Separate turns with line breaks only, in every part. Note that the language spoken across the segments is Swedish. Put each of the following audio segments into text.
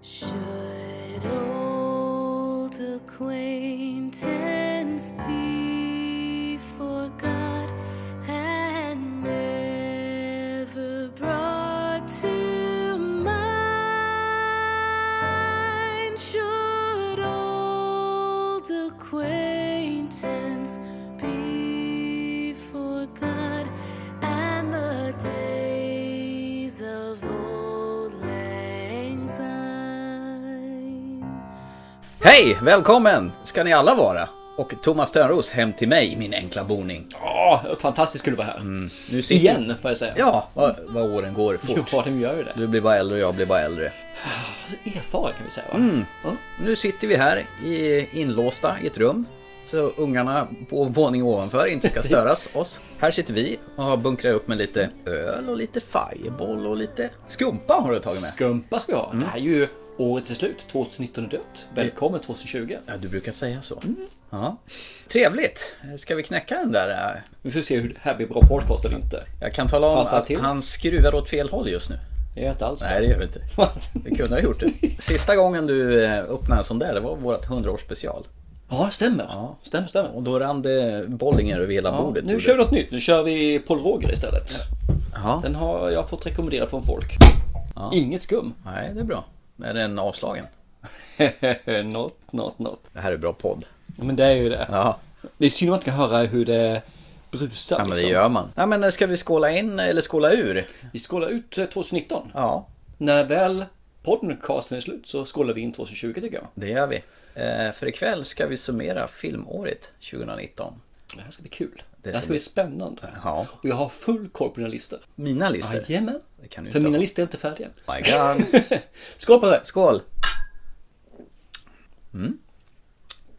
Should old acquaintance be forgot and never brought to mind? Should old acquaintance be forgot and the days of old lang syne?
Hej! Välkommen ska ni alla vara! Och Thomas Törnros hem till mig, min enkla boning.
Ja, fantastiskt kul att vara här.
Nu Mm. sitter...
Igen, får jag säga.
Ja, Mm. vad, vad åren går fort.
Ja, de gör ju det.
Du blir bara äldre och jag blir bara äldre.
Alltså, erfaren kan vi säga va?
Mm.
Ja.
Nu sitter vi här i, inlåsta i ett rum. Så ungarna på våningen ovanför inte ska
Precis.
störas oss. Här sitter vi och har bunkrat upp med lite öl och lite fireball och lite skumpa har du tagit med.
Skumpa ska vi ha.
Mm.
Det här är ju året till slut. 2019 är dött. Välkommen 2020.
Ja, du brukar säga så. Mm. Ja. Trevligt! Ska vi knäcka den där? eh?
Vi får se hur det här blir bra podcast eller inte.
Jag kan tala om
Passar
att
till.
han skruvar åt fel håll just nu.
Det gör jag inte alls
Nej, det gör du inte. Vi kunde ha gjort det. Sista gången du eh, öppnade en sån där, det var vårt 100-årsspecial.
Ja, det stämmer. Stämmer, stämmer.
Och då rann det bollinger över hela
Ja,
bordet.
nu
tror
kör vi
du.
något nytt. Nu kör vi Paul Roger istället.
Ja.
Den har jag fått rekommendera från folk. Inget skum.
Nej, det är bra. Är den avslagen?
not, not, not.
Det här är bra podd.
Ja, Men det är ju det.
Ja,
Det är synd att man kan höra hur det brusar.
ja men det
liksom.
gör man. Ja, men eh, ska vi skåla in eller skåla ur?
Vi skålar ut eh, 2019.
Ja,
När väl podcasten är slut så skålar vi in 2020 tycker jag.
det gör vi. Eh, För ikväll ska vi summera filmåret 2019.
Det här ska bli kul. Det,
ska
här ska
bli-
bli spännande.
Ja.
Och jag har full koll på mina listor.
Mina listor.
Jajamän.
Det kan du
Ah, För
inte
mina
ha.
listor är inte färdiga.
My God.
Skål på det!
Skål! Mm.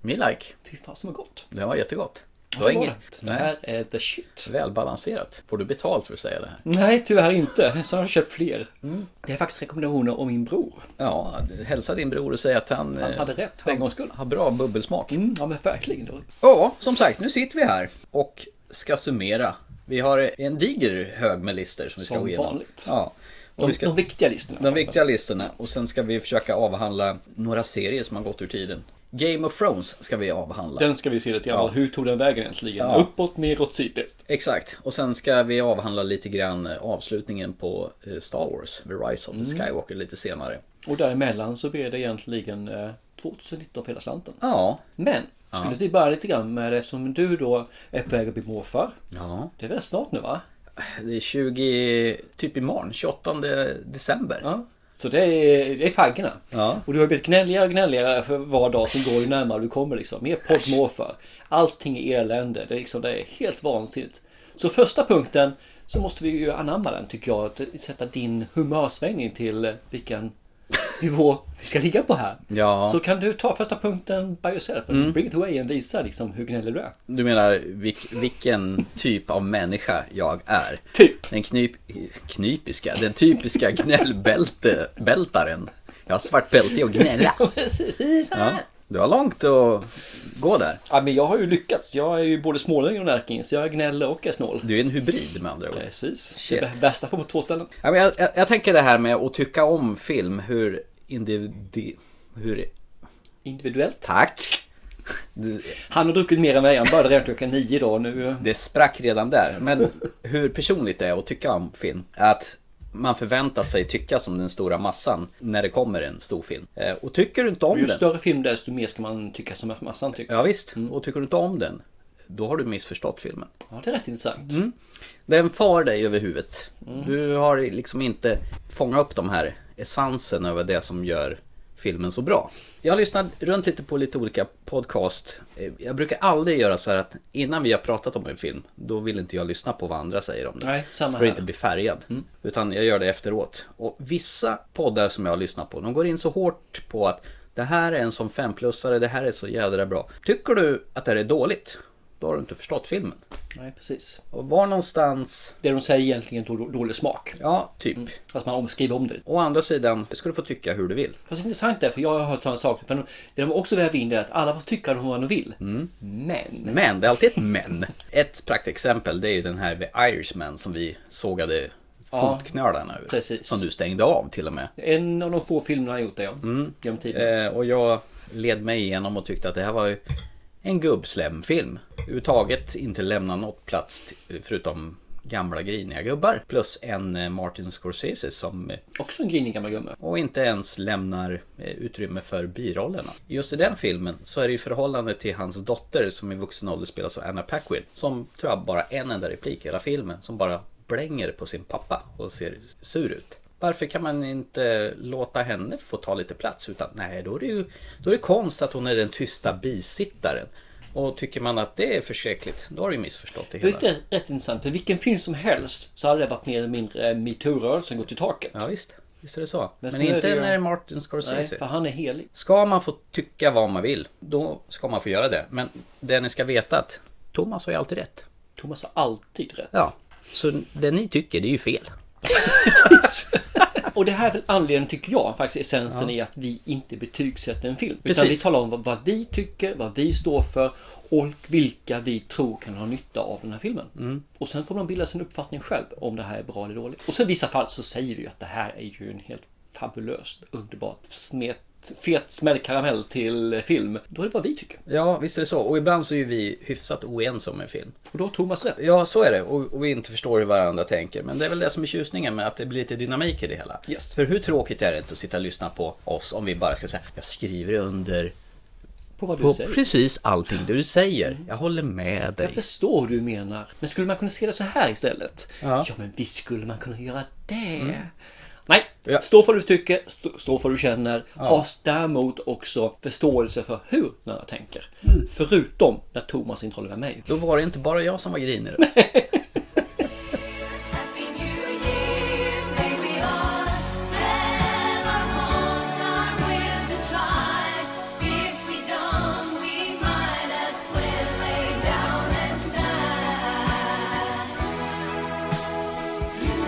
Me like.
Fy fan som är gott.
Det var jättegott. Det
Det,
var inget.
det
Nej.
här är the shit.
Välbalanserat. Får du betalt för att säga det här?
Nej, tyvärr inte. Så har jag köpt fler.
Mm.
Det är faktiskt rekommendationer om min bror.
Ja, hälsa din bror och säg att han,
Han
eh,
hade rätt för en gångs skull.
har bra bubbelsmak.
Mm, ja men verkligen. Då.
Ja, som sagt, nu sitter vi här och ska summera. Vi har en diger hög med listor som vi ska
Som
gå igenom.
vanligt.
Ja. Och
De,
vi ska,
de viktiga listorna.
de viktiga listorna och sen ska vi försöka avhandla några serier som har gått ur tiden. Game of Thrones ska vi avhandla.
Den ska vi se lite grann. Hur tog den vägen egentligen? Uppåt, neråt, sidled.
Exakt, och sen ska vi avhandla lite grann eh, avslutningen på eh, Star Wars, The Rise of the
Mm.
Skywalker lite senare.
Och däremellan så blir det egentligen eh, 2019 för hela slanten.
Ja,
Men, skulle vi börja lite grann med det som du då är på väg att bli morfar.
ja.
Det är väl snart nu va?
Det är 20, typ imorgon, 28 december.
Ja. Så det är, det är faggorna.
Ja.
Och du har blivit gnälligare och gnälligare för var dag som går ju närmare du kommer liksom. Mer poddmorfar. Allting är elände. Det är, liksom, det är helt vansinnigt. Så första punkten så måste vi ju anamma den tycker jag. Att sätta din humörsvängning till eh, vilken nivå vi ska ligga på här.
Ja. Mm.
Så kan du ta första punkten by yourself. Bring it away och visa liksom hur gnällig du är.
Du menar vilk, vilken typ av människa jag är?
Typ.
Den knyp, knypiska, den typiska gnällbältaren. Jag har svart bälte i att gnälla. Ja, du har långt att gå där.
Ja, men jag har ju lyckats. Jag är ju både smålänning och närking, så jag gnäller och är snål.
Du är en hybrid med andra ord.
Precis.
Shit.
Det bä- bästa på två ställen.
Ja, men Jag, jag, jag tänker det här med att tycka om film, hur individ... Hur...
Individuellt.
Tack! Du,
Han har druckit mer än mig. Han började redan klockan nio idag. Nu...
Det sprack redan där. Men hur personligt det är att tycka om film. Att man förväntar sig tycka som den stora massan när det kommer en stor film. Eh, Och tycker du inte om
Ju
den.
större film det är, desto mer ska man tycka som massan tycker.
Ja, visst. Och tycker du inte om den. Då har du missförstått filmen.
Ja, det är rätt intressant.
Mm. Den far dig över huvudet.
Mm.
Du har liksom inte fångat upp de här essensen över det som gör filmen så bra. Jag har lyssnat runt lite på lite olika podcast. Eh, Jag brukar aldrig göra så här att innan vi har pratat om en film, då vill inte jag lyssna på vad andra säger om den.
Nej,
För
samma
att
här. Mm.
inte bli färgad. Utan jag gör det efteråt. Och vissa poddar som jag har lyssnat på, de går in så hårt på att det här är en som femplussare, det här är så jädra bra. Tycker du att det här är dåligt, då har du inte förstått filmen.
Nej, precis.
Och var någonstans
Det de säger egentligen är då- dålig smak.
Ja, typ.
Fast man omskriver om det.
Å andra sidan, det ska du få tycka hur du vill.
Fast det är intressant är, för jag har hört samma sak. För det de också väver in det är att alla får tycka vad de vill.
Mm.
Men.
Men, det är alltid ett men. Ett praktexempel, det är ju den här The Irishman som vi sågade fotknölarna ur.
precis.
Som du stängde av till och med.
En av de få filmerna jag gjort det, ja. Genom tiden.
Eh, och jag led mig igenom och tyckte att det här var ju en gubbslemfilm. Överhuvudtaget inte lämna något plats t- förutom gamla griniga gubbar. Plus en eh, Martin Scorsese som eh,
Också en grinig gammal gumma.
och inte ens lämnar eh, utrymme för birollerna. Just i den filmen så är det ju förhållandet till hans dotter som i vuxen ålder spelas av Anna Paquin. Som tror jag bara en enda replik i hela filmen som bara blänger på sin pappa och ser sur ut. Varför kan man inte låta henne få ta lite plats? Utan nej, då är det ju då är det konst att hon är den tysta bisittaren. Och tycker man att det är förskräckligt, då har du ju missförstått det hela.
Vilket är rätt intressant, för vilken film som helst så hade det varit mer eller mindre metoo-rörelsen gått i taket.
Ja, visst. Visst är det så. Men,
så är
inte
det ju-
när det är Martin
Nej,
Scorsese.
för han är helig.
Ska man få tycka vad man vill, då ska man få göra det. Men det ni ska veta att Thomas har ju alltid rätt.
Thomas har alltid rätt.
Ja. Så det ni tycker, det är ju fel.
Och det här är väl anledningen, tycker jag, faktiskt essensen i att vi inte betygsätter en film. Utan
Precis.
vi talar om vad, vad vi tycker, vad vi står för och vilka vi tror kan ha nytta av den här filmen.
Mm.
Och sen får man bilda sin uppfattning själv om det här är bra eller dåligt. Och sen i vissa fall så säger vi ju att det här är ju en helt fabulöst, underbart, smet, fet smällkaramell till film. Då är det vad vi tycker.
Ja, visst är det så. Och ibland så är ju vi hyfsat oense om en film.
Och då har Thomas rätt.
Ja, så är det. Och, och vi inte förstår hur varandra tänker. Men det är väl det som är tjusningen med att det blir lite dynamik i det hela.
Yes.
För hur tråkigt är det inte att sitta och lyssna på oss om vi bara ska säga jag skriver under
På vad du
på
säger.
precis allting du säger. Jag håller med dig.
Jag förstår hur du menar. Men skulle man kunna se det så här istället?
Ja.
Ja, Mm. men visst skulle man kunna göra det. Nej,
Ja.
stå för vad du tycker, stå, stå för vad du känner. Ha däremot också förståelse för hur när jag tänker. Förutom när Thomas inte håller med mig.
Då var det inte bara jag som var grinig.
Happy New Year, may we all have our hopes, our will to try. If we don't, we might as well lay down and die. You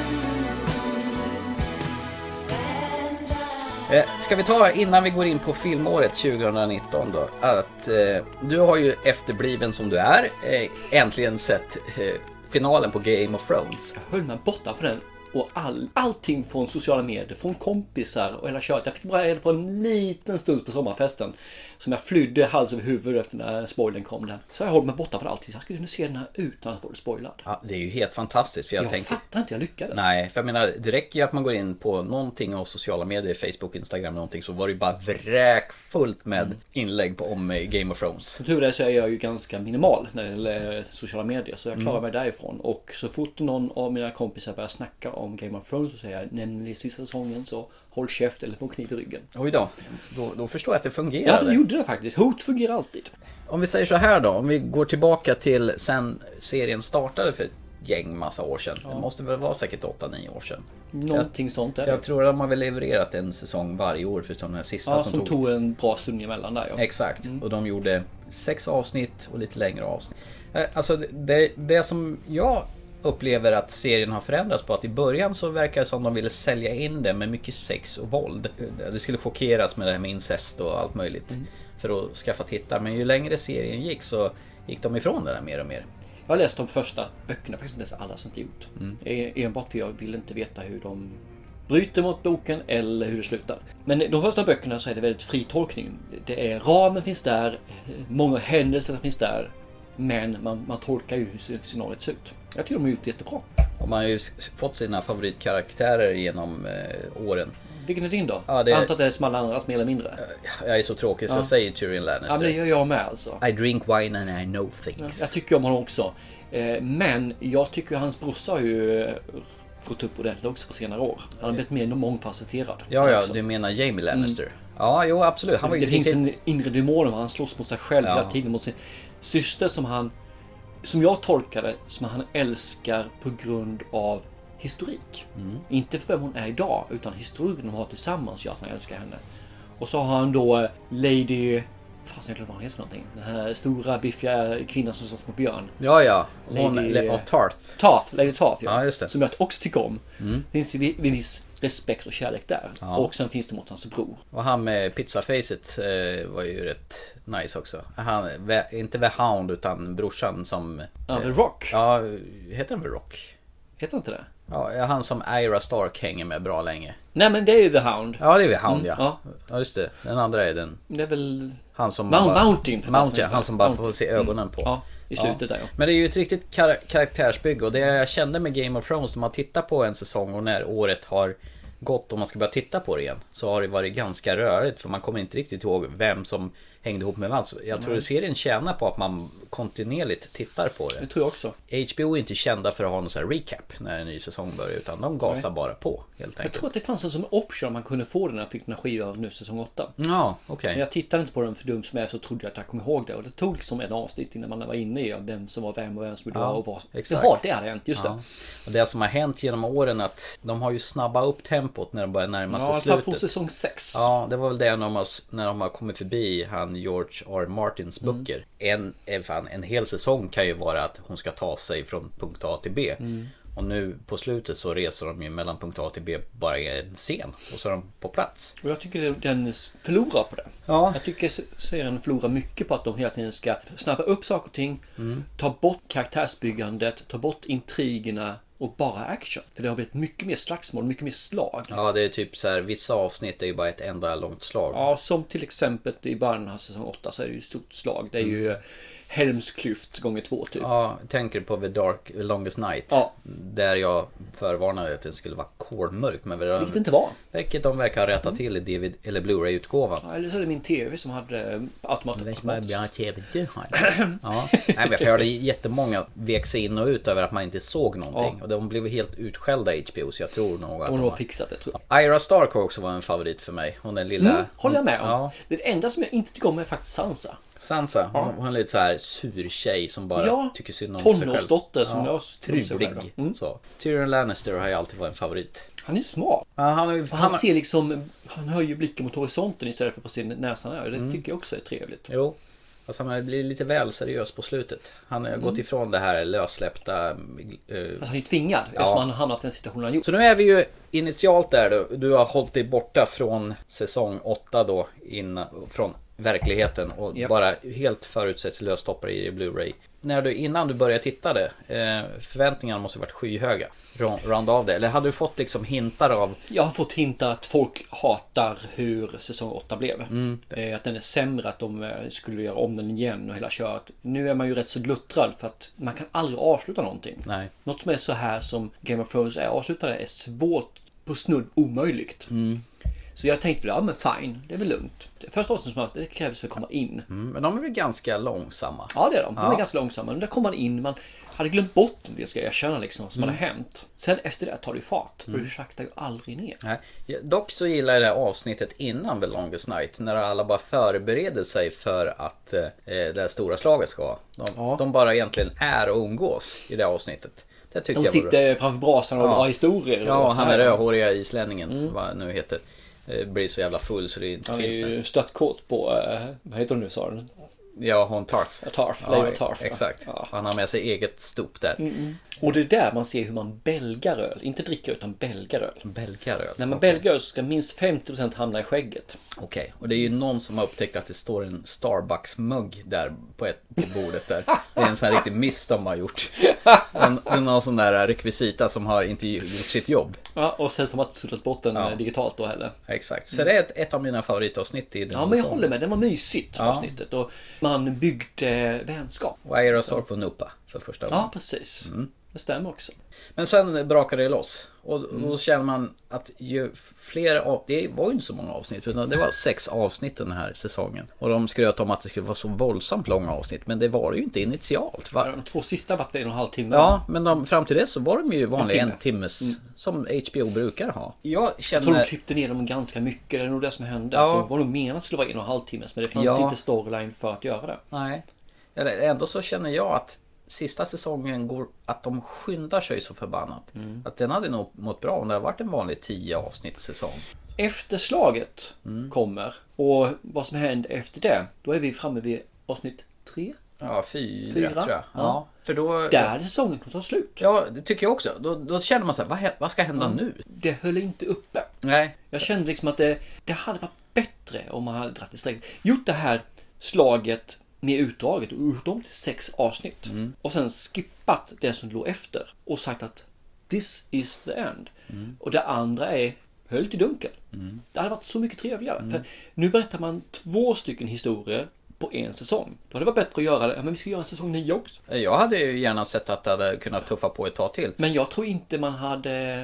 and I.
Eh, Ska vi ta innan vi går in på filmåret 2019 då att eh, du har ju efterbliven som du är eh, äntligen sett eh, finalen på Game of Thrones.
Jag höll mig borta från den. Och all, allting från sociala medier, från kompisar och hela köret. Jag fick bara reda på en liten stund på sommarfesten. Som jag flydde hals över huvud efter när spoilern kom där. Så jag håller mig borta från allting. Jag skulle kunna se den här utan att få det spoilad.
Ja, det är ju helt fantastiskt för jag,
Jag
tänker
fattar inte, jag lyckades.
Nej, för jag menar det räcker ju att man går in på någonting av sociala medier, Facebook, Instagram någonting så var det ju bara vräkfullt med
Mm.
inlägg på, om eh, Game of Thrones.
Som tur är så är jag ju ganska minimal när det gäller sociala medier så jag klarar
Mm.
mig därifrån. Och så fort någon av mina kompisar börjar snacka om Game of Thrones så säger jag nämn i sista säsongen så håll käft eller få en kniv i ryggen.
Oj då, då, då förstår jag att det
Ja,
fungerade.
det gjorde det faktiskt. Hot fungerar alltid.
Om vi säger så här då, om vi går tillbaka till sen serien startade för ett gäng massa år sedan. Det måste väl vara säkert 8-9 år sedan.
Någonting sånt där.
Jag tror att de har väl levererat en säsong varje år förutom den här sista
ja,
som, tog...
en bra stund emellan där ja.
Exakt, och de gjorde sex avsnitt och lite längre avsnitt. Eh, Alltså det- det, det som jag upplever att serien har förändrats på att i början så verkar det som de ville sälja in det med mycket sex och våld. Eh, Det skulle chockeras med det här med incest och allt möjligt
Mm.
för att skaffa tittare. Men ju längre serien gick så gick de ifrån det där mer och mer.
Jag har läst de första böckerna, faktiskt inte ens alla som inte gjort.
Mm.
E- Enbart för jag vill inte veta hur de bryter mot boken eller hur det slutar. Men de första böckerna så är det väldigt fri tolkning. Det är, ramen finns där, många händelser finns där. Men man, man tolkar ju hur scenariot ser ut. Jag tycker de har gjort det jättebra.
Och man har ju s- fått sina favoritkaraktärer genom eh, åren.
Vilken är din då?
Ja, det-
Jag antar att det är som alla andras mer eller mindre.
Jag är så tråkig så jag säger Tyrion
Ja, men
Lannister.
det gör jag med alltså.
I drink wine and I know things.
Jag tycker om honom också. Eh, Men jag tycker hans brorsa har ju eh, fått upp ordentligt också på senare år. Han har blivit mer mångfacetterad.
Ja, ja,
också.
du menar Jamie Lannister. Ja, jo absolut. Han var ju
Mm. Det finns
riktigt-
en inre demon och han slåss mot sig själv hela tiden mot sin syster som han som jag tolkar det som han älskar på grund av historik.
Mm.
Inte för vem hon är idag utan historien de har tillsammans gör att han älskar henne. Och så har han då eh, Lady... Fasen jag glömde vad hon heter för någonting. Den här stora biffiga kvinnan som slåss mot björn.
Ja, ja. Hon
Lady- eh,
Le- av Tarth.
Tarth, Lady Tarth ja.
Ja, just det. Mm.
Som jag också tycker om. Finns det vi- viss respekt och kärlek där. Och sen finns det mot hans bror.
Och han med pizzafacet eh, var ju rätt nice också. Han, vä- inte The Hound utan brorsan som...
Ja, The Rock.
Ja, heter han The Rock?
Heter han inte det?
Ja, är han som Ira Stark hänger med bra länge.
Nej men det är ju The Hound.
Ja, det är väl Hound
Mm,
ja. Ja, just det. Den andra är den.
Det är väl...
Han som...
Mount,
bara-
Mountain. förresten.
Mount, ja, han som bara får
Mountain.
se ögonen
Mm.
på.
Ja, i slutet där ja.
Men det är ju ett riktigt kar- karaktärsbygge och det jag kände med Game of Thrones när man tittar på en säsong och när året har gått och man ska börja titta på det igen så har det varit ganska rörigt för man kommer inte riktigt ihåg vem som hängde ihop med vad. Så Jag tror serien tjänar på att man kontinuerligt tittar på
Det
det.
tror jag också.
HBO är inte kända för att ha någon sån här recap när en ny säsong börjar utan de gasar bara på helt
Jag
enkelt.
tror att det fanns en som option man kunde få den när jag fick den här skivan av nu säsong 8.
Ja, okej.
Men jag tittade inte på den för dum som jag är så trodde jag att jag kom ihåg det. Och det tog liksom en avsnitt innan man var inne i vem som var vem och vem som gjorde vad och vad.
exakt.
Jaha, det hade hänt. Just det.
Ja. Och det som har hänt genom åren är att de har ju snabbat upp tempot när de börjar närma sig
Ja, i alla fall
slutet.
från säsong 6.
Ja, det var väl det när de har, när de har kommit förbi han George R. Martins
Mm.
böcker. En, en, fan, en hel säsong kan ju vara att hon ska ta sig från punkt A till B.
Mm.
Och nu på slutet så reser de ju mellan punkt A till B bara i en scen och så är de på plats.
Och jag tycker den förlorar på det.
Ja.
Jag tycker serien förlorar mycket på att de hela tiden ska snabba upp saker och ting, ta bort karaktärsbyggandet, ta bort intrigerna och bara action. För det har blivit mycket mer slagsmål, mycket mer slag.
Ja, det är typ så här, vissa avsnitt är ju bara ett enda långt slag.
Ja, som till exempel i början av säsong 8 så är det ju ett stort slag. Det är ju Helmsklyft gånger två typ.
Mm. Ja, jag tänker på The Dark The Longest Night.
Ja.
Där jag förvarnade att det skulle vara kolmörkt. Men
Vilket det inte Mm. var.
Vilket de verkar ha rättat till i DVD eller Blu-ray-utgåvan.
Ja, Eller så är det min TV som hade eh, automat-
Vet man
automatiskt.
blir TV du har. Ja. Nej, men jag hörde jättemånga vek sig in och ut över att man inte såg någonting. Och de blev helt utskällda i HBO så jag tror nog att de
Om de har
var...
fixat det tror jag.
Ira Stark har också varit en favorit för mig. Hon den lilla...
Mm, håller jag med om.
Ja.
Det enda som jag inte tycker om är faktiskt Sansa.
Sansa. Hon, hon är lite så här sur tjej som bara
Ja,
tycker synd om sig själv.
tonårsdotter som jag tror sig själv
Trulig.
då. Mm.
Så. Tyrion Lannister har ju alltid varit en favorit.
Han är smart.
Ja, han, har ju-
Han, ser liksom, han höjer blicken mot horisonten istället för på sin näsan här.
Mm.
Det tycker jag också är trevligt.
Jo. Alltså han blir lite väl seriös på slutet. Han har
Mm.
gått ifrån det här lössläppta... eh,
Fast han är ju tvingad eftersom han har hamnat i den situationen han gjort.
Så nu är vi ju initialt där då. Du har hållit dig borta från säsong 8 då. Innan, från verkligheten och
Japp.
bara helt förutsättningslöst hoppar i Blu-ray. När du, innan du började titta det, eh, förväntningarna måste ha varit skyhöga. Ron- Runda av det. Eller hade du fått liksom hintar av...
Jag har fått hinta att folk hatar hur säsong 8 blev.
Mm,
Eh, Att den är sämre, att de eh, skulle göra om den igen och hela köret. Nu är man ju rätt så gluttrad för att man kan aldrig avsluta någonting.
Nej.
Något som är så här som Game of Thrones är avslutade är svårt, på snudd omöjligt.
Mm.
Så jag tänkte väl, ja men fine, det är väl lugnt. Det Första avsnittet som jag haft, det krävs för att komma in.
Mm, Men de är väl ganska långsamma?
Ja det är de, de
Ja.
är ganska långsamma. Men där kom man in, man hade glömt bort det ska jag erkänna liksom, som
Mm.
hade hänt. Sen efter det tar det ju fart och du saktar ju aldrig ner.
Nej. Ja, Dock så gillar jag det här avsnittet innan The Longest Night. När alla bara förbereder sig för att eh, det här stora slaget ska ha. De,
Ja.
de bara egentligen är och umgås i det här avsnittet. Det tyckte
De
jag var bra.
sitter framför brasan och drar historier.
Ja,
och
han
så
är
här.
rödhåriga islänningen, vad han nu heter. eh, Blir så jävla full så det inte
Han är
finns
ju
ju...
störtkåt på, eh, vad heter hon nu sa du?
Ja, hon Tarth.
Tarf,
Ja, Mm,
Leila Tarf. ja.
Exakt.
Ja.
Han har med sig eget stop där.
Och det är där man ser hur man belgar öl. Inte dricker utan belgar öl.
Belgar öl.
När man
Okej.
belgar öl så ska minst 50% hamna i skägget.
Okej, och det är ju någon som har upptäckt att det står en Starbucks-mugg där på, ett, på bordet där. Det är en sån här riktig miss de har gjort. En, det är någon sån där rekvisita som har inte gjort sitt jobb.
Ja, och sen som att suddat bort den eh, digitalt då heller.
Exakt, så det är ett, ett av mina favoritavsnitt i den
Ja, men jag håller med. Den var mysigt,
Ja.
avsnittet. Och man byggde vänskap.
Och Aira Sork får nupa för första gången.
Ja, precis.
Mm.
Det stämmer också.
Men sen brakade det loss. Och
Mm.
då känner man att ju fler av... Det var ju inte så många avsnitt. Utan det var sex avsnitt den här säsongen. Och de skröt om att det skulle vara så våldsamt långa avsnitt. Men det var det ju inte initialt. Va?
De två sista vart en och en halv timme.
Ja, men de, fram till det så var de ju vanliga
En
en,
timme.
timmes som HBO brukar ha. Jag
Jag tror de
känner...
klippte ner dem ganska mycket. Det är nog det som hände.
Ja.
Det var nog menat att det skulle vara en och en halv timme. Men det fanns
Ja.
inte storyline för att göra det.
Nej. Eller ändå så känner jag att sista säsongen går... Att de skyndar sig så förbannat. Att den hade nog mått bra om det hade varit en vanlig tio avsnittssäsong.
Efter slaget
Mm.
kommer. Och vad som händer efter det. Då är vi framme vid avsnitt tre.
Ja, fyra,
Fyra?
tror jag. Ja.
Ja.
För då...
Där hade säsongen kommer ta slut.
Ja, det tycker jag också. Då, då känner man så här, vad, hä- vad ska hända nu?
Det höll inte uppe.
Mm. Nej.
Jag kände liksom att det, det hade varit bättre om man hade dragit det strängt. Gjort det här slaget med utdraget och gjort dem till sex avsnitt. Och sen skippat det som låg efter och sagt att This is the end. Och det andra är Höll till dunkel. Det hade varit så mycket trevligare. För nu berättar man två stycken historier på en säsong. Då hade det varit bättre att göra det. Ja, men vi ska göra en säsong nio också.
Jag hade ju gärna sett att det hade kunnat tuffa på ett tag till.
Men jag tror inte man hade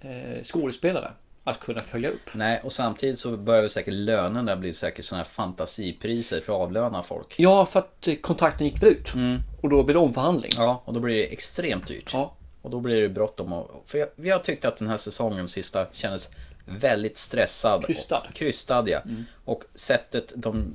eh, skådespelare att kunna följa upp.
Nej, och samtidigt så börjar väl säkert lönerna bli säkert sådana här fantasipriser för att avlöna folk.
Ja, för att eh, kontrakten gick väl ut. Och då blir det omförhandling.
Mm. Ja, och då blir det extremt dyrt.
Ja.
Och då blir det bråttom. och- För jag, jag tyckte att den här säsongen sista kändes väldigt stressad.
Krystad. Mm.
Och, krystad ja. Och sättet de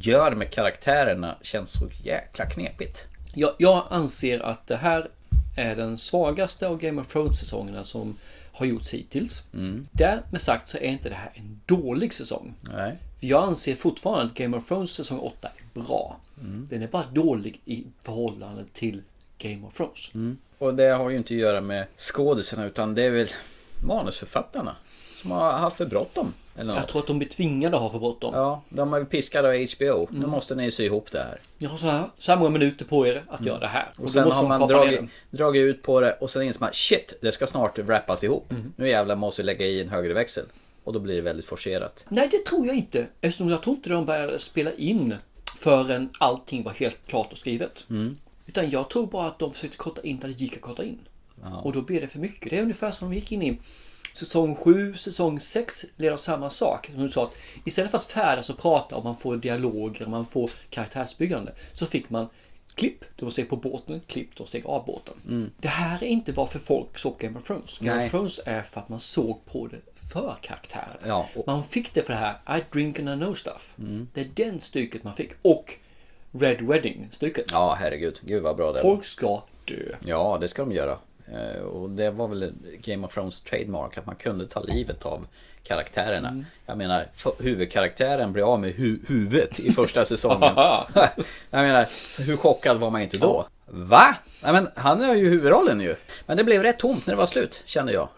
gör med karaktärerna känns så jäkla knepigt.
Jag, jag anser att det här är den svagaste av Game of Thrones-säsongerna som har gjorts hittills.
Mm.
Därmed sagt så är inte det här en dålig säsong.
Nej.
För Jag anser fortfarande att Game of Thrones säsong 8 är bra.
Mm.
Den är bara dålig i förhållande till Game of Thrones.
Och det har ju inte att göra med skådisarna utan det är väl manusförfattarna som har haft för bråttom. Eller något.
Jag tror att de blir tvingade att ha för bråttom.
Ja, de är piskade av HBO.
Mm.
Nu måste ni sy ihop det här.
Ni har så här, så här många minuter på er att göra det här.
Mm. Och
då
sen
måste
har
de
man
kapa ner
dragit,
den.
dragit ut på det och sen inser man shit, det ska snart wrappas ihop.
Mhm.
Nu jävlar måste vi lägga i en högre växel. Och då blir det väldigt forcerat.
Nej, det tror jag inte. Eftersom jag tror inte de började spela in förrän allting var helt klart och skrivet.
Mm.
Utan jag tror bara att de försökte korta in där det gick att korta in. Och då blev det för mycket. Det är ungefär som de gick in i säsong 7, säsong 6 leder av samma sak. Som du sa, att istället för att färdas och prata och man får dialoger och man får karaktärsbyggande så fick man klipp, de steg på båten, klipp, de steg av båten. Det här är inte varför folk såg Game of Thrones. Game
Mm. Nej.
of Thrones är för att man såg på det för karaktärer.
Ja, och-
Man fick det för det här I drink and I know stuff.
Mm.
Det är den stycket man fick. Och Red Wedding stycket.
Ja, herregud. Gud vad bra det var.
Folk ska dö.
Ja, det ska de göra. Eh, Och det var väl Game of Thrones trademark att man kunde ta livet av karaktärerna.
Mm.
Jag menar, f- huvudkaraktären blir av med hu- huvudet i första säsongen. Jag menar, så hur chockad var man inte då? Va? Nej men han är ju huvudrollen ju. Men det blev rätt tomt när det var slut, kände jag.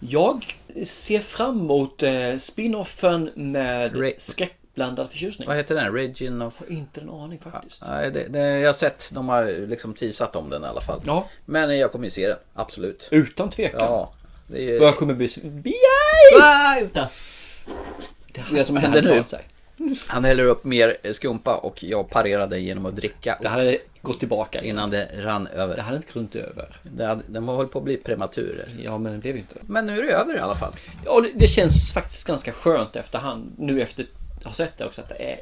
Jag ser fram emot eh, spin-offen med
Re-
skräckblandad förtjusning.
Vad heter den? Regin of...
Jag har inte en aning faktiskt.
Nej, det, det, jag har sett, de har liksom teasat om den i alla fall.
Ja.
Men jag kommer ju se den, absolut.
Utan tvekan.
Ja. Det är...
Och jag kommer bli... Yay!
Utan.
Det är som
händer
hade
nu?
klarat sig.
Han häller upp mer skumpa och jag parerade genom att dricka
Det hade gått tillbaka.
innan det rann
Det
över.
hade inte runt över.
Det hade, den var höll på att bli prematur.
Ja, men det blev inte det.
Men nu är det över i alla fall.
Ja, det, det känns faktiskt ganska skönt efterhand. Nu efter att ha sett det också att det är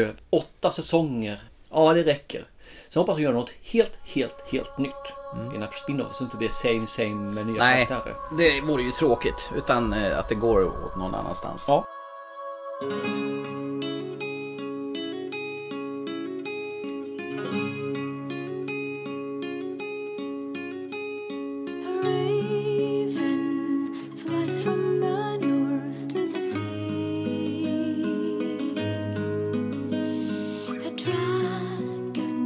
över. Åtta säsonger. Ja, det räcker. Sen hoppas jag göra något helt, helt, helt nytt. I den här spin-offen så det inte blir same, same med nya
Mm. Nej,
karaktärer.
det vore ju tråkigt. Utan eh, att det går åt någon annanstans.
Ja.
A raven flies from the north to the sea. A dragon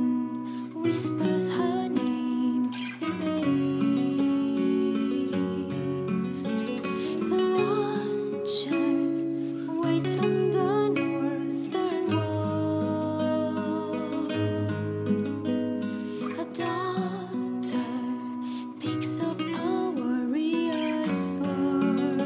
whispers her name in the east. The watcher waits on the northern wall. A daughter picks up a warrior's sword.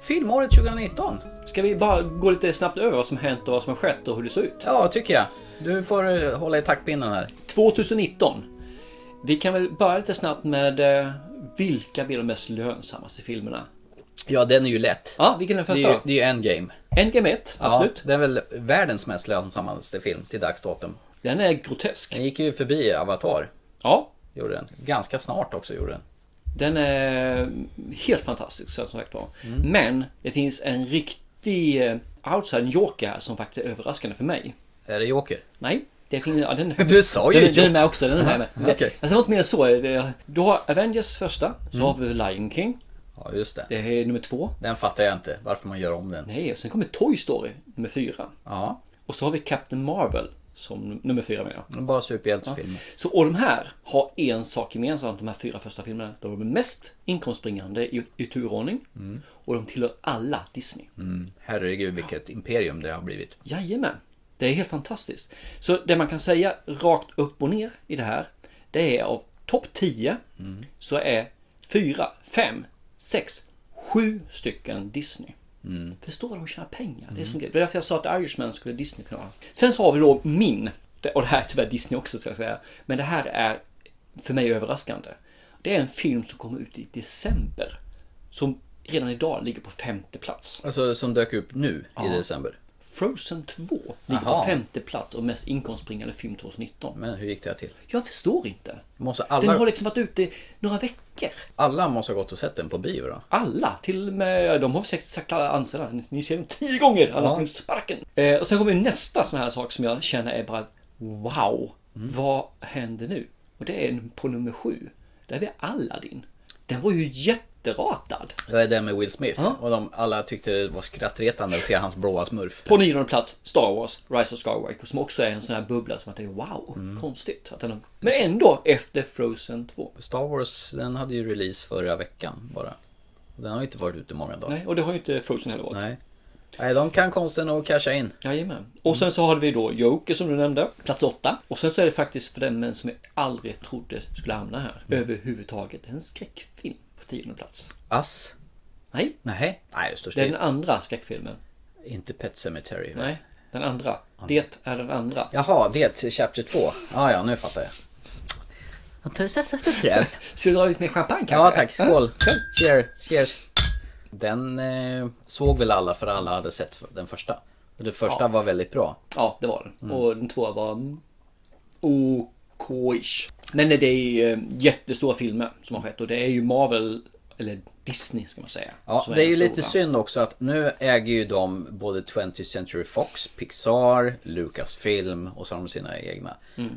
Filmåret 2019.
Ska vi bara gå lite snabbt över vad som hänt och vad som har skett och hur det ser ut?
Ja, tycker jag. Du får eh, hålla i taktpinnen här.
2019. Vi kan väl börja lite snabbt med eh, vilka blir de mest lönsammaste filmerna?
Ja, den är ju lätt.
Ja, vilken är den
Det
första
är ju,
då?
det är ju Endgame.
Endgame 1, absolut.
Ja, det är väl världens mest lönsammaste film till dags datum.
Den är grotesk.
Den gick ju förbi Avatar.
Ja,
Gjorde den. Ganska snart också gjorde den.
Den är helt fantastisk som sagt var.
Mm.
Men det finns en riktig eh, outside joker här som faktiskt är överraskande för mig.
Är det Joker?
Nej, det finns... Ja, den är
Du sa ju
den, den är
Joker.
med också, den är med. med.
okej. Mm.
Alltså, det var inte mer än så. Det- Du har Avengers första, så har vi Lion King.
Ja, just det.
Det är nummer två.
Den fattar jag inte, varför man gör om den.
Nej, och sen kommer Toy Story, nummer fyra.
Ja,
Och så har vi Captain Marvel som nummer fyra menar jag.
det är bara superhjältefilmer.
Så, och de här har en sak gemensamt, de här fyra första filmerna. De är mest inkomstbringande i, i turordning. Och de tillhör alla Disney.
Herregud vilket Mm. imperium det har blivit.
Jajamän. Det är helt fantastiskt. Så det man kan säga rakt upp och ner i det här, det är av topp 10 så är 4, 5, 6, 7 stycken Disney. Förstår du hur de tjänar pengar? Det är som grej. Det är därför jag sa att Irishman skulle Disney kunna ha. Sen så har vi då min, och det här är tyvärr Disney också ska jag säga, men det här är för mig överraskande. Det är en film som kommer ut i december. Som redan idag ligger på femte plats.
Alltså som dök upp nu i december.
Frozen 2 ligger
Aha.
på femte plats och mest inkomstbringande film 2019.
Men hur gick det till?
Jag förstår inte.
Måste
Den har
alla,
liksom varit ute några veckor.
alla måste ha gått och sett den på bio då?
Alla, till och med, de har säkert sagt alla anställda, ni- ni ser dem tio gånger, alla
Ja.
till sparken. Eh, och sen kommer nästa sån här sak som jag känner är bara wow,
Mm.
vad händer nu? Och det är en- på nummer sju, där vi Aladdin. Den var ju jätteratad.
Det är den med Will Smith.
Ja.
Och de, alla tyckte det var skrattretande att se hans blåa smurf.
På nionde plats Star Wars, Rise of Skywalker som också är en sån här bubbla som att det är wow, konstigt. Att den, men ändå efter Frozen 2.
Star Wars, den hade ju release förra veckan bara. Den har ju inte varit ute många dagar.
Nej, och det har ju inte Frozen heller varit.
Nej. Nej, de kan konsten att casha in.
Jajamän. Och sen så har vi då Joker som du nämnde, plats åtta. Och sen så är det faktiskt för den som jag aldrig trodde skulle hamna här överhuvudtaget en skräckfilm på tionde plats.
Ass?
Nej,
Nej. Nej, det står
det är den
still.
andra skräckfilmen.
Inte Pet Cemetery. va?
Nej, den andra. Det är den andra.
Jaha, det är Chapter 2. Ah, ja, nu fattar jag.
Ska du dra lite mer champagne kanske?
Ja, tack. Skål. Cheers. Cheers. Den eh, såg väl alla för alla hade sett den första. Och Den första var väldigt bra.
Ja, det var den. Och den tvåa var mm, OK-ish. Men det är eh, jättestora filmer som har skett och det är ju Marvel, eller Disney ska man säga.
Ja,
som
det är ju
den
lite
stora.
synd också att nu äger ju de både 20th Century Fox, Pixar, Lucasfilm och så har de sina egna.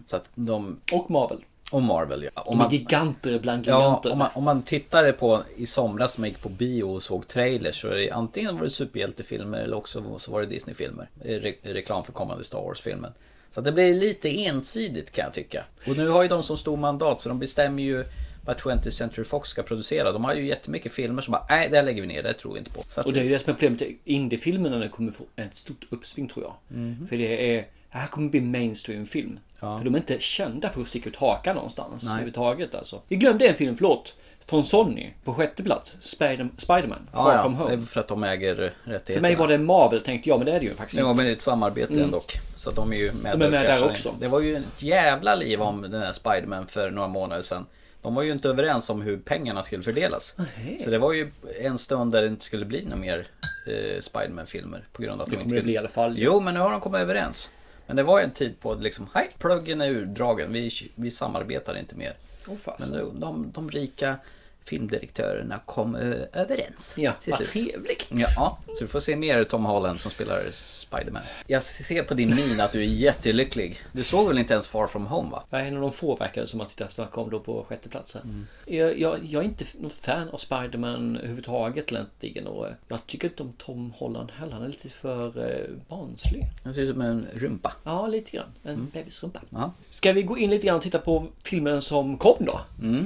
Så att de,
Och Marvel.
och Marvel ja. Om
Mm. De är
man,
giganter bland
ja,
giganter.
om man, om man tittade på i somras som jag gick på bio och såg trailers så är det, antingen var det superhjältefilmer eller också så var det Disneyfilmer. Re, reklam för kommande Star Wars-filmen. Så att det blir lite ensidigt kan jag tycka. Och nu har ju de som stor mandat så de bestämmer ju vad 20th Century Fox ska producera. De har ju jättemycket filmer som bara, nej det här lägger vi ner, det här tror vi inte på. Så att,
Och det är ju det som är problemet. Indiefilmerna nu kommer få ett stort uppsving tror jag.
Mhm.
För det är, det här kommer bli mainstream-film. För de är inte kända för att sticka ut hakan någonstans överhuvudtaget alltså. Vi glömde en film, förlåt. Från Sony på sjätte plats. Spider- Spiderman, Far
Ja, ja.
From Home.
Det är för att de äger rättigheterna.
För mig var det Marvel tänkte jag, men det är det ju faktiskt
Ja,
inte.
men det är ett samarbete ändå. Så att de är ju med,
Mm. De är med
och
där
kraschar in.
också.
Det var ju ett jävla liv om den här Spiderman för några månader sedan. De var ju inte överens om hur pengarna skulle fördelas. Så det var ju en stund där det inte skulle bli några mer eh, Spiderman-filmer. På grund av att
Det
de
kommer
inte
det bli i alla fall.
Jo, men nu har de kommit överens. Men det var en tid på att liksom, hej, pluggen är urdragen. Vi, vi samarbetar inte mer.
Åh, Oh, fasen.
Men de, de, de rika filmdirektörerna kom eh, överens.
Ja,
till
vad
slut.
trevligt.
Ja, så du får se mer Tom Holland som spelar Spiderman. Jag ser på din min att du är jättelycklig. Du såg väl inte ens Far From Home va?
Det är en av de få verkade som att tittarna kom då på sjätte platsen.
Mm.
Jag, jag, jag är inte någon fan av Spiderman överhuvudtaget egentligen och eh, jag tycker inte om Tom Holland heller. Han är lite för eh, barnslig.
Den ser ut som en rumpa.
Ja, lite grann. En bebisrumpa.
Mm. Ja.
Ska vi gå in lite grann och titta på filmen som kom då?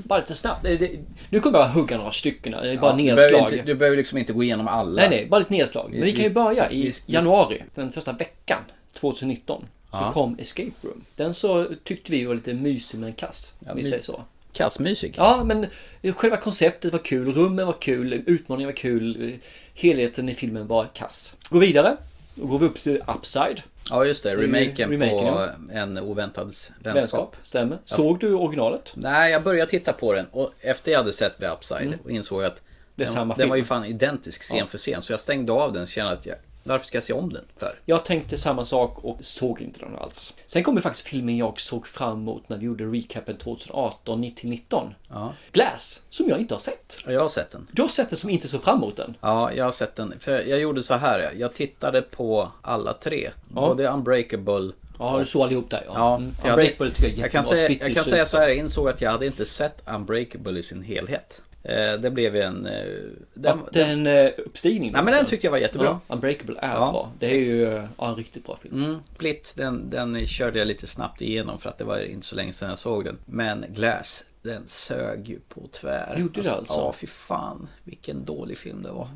Bara lite snabbt. Eh, Det- det- Nu kommer jag hugga några stycken. Det är bara
Mm. Ja, Du
nedslag.
behöver, ju inte, du behöver liksom inte gå igenom alla.
Nej, nej, bara lite nedslag. Men vi kan ju börja
vi-
i
vi-
januari, den första veckan 2019. Så
Ja.
kom Escape Room. Den så tyckte vi var lite mysig men kass. Om vi
my-
säger så.
Kassmysig.
Ja, men själva konceptet var kul, rummen var kul, utmaningen var kul, helheten i filmen var kass. Gå vidare. Då går vi upp till Upside.
Ja, just det. Remaken,
Remaken,
på
ja.
En oväntad vänskap.
Vänskap, stämmer. Såg du originalet?
Nej, jag började titta på den och efter jag hade sett The Upside och insåg att
Mm. Det är
den,
samma
den var ju
film.
fan identisk scen för scen. Så jag stängde av den och kände att jag, varför ska jag se om den för?
Jag tänkte samma sak och såg inte den alls. Sen kommer faktiskt filmen jag såg fram emot när vi gjorde recapen 2018 till 19.
Ja.
Glass, som jag inte har sett.
Och jag har sett den.
Du har sett det som inte så fram emot den.
Ja, jag har sett den. För jag gjorde så här. Jag tittade på alla tre. Både Unbreakable
Ja, du såg allihop där ja.
Ja,
Mm.
jag-
Unbreakable tycker jag är
jag kan,
jättebra.
säga,
Split
jag
Bill
kan säga
Suit.
så här, jag insåg att jag hade inte sett Unbreakable i sin helhet. Eh, det blev en... Eh, den,
Att den eh, uppstigning.
nej men den tyckte jag var jättebra.
Ja, Unbreakable är
Ja.
bra. Det är ju eh, ja, en riktigt bra film.
Mm, Split, den, den körde jag lite snabbt igenom för att det var inte så länge sedan jag såg den. Men Glass, den sög ju på tvär.
Gjorde det alltså?
Ja, fy fan. Vilken dålig film det var.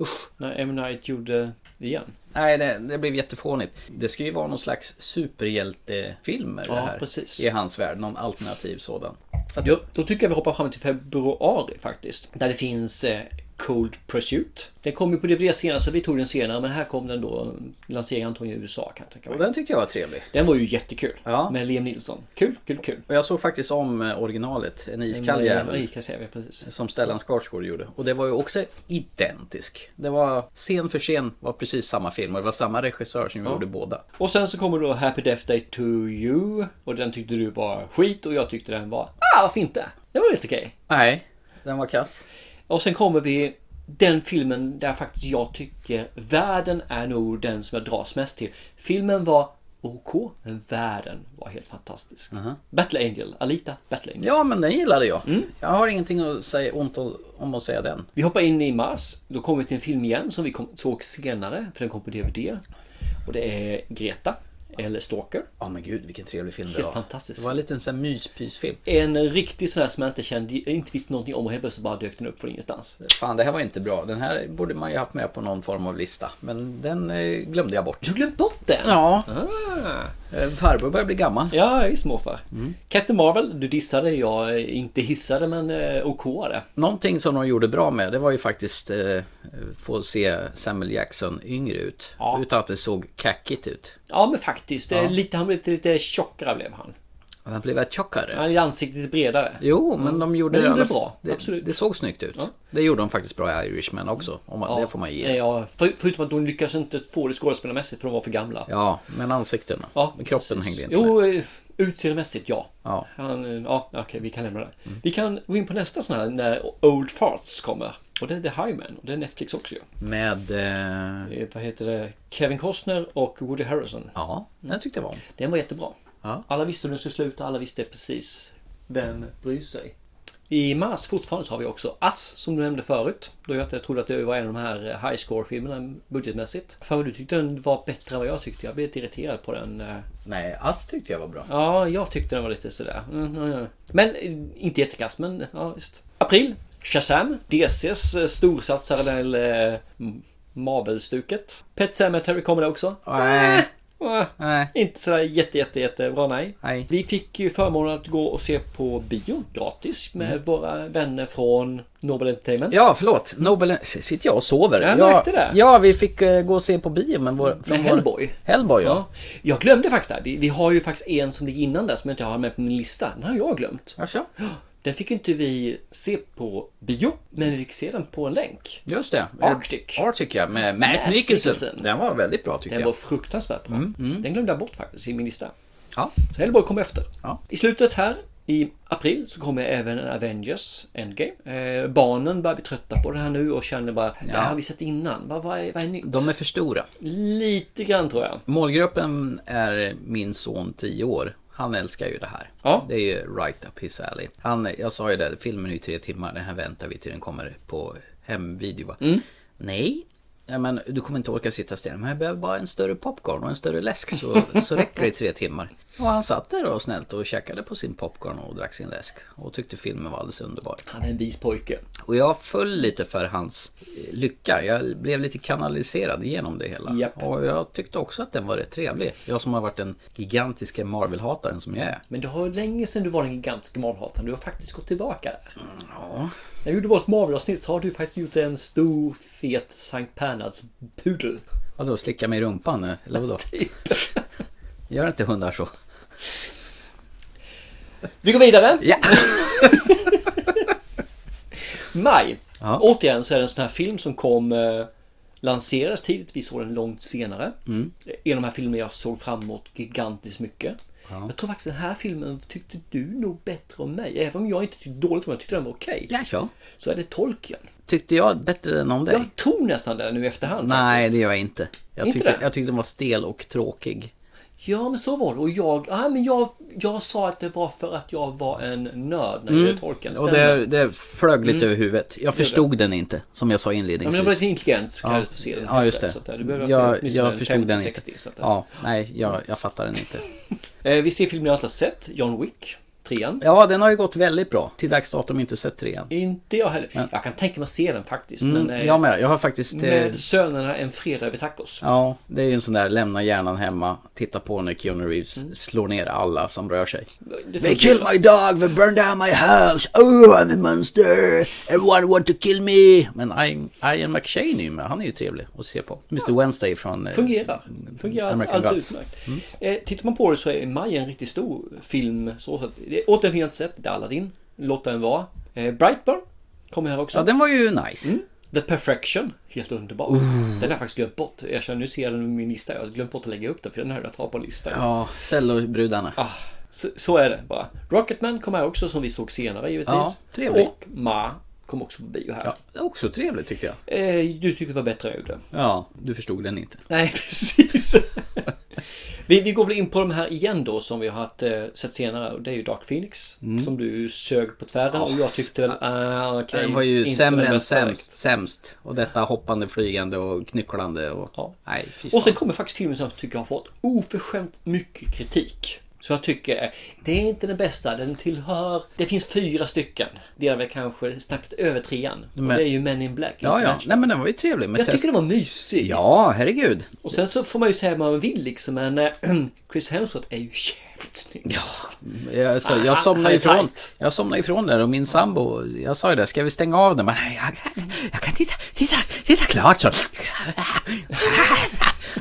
Usch, när M. Night gjorde det igen.
Nej, det, det blev jättefånigt. Det ska ju vara någon slags superhjältefilmer
Ja,
det här.
precis.
I hans värld, någon alternativ sådan. Så att,
Jo, då tycker jag vi hoppar fram till februari faktiskt. Där det finns eh, Cold Pursuit. Den kom ju på DVD senare så vi tog den senare men här kom den då. Lanseringen antagligen i USA kan jag tänka
och
mig.
den tyckte jag var trevlig.
Den var ju jättekul
Ja.
med Liam Nilsson. Kul, kul, kul.
Och jag såg faktiskt om eh, originalet, En iskall
Nej,
jävel.
kan jag säga, precis.
Som Stellan Skarsgård gjorde. Och det var ju också identisk. Det var scen för scen var precis samma film och det var samma regissör som gjorde båda.
Och sen så kommer då Happy Death Day to You. Och den tyckte du var skit och jag tyckte den var... Ah, varför inte? Det var lite okej.
Nej, den var kass.
Och sen kommer vi den filmen där faktiskt jag tycker världen är nog den som jag dras mest till. Filmen var OK, men världen var helt fantastisk. Battle Angel, Alita Battle Angel.
Ja, men den gillade jag.
Mm.
Jag har ingenting att säga ont om- om att säga den.
Vi hoppar in i mars. Då kommer vi till en film igen som vi kom, såg senare, för den kom på DVD. Och det är Greta, eller Stalker.
Ja men gud vilken trevlig film det
Helt
var.
fantastisk.
Det var en liten sån här myspysfilm.
En riktig sån här som jag inte kände, inte visste någonting om och helt plötsligt bara dök den upp från ingenstans.
Fan det här var inte bra. Den här borde man ju haft med på någon form av lista. Men den eh, glömde jag bort.
Du glömde bort den?
Ja,
Ah.
eh, farbror börjar bli gammal.
Ja, visst morfar.
Mm.
Captain Marvel, du dissade, jag eh, inte hissade men eh, okade.
Någonting som de gjorde bra med det var ju faktiskt eh, få se Samuel Jackson yngre ut.
Ja.
Utan att det såg kackigt ut.
Ja men faktiskt, det är lite, han blev lite, lite tjockare blev han.
Och Han blev rätt tjockare.
Han är ansiktet bredare.
Jo, men de gjorde
Mm. Men
i alla
de
fall-
gjorde bra,
det
absolut.
Det såg snyggt ut. Det gjorde de faktiskt bra i Irishman också. Om man, Det får man ge.
Ja, för, förutom att de lyckades inte få det skådespelarmässigt för de var för gamla.
Ja, men ansiktena. men kroppen
precis.
hängde inte med.
Jo, eh, utseendemässigt ja.
Ja. Mm.
Han, eh, ja, okej vi kan lämna det. Vi kan gå in på nästa sån här när Old Farts kommer. Och det är The Highman och det är Netflix också ju.
Med... Eh,
Eh, Vad heter det? Kevin Costner och Woody Harrison.
ja, den tyckte jag var om.
Den var jättebra.
Ja.
Alla visste hur den skulle sluta, alla visste precis vem bryr sig. I mars fortfarande så har vi också Ass som du nämnde förut. Då jag inte trodde att det var en av de här eh, high score filmerna budgetmästigt. Fan vad du tyckte den var bättre än vad jag tyckte. Jag blev lite irriterad på den. eh.
Nej, Ass tyckte jag var bra.
Ja, jag tyckte den var lite sådär. Mm, ja, ja. Men eh, inte jättekass, men ja visst. April. Shazam. DCs eh, storsatsare del eh, M- Marvel-stuket. Pet Sematary kommer det också.
Nej.
Ah.
Nej.
Inte sådär jätte, jätte, jättebra nej.
Nej.
Vi fick ju förmånen att gå och se på bio gratis med våra vänner från Nobel Entertainment.
Mm. Ja, förlåt. Nobel... Sitter jag och sover?
Jag
ja,
märkte det.
Ja, vi fick eh, gå och se på bio men vår, från
Med Hellboy.
Vår... Hellboy, ja.
Ja. Jag glömde faktiskt det här. Vi, vi har ju faktiskt en som ligger innan där som jag inte har med på min lista. Den har jag glömt.
Jaså?
Den fick ju inte vi se på bio, men vi fick se den på en länk.
Just det.
Arctic.
Eh, Arctic, ja. Med Matt,
Matt
Nicholson.
Nicholson.
Den var väldigt bra tycker
Den
jag.
var fruktansvärt bra.
Mm,
Den glömde jag bort faktiskt i min lista.
Ja.
Så Hellboy kom efter.
Ja.
I slutet här i april så kommer även en Avengers Endgame. Eh, barnen börjar bli trötta på det här nu och känner bara Det här har vi sett innan. Vad, vad, är, vad är nytt?
De är för stora.
Lite grann tror jag.
Målgruppen är min son 10 år. Han älskar ju det här.
Ja.
Det är ju right up his alley. Han, jag sa ju det, filmen är ju tre timmar, den här väntar vi till den kommer på hemvideo va? Nej, ja, men du kommer inte orka sitta still. Men jag behöver bara en större popcorn och en större läsk så, så räcker det i tre timmar. Och han satt där och snällt och käkade på sin popcorn och drack sin läsk. Och tyckte filmen var alldeles underbar.
Han är en vis pojke.
Och jag föll lite för hans eh, lycka. Jag blev lite kanaliserad genom det hela.
Japp.
Och jag tyckte också att den var rätt trevlig. Jag som har varit den gigantiska Marvel-hataren som jag är.
Men det har länge sedan du var den gigantiska Marvel-hataren. Du har faktiskt gått tillbaka där. Ja. När vi gjorde vårt Marvel-avsnitt så har du faktiskt gjort en stor fet Sankt Bernhards pudel.
Vadå, slicka mig i rumpan nu? Eller vadå?
Typ.
Gör inte hundar så?
Vi går vidare.
Ja!
Maj.
Ja.
Återigen så är det en sån här film som kom eh, lanseras tidigt. Vi såg den långt senare.
Mm.
En av de här filmerna jag såg framåt gigantiskt mycket. Jag tror faktiskt den här filmen tyckte du nog bättre om mig. Även om jag inte tyckte dåligt om den, jag tyckte den var okej.
Ja, ja.
Så är det tolken.
Tyckte jag bättre än om dig?
Jag tror nästan det nu i efterhand.
Nej,
faktiskt.
det gör jag inte. Jag,
Inte
tyckte,
det?
jag tyckte den var stel och tråkig.
Ja men så var det. Och jag, ah, men jag, jag sa att det var för att jag var en nörd när jag gjorde tolken.
Mm. Och
Stämmer. Mm.
det, det flög lite över huvudet. Jag förstod den inte, som jag sa
Ja, men det var
inledningsvis.
lite intelligent så kallades för serien.
Ja, just
Så att,
det.
eh, du behöver ha
jag
åtminstone
jag
en
förstod den
50-60,
inte.
så att, eh.
Ja, nej, jag, jag fattar den inte.
Eh, Vi ser filmen jag inte har sett, John Wick trean. Eh,
Ja, den har ju gått väldigt bra. Till dags datum inte sett trean.
Inte jag heller. Jag kan tänka mig att se den faktiskt. men,
Mm,
eh,
jag med. Jag har faktiskt... eh,
Med sönerna en fredag över tacos.
Ja, det är ju en sån där lämna hjärnan hemma, titta på när Keanu Reeves slår ner alla som rör sig.
Mm. Det
They
funkar
killed
bra.
my dog, they burned down my house, oh I'm a monster, everyone want to kill me. Men I- Ian McShane är ju med, han är ju trevlig att se på. Mr Wednesday från... eh,
Fungerar. Fungerar allt,
American
allt
Gods. Mm.
utmärkt. Eh, tittar man på det så är Maj en riktigt stor film. Så så att, det återfinns jag inte sett. Det är Aladdin. Låt den vara. Eh, Brightburn. Kommer här också.
Ja, den var ju nice.
The Perfection. Helt underbar. Den har jag faktiskt glömt bort. Jag känner nu ser jag den i min lista. Jag har glömt bort att lägga upp den för den här jag tar på listan.
Ja, Cello-brudarna.
Ah, så, så är det bara. Rocketman kommer här också som vi såg senare givetvis.
Ja, trevlig.
Och Ma kom också på bio här.
Också trevligt tyckte jag.
Eh, du tycker det var bättre jag gjorde.
Ja, du förstod den inte.
Nej, precis. vi, vi går väl in på de här igen då som vi har haft, eh, sett senare. Och det är ju Dark Phoenix.
Mm.
Som du sög på tvären och jag tyckte väl, ah, okej.
Den var ju
inte
sämre
den
än
bästa direkt.
sämst, sämst. Och detta hoppande, flygande och knycklande och...
Ja.
Nej, fy fan.
Och sen kommer faktiskt filmen som jag tycker har fått oförskämt mycket kritik. Så jag tycker är- det är inte den bästa. Den tillhör... Det finns fyra stycken. Det är väl kanske snabbt över trean. Och
Men-
det är ju Men in Black.
Ja, ja.
International.
Nej men den var ju trevlig. Men
Jag
test-
tycker den var mysig.
Ja, herregud.
Och sen så får man ju säga vad man vill liksom. Men eh, Chris Hemsworth är ju jävligt snygg. alltså.
Jag, alltså,
Ah,
jag somnade
high
ifrån.
fight.
Jag somnade ifrån där och min sambo, jag sa ju det, ska vi stänga av den? Men nej, jag, jag kan titta, titta, titta klart så.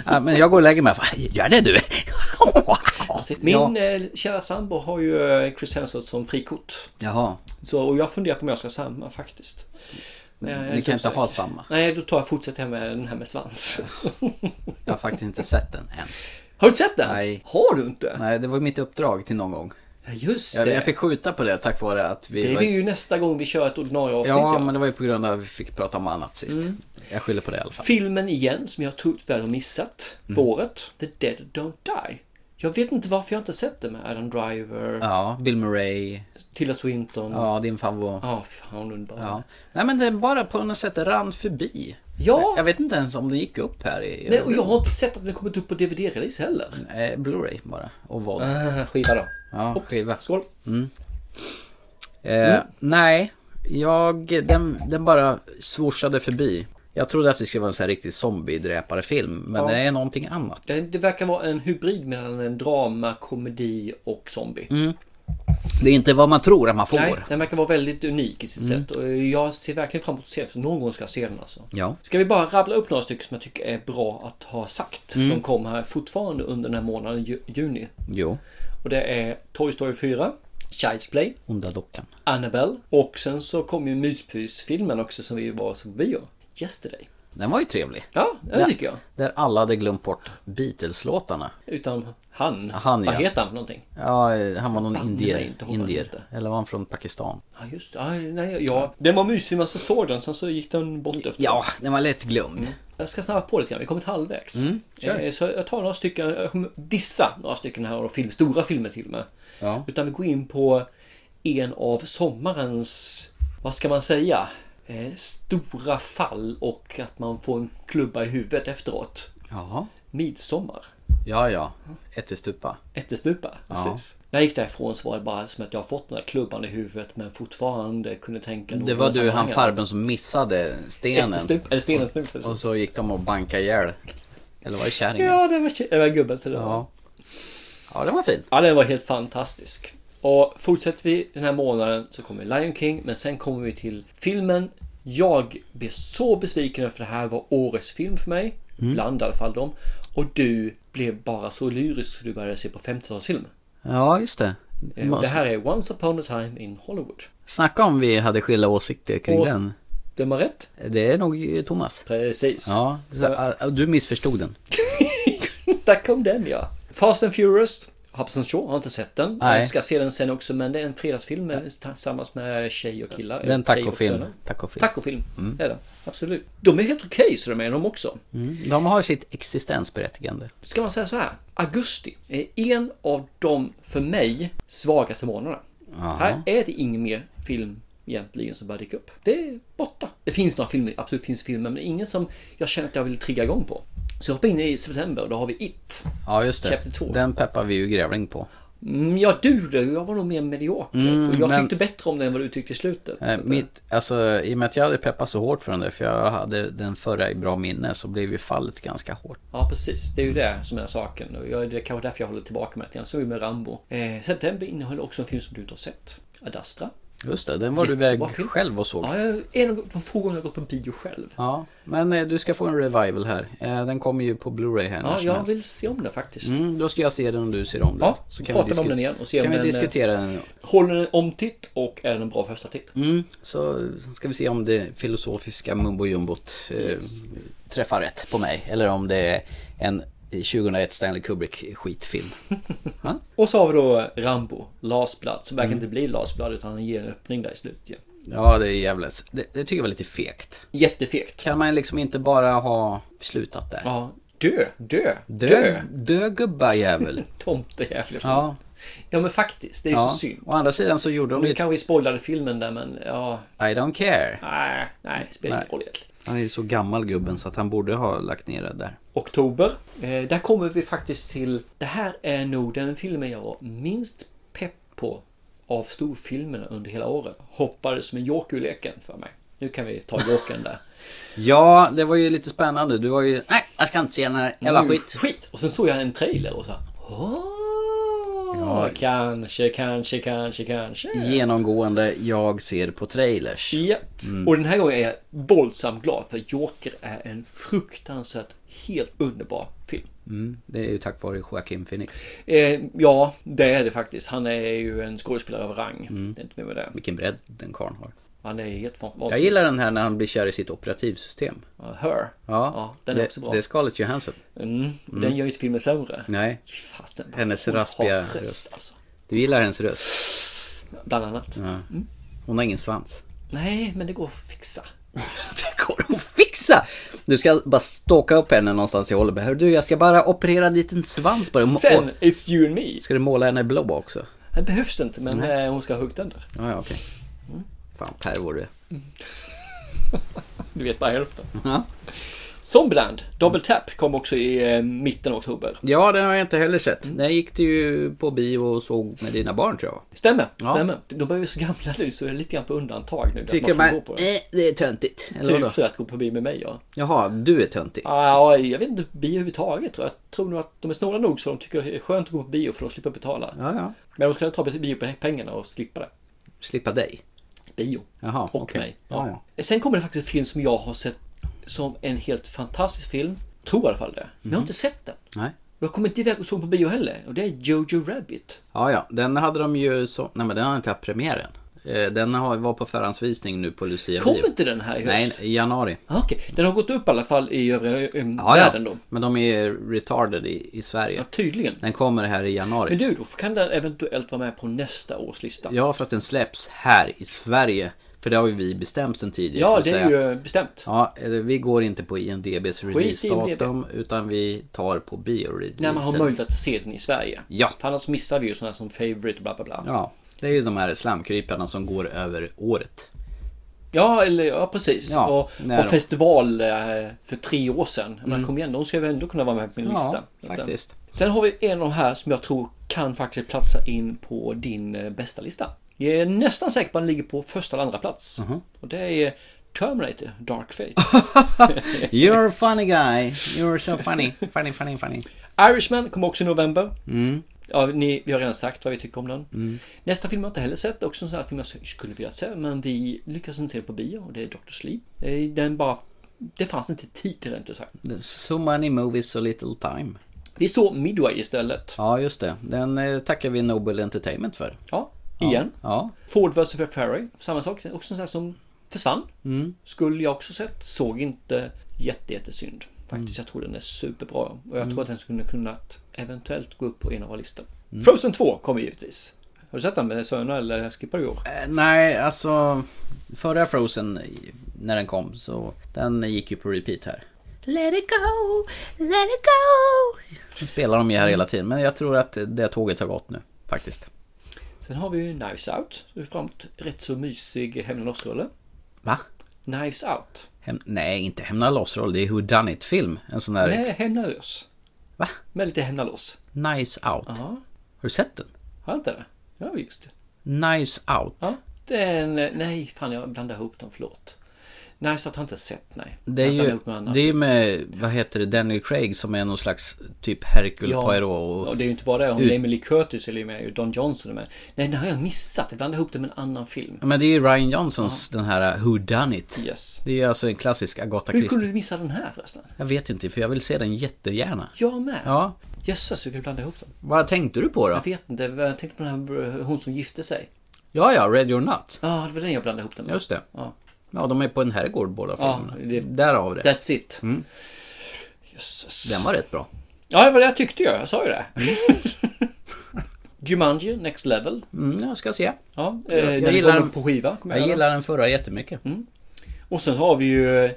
Ja, men jag går och lägger mig. Gör det du.
Min
Ja.
eh, kära sambo har ju eh, Chris Hemsworth som frikort.
Jaha,
Så, och jag funderar på om jag ska ha samma faktiskt. Men jag är
Mm,
typ
ni kan inte
osäker.
ha samma.
Nej, då tar jag fortsätter jag med den här med svans.
Jag har faktiskt inte sett den än.
Har du sett den?
Nej.
Har du inte?
Nej, det var ju mitt uppdrag till någon gång.
Ja, just
Jag,
det.
jag fick skjuta på det tack vare att vi...
Det
var-
är ju nästa gång vi kör ett ordinarie avsnitt.
ja,
ja. Mm.
men det var ju på grund av att vi fick prata om annat sist. Jag skyller på det i alla fall.
Filmen igen som jag tror tyvärr har missat
Mm.
för året. The Dead Don't Die. Jag vet inte varför jag inte har sett den med Adam Driver,
Ja, Bill Murray.
Mm. Tilda Swinton. Ja,
Ja, din favorit.
fan underbar.
Ja. Nej men den bara på något sätt rann förbi.
Ja.
Jag vet inte ens om den gick upp här i
Nej, och jag har inte sett att den kommit upp på DVD-release heller.
eh, Blu-ray bara. Och vad.
Ah, skiva då.
Ja,
Oops,
skiva.
Skål. Mm.
Eh, nej, jag, den, den bara svorsade förbi. Jag trodde att det skulle vara en sån här riktig zombiedräparfilm, men
Ja.
det är någonting annat.
Det, det verkar vara en hybrid mellan en drama, komedi och zombie.
Det är inte vad man tror att man får.
Nej, den verkar vara väldigt unik i sitt
Mm.
sätt och jag ser verkligen fram emot att se den. så Någon gång ska jag se den alltså.
Ja.
Ska vi bara rabbla upp några stycken som jag tycker är bra att ha sagt.
Mm.
Som kom här fortfarande under den här månaden ju- juni.
Jo,
Och det är Toy Story 4, Child's Play,
Onda Dockan.
Annabelle och sen så kom ju Myspys-filmen också som vi var och såg på bio. Yesterday.
Den var ju trevlig.
Ja, det
Ja.
tycker jag.
Där alla hade glömt bort Beatles-låtarna.
Utan han.
Han,
Vad
ja.
heter han för någonting?
Ja, eh, han var någon
Banne mig
indier.
inte, hoppas inte.
indier. Eller var han från Pakistan?
Ja, just det. Ja, nej, ja. Den var mysig men så såg den, sen så gick den bort efter.
Ja, den var lätt glömd.
Jag ska snabba på lite grann, vi har kommit halvvägs.
Mm, kör.
Eh, Så jag tar några stycken, jag kommer dissa några stycken här och film, stora filmer till och med.
Ja.
Utan vi går in på en av sommarens, vad ska man säga, eh, stora fall och att man får en klubba i huvudet efteråt.
Jaha.
Midsommar.
Ja, ja. Ättestupa.
Ättestupa, precis. När jag gick därifrån så var det bara som att jag har fått den här klubban i huvudet men fortfarande kunde tänka
Det var du, han farben som missade stenen.
Ättestupa, eller stenens nu precis.
Och så gick de och bankade ihjäl. Eller var det kärringen? Ja.
Ja, det var, det var gubben så det var.
ja. den var fin.
Ja, den var helt fantastisk. Och fortsätter vi den här månaden så kommer Lion King, men sen kommer vi till filmen. Jag blev så besviken för det här var årets film för mig.
Mm.
Bland i alla fall dem. Och du blev bara så lyrisk så du började se på 50-talsfilm.
Ja, just det.
Eh, och Det här är Once upon a time in Hollywood.
Snacka om vi hade skilda åsikter kring
Och-
den.
Den var rätt?
Det är nog Thomas.
Precis.
Ja, så- ah, du missförstod den.
Där kom den ja. Fast and Furious. Hobson Shaw, har inte sett den.
Nej.
Jag ska se den sen också men det är en fredagsfilm med, tillsammans med tjej och killar.
Det är en
Tjej och
tacofilm.
söner.
tacofilm.
Tacofilm, det är det. Absolut. De är helt okej så de är de också.
Mm. De har sitt existensberättigande.
Ska man säga så här. Augusti är en av de för mig svagaste månaderna.
Jaha.
Här är det ingen mer film egentligen som börjar dyka upp. Det är borta. Det finns några filmer, absolut finns filmer, men ingen som jag känner att jag vill trigga igång på. Så jag hoppar in i september och då har vi It.
Ja, just det.
Chapter two.
Den peppar vi ju grävling på.
Mm, ja, du då? Jag var nog mer medioker.
Mm,
och jag
men-
tyckte bättre om den än vad du tyckte i slutet.
Eh, Mitt, alltså, I och med att jag hade peppat så hårt för den där, för jag hade den förra i bra minne, så blev ju fallet ganska hårt.
Ja, precis. Det är ju det som är saken. Och jag, det är kanske därför jag håller tillbaka med att jag såg ju med Rambo. Eh, september innehöll också en film som du inte har sett. Adastra.
Just det, den var du
Jättebra
väg
film.
själv och såg.
Ja, jag, en av de få gånger jag gått på bio själv.
Ja, men eh, du ska få en revival här. Eh, Den kommer ju på Blu-ray här när
Ja,
som
jag
helst.
vill se om den faktiskt.
Mm, då ska jag se den om du ser om den.
Ja, pratar vi om
disku-
den igen och ser
kan
om
vi
den, eh,
diskutera den.
Håller den omtitt och är den en bra första titt?
Mm, så ska vi se om det filosofiska mumbo jumbot eh, träffar rätt på mig. Eller om det är en 2001 Stanley Kubrick skitfilm. ja?
Och så har vi då Rambo, Last Blood, som verkar inte bli Last Blood utan han ger en öppning där i slutet. ju.
ja, det är jävligt. Det, det tycker jag var lite fegt.
Jättefegt.
Kan man liksom inte bara ha slutat där?
Ja, dö, dö, dö.
Dö, dö gubbajävel.
Tomtejävel.
Ja.
ja, men faktiskt. Det är
ja.
så synd.
Å andra sidan så gjorde de
Nu
lite
kanske vi spoilade filmen där men ja,
I don't care.
nej, nej, spelar ingen
Nej.
roll egentligen.
Han är ju så gammal gubben så att han borde ha lagt ner det där.
Oktober. Eh, där kommer vi faktiskt till, det här är nog den filmen jag var minst pepp på av storfilmerna under hela året. Hoppade som en joker ur leken för mig. Nu kan vi ta jokern där.
Ja, det var ju lite spännande. Du var ju... Nej, jag ska inte se den här jävla
Mm,
skit.
skit! Och sen såg jag en trailer och så här, "Åh,
Ja.
kanske, kanske, kanske, kanske.
Genomgående jag ser på trailers.
Ja.
Mm.
Och den här gången är jag våldsamt glad för Joker är en fruktansvärt helt underbar film.
Mm, det är ju tack vare Joaquin Phoenix.
Eh, ja, det är det faktiskt. Han är ju en skådespelare av rang.
Mm.
Det är inte mer med det.
Vilken bredd den karln har.
Han är helt van-
Jag
vansinnig.
gillar den här när han blir kär i sitt operativsystem.
Ja, Her.
Ja,
den är
det,
också bra.
Det är Scarlett Johansson.
Mm. Den gör ju inte filmen sämre.
Nej,
Fasen,
Mm. Hennes
hon har
raspiga
röst,
röst.
Alltså.
du gillar hennes röst.
Bland annat.
Ja. Hon har ingen svans.
Nej, men det går att fixa.
Det går att fixa! Du ska bara stalka upp henne någonstans i Hollywood. Hör Du, jag ska bara operera dit en svans bara.
Sen, it's you and me.
Ska du måla henne blå också?
Det behövs inte, men eh, hon ska ha huggt den där.
Ja, ja okej. Fan, pervor du är.
Du vet bara hälften.
Ja.
Zombieland, Double Tap, kom också i eh, mitten av oktober.
ja, den har jag inte heller sett. Den gick du ju på bio och såg med dina barn tror jag.
Stämmer,
Ja.
stämmer. De börjar ju så gamla nu så det är lite grann på undantag nu.
Tycker
att man
man,
får gå på det.
eh, det är töntigt. Eller vadå?
Typ så att gå på bio med mig ja.
Jaha, du är töntig.
Ah, jag vet inte bio överhuvudtaget tror jag. Jag tror nog att de är snåla nog så de tycker det är skönt att gå på bio för de slipper betala.
Ja, ja.
Men de skulle ta biopengarna och slippa det.
Slippa dig.
Bio.
Jaha,
och
okej.
mig.
Ja,
Sen kommer det faktiskt en film som jag har sett som en helt fantastisk film. Tror i alla fall det. Men jag
Mhm.
har inte sett den.
Nej.
Jag kommer inte iväg och såg på bio heller. Och det är Jojo Rabbit.
Ja, ja. Den hade de ju så... Nej, men den har inte haft premiären. Eh, Den har, var på förhandsvisning nu på Lucia
Kommer
bio.
inte den här i höst?
Nej, i januari.
Ah, Okej, den har gått upp i alla fall i övriga um,
Ja, ja.
världen då.
Men de är retarded i, i Sverige.
Ja, tydligen.
Den kommer här i januari.
Men du, då kan den eventuellt vara med på nästa års lista.
Ja, för att den släpps här i Sverige. För det har ju vi bestämt sen tidigare.
Ja,
ska
det
jag
är
säga.
ju bestämt.
Ja, eh, vi går inte på IMDBs
i E IMDb.
releasedatum utan vi tar på bioreleasen.
När man har möjlighet att se den i Sverige.
Ja.
För annars missar vi ju sådana som favorite och bla bla bla. Ja,
Ja, det är ju de här slamkryparna som går över året.
eller ja, precis.
Ja,
och
när
och
de- Mm.
festival eh, för tre år sedan. Men kom igen, de ska ju ändå kunna vara med på min lista. eh,
Ja, faktiskt.
Sen har vi en av de här som jag tror kan faktiskt platsa in på din eh, bästa lista. Jag är nästan säker på att den ligger på första eller andra plats.
Mhm.
Och det är Terminator Dark Fate.
You're a funny guy. You're so funny. Funny, funny, funny. Mm.
Irishman kom också i november. Ja, ni, vi har redan sagt vad vi tycker om den. Nästa film har jag inte heller sett. Också en sån här film jag skulle vilja se. Men vi lyckades inte se den på bio. Och det är Dr. Sleep. Eh, Den bara... Det fanns inte tid till den, inte sagt.
So many movies, so little time.
Vi såg Midway istället.
Ja, just det. Den eh, tackar vi Noble Entertainment för.
Ja, igen.
Ja.
Ford vs. Ferrari, samma sak. Också en sån här som försvann. Skulle jag också sett. Såg inte jätte, jättesynd. Faktiskt, jag tror den är superbra. Och jag tror att den skulle kunnat eventuellt gå upp på en av våra listor. Frozen 2 kommer givetvis. Har du sett den med sönerna eller skippar du i år?
Eh, Nej, alltså förra Frozen eh, när den kom så den gick ju på repeat här. Let it go, let it go. Nu spelar de ju här hela tiden men jag tror att det tåget har gått nu faktiskt.
Sen har vi ju Knives Out. Du framåt rätt så mysig Hämnden oss-rulle.
Va?
Knives Out.
Hem, nej, inte Hämna loss-roll. Det är Who Done It film En sån där...
Nej, Hämna lös.
Va?
Med lite Hämna loss.
Knives Out.
Ja.
Har du sett den?
Har jag inte det? Ja, just det.
Knives Out.
Ja, den... Nej, fan jag blandade ihop dem, förlåt. Nice att jag inte sett, nej.
Det är
jag blandade
ju
ihop med annat.
det är ju med, vad heter det, Daniel Craig som är någon slags typ Hercule
Ja.
Poirot.
Och
Och,
det är ju inte bara det, hon
Ut-
Emily Curtis är ju med, och Don Johnson är med. Nej, den har jag missat. Jag blandade ihop det med en annan film.
ja, men det är ju Ryan Johnsons den här Who Done It.
Yes.
Det är ju alltså en klassisk Agatha
Hur kunde
Christie.
du missa den här förresten?
Jag vet inte, för jag vill se den jättegärna.
Jag med.
Ja,
Jösses, hur kan du blanda ihop dem?
vad tänkte du på då?
Jag vet inte, jag tänkte på den här eh, hon som gifte sig.
Ja, ja, Ready or Not.
Ja, det var den jag blandade ihop den med.
Just det.
Ja.
Ja, de är på en herrgård båda
Ja,
filmerna.
det-
Därav det.
That's it. Jösses.
Mm. Den var rätt bra.
Ja, det var det jag tyckte ju. Jag sa ju det. Jumanji, Next Level.
Mm, jag ska se.
Ja, eh,
jag
när
gillar
gillar
den.
den på skiva. kommer
Jag
ihåg.
gillar den förra jättemycket.
Och sen har vi ju eh,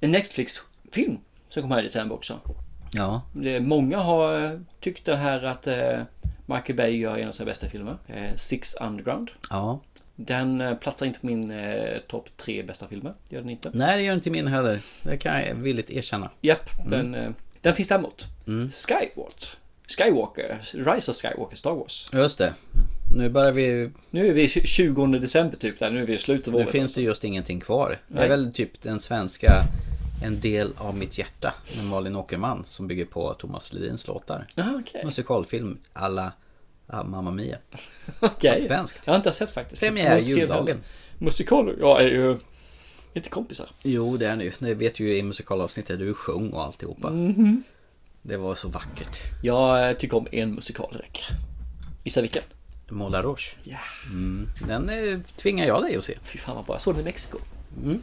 en Netflix-film som kom här i december också.
Ja.
Det är- Många har eh, tyckt det här att eh, Michael Bay gör en av sina bästa filmer. Eh, Six Underground.
ja.
Den eh, platsar inte på min eh, topp tre bästa filmer. Gör den inte.
Nej, det gör inte min heller. Det kan jag villigt erkänna.
Japp,
Mm.
men eh, den finns däremot. Skyward. Skywalker. Rise of Skywalker, Star Wars.
Just det. Nu börjar vi...
Nu är vi 20 december typ där. Nu är vi i slutet av
Nu
året.
finns det just ingenting kvar. Det är
Nej.
väl typ den svenska En del av mitt hjärta med Malin Åkerman som bygger på Thomas Ledins låtar.
Jaha, Ah, okej.
Musikalfilm alla Mamma Mia.
Okej.
Svenskt.
Jag har inte sett faktiskt.
Premiär
Jag ser väl-
juldagen.
Musikaler, jag är ju inte kompisar.
Jo, det är nu. Det vet ju i musikalavsnittet. Du sjöng och alltihopa.
Mhm.
Det var så vackert.
Jag eh, tycker om en musikal det räcker. Gissa vilken?
Moulin Rouge.
Ja.
Den eh, tvingar jag dig att se.
Fy fan vad bra. Jag såg den i Mexiko.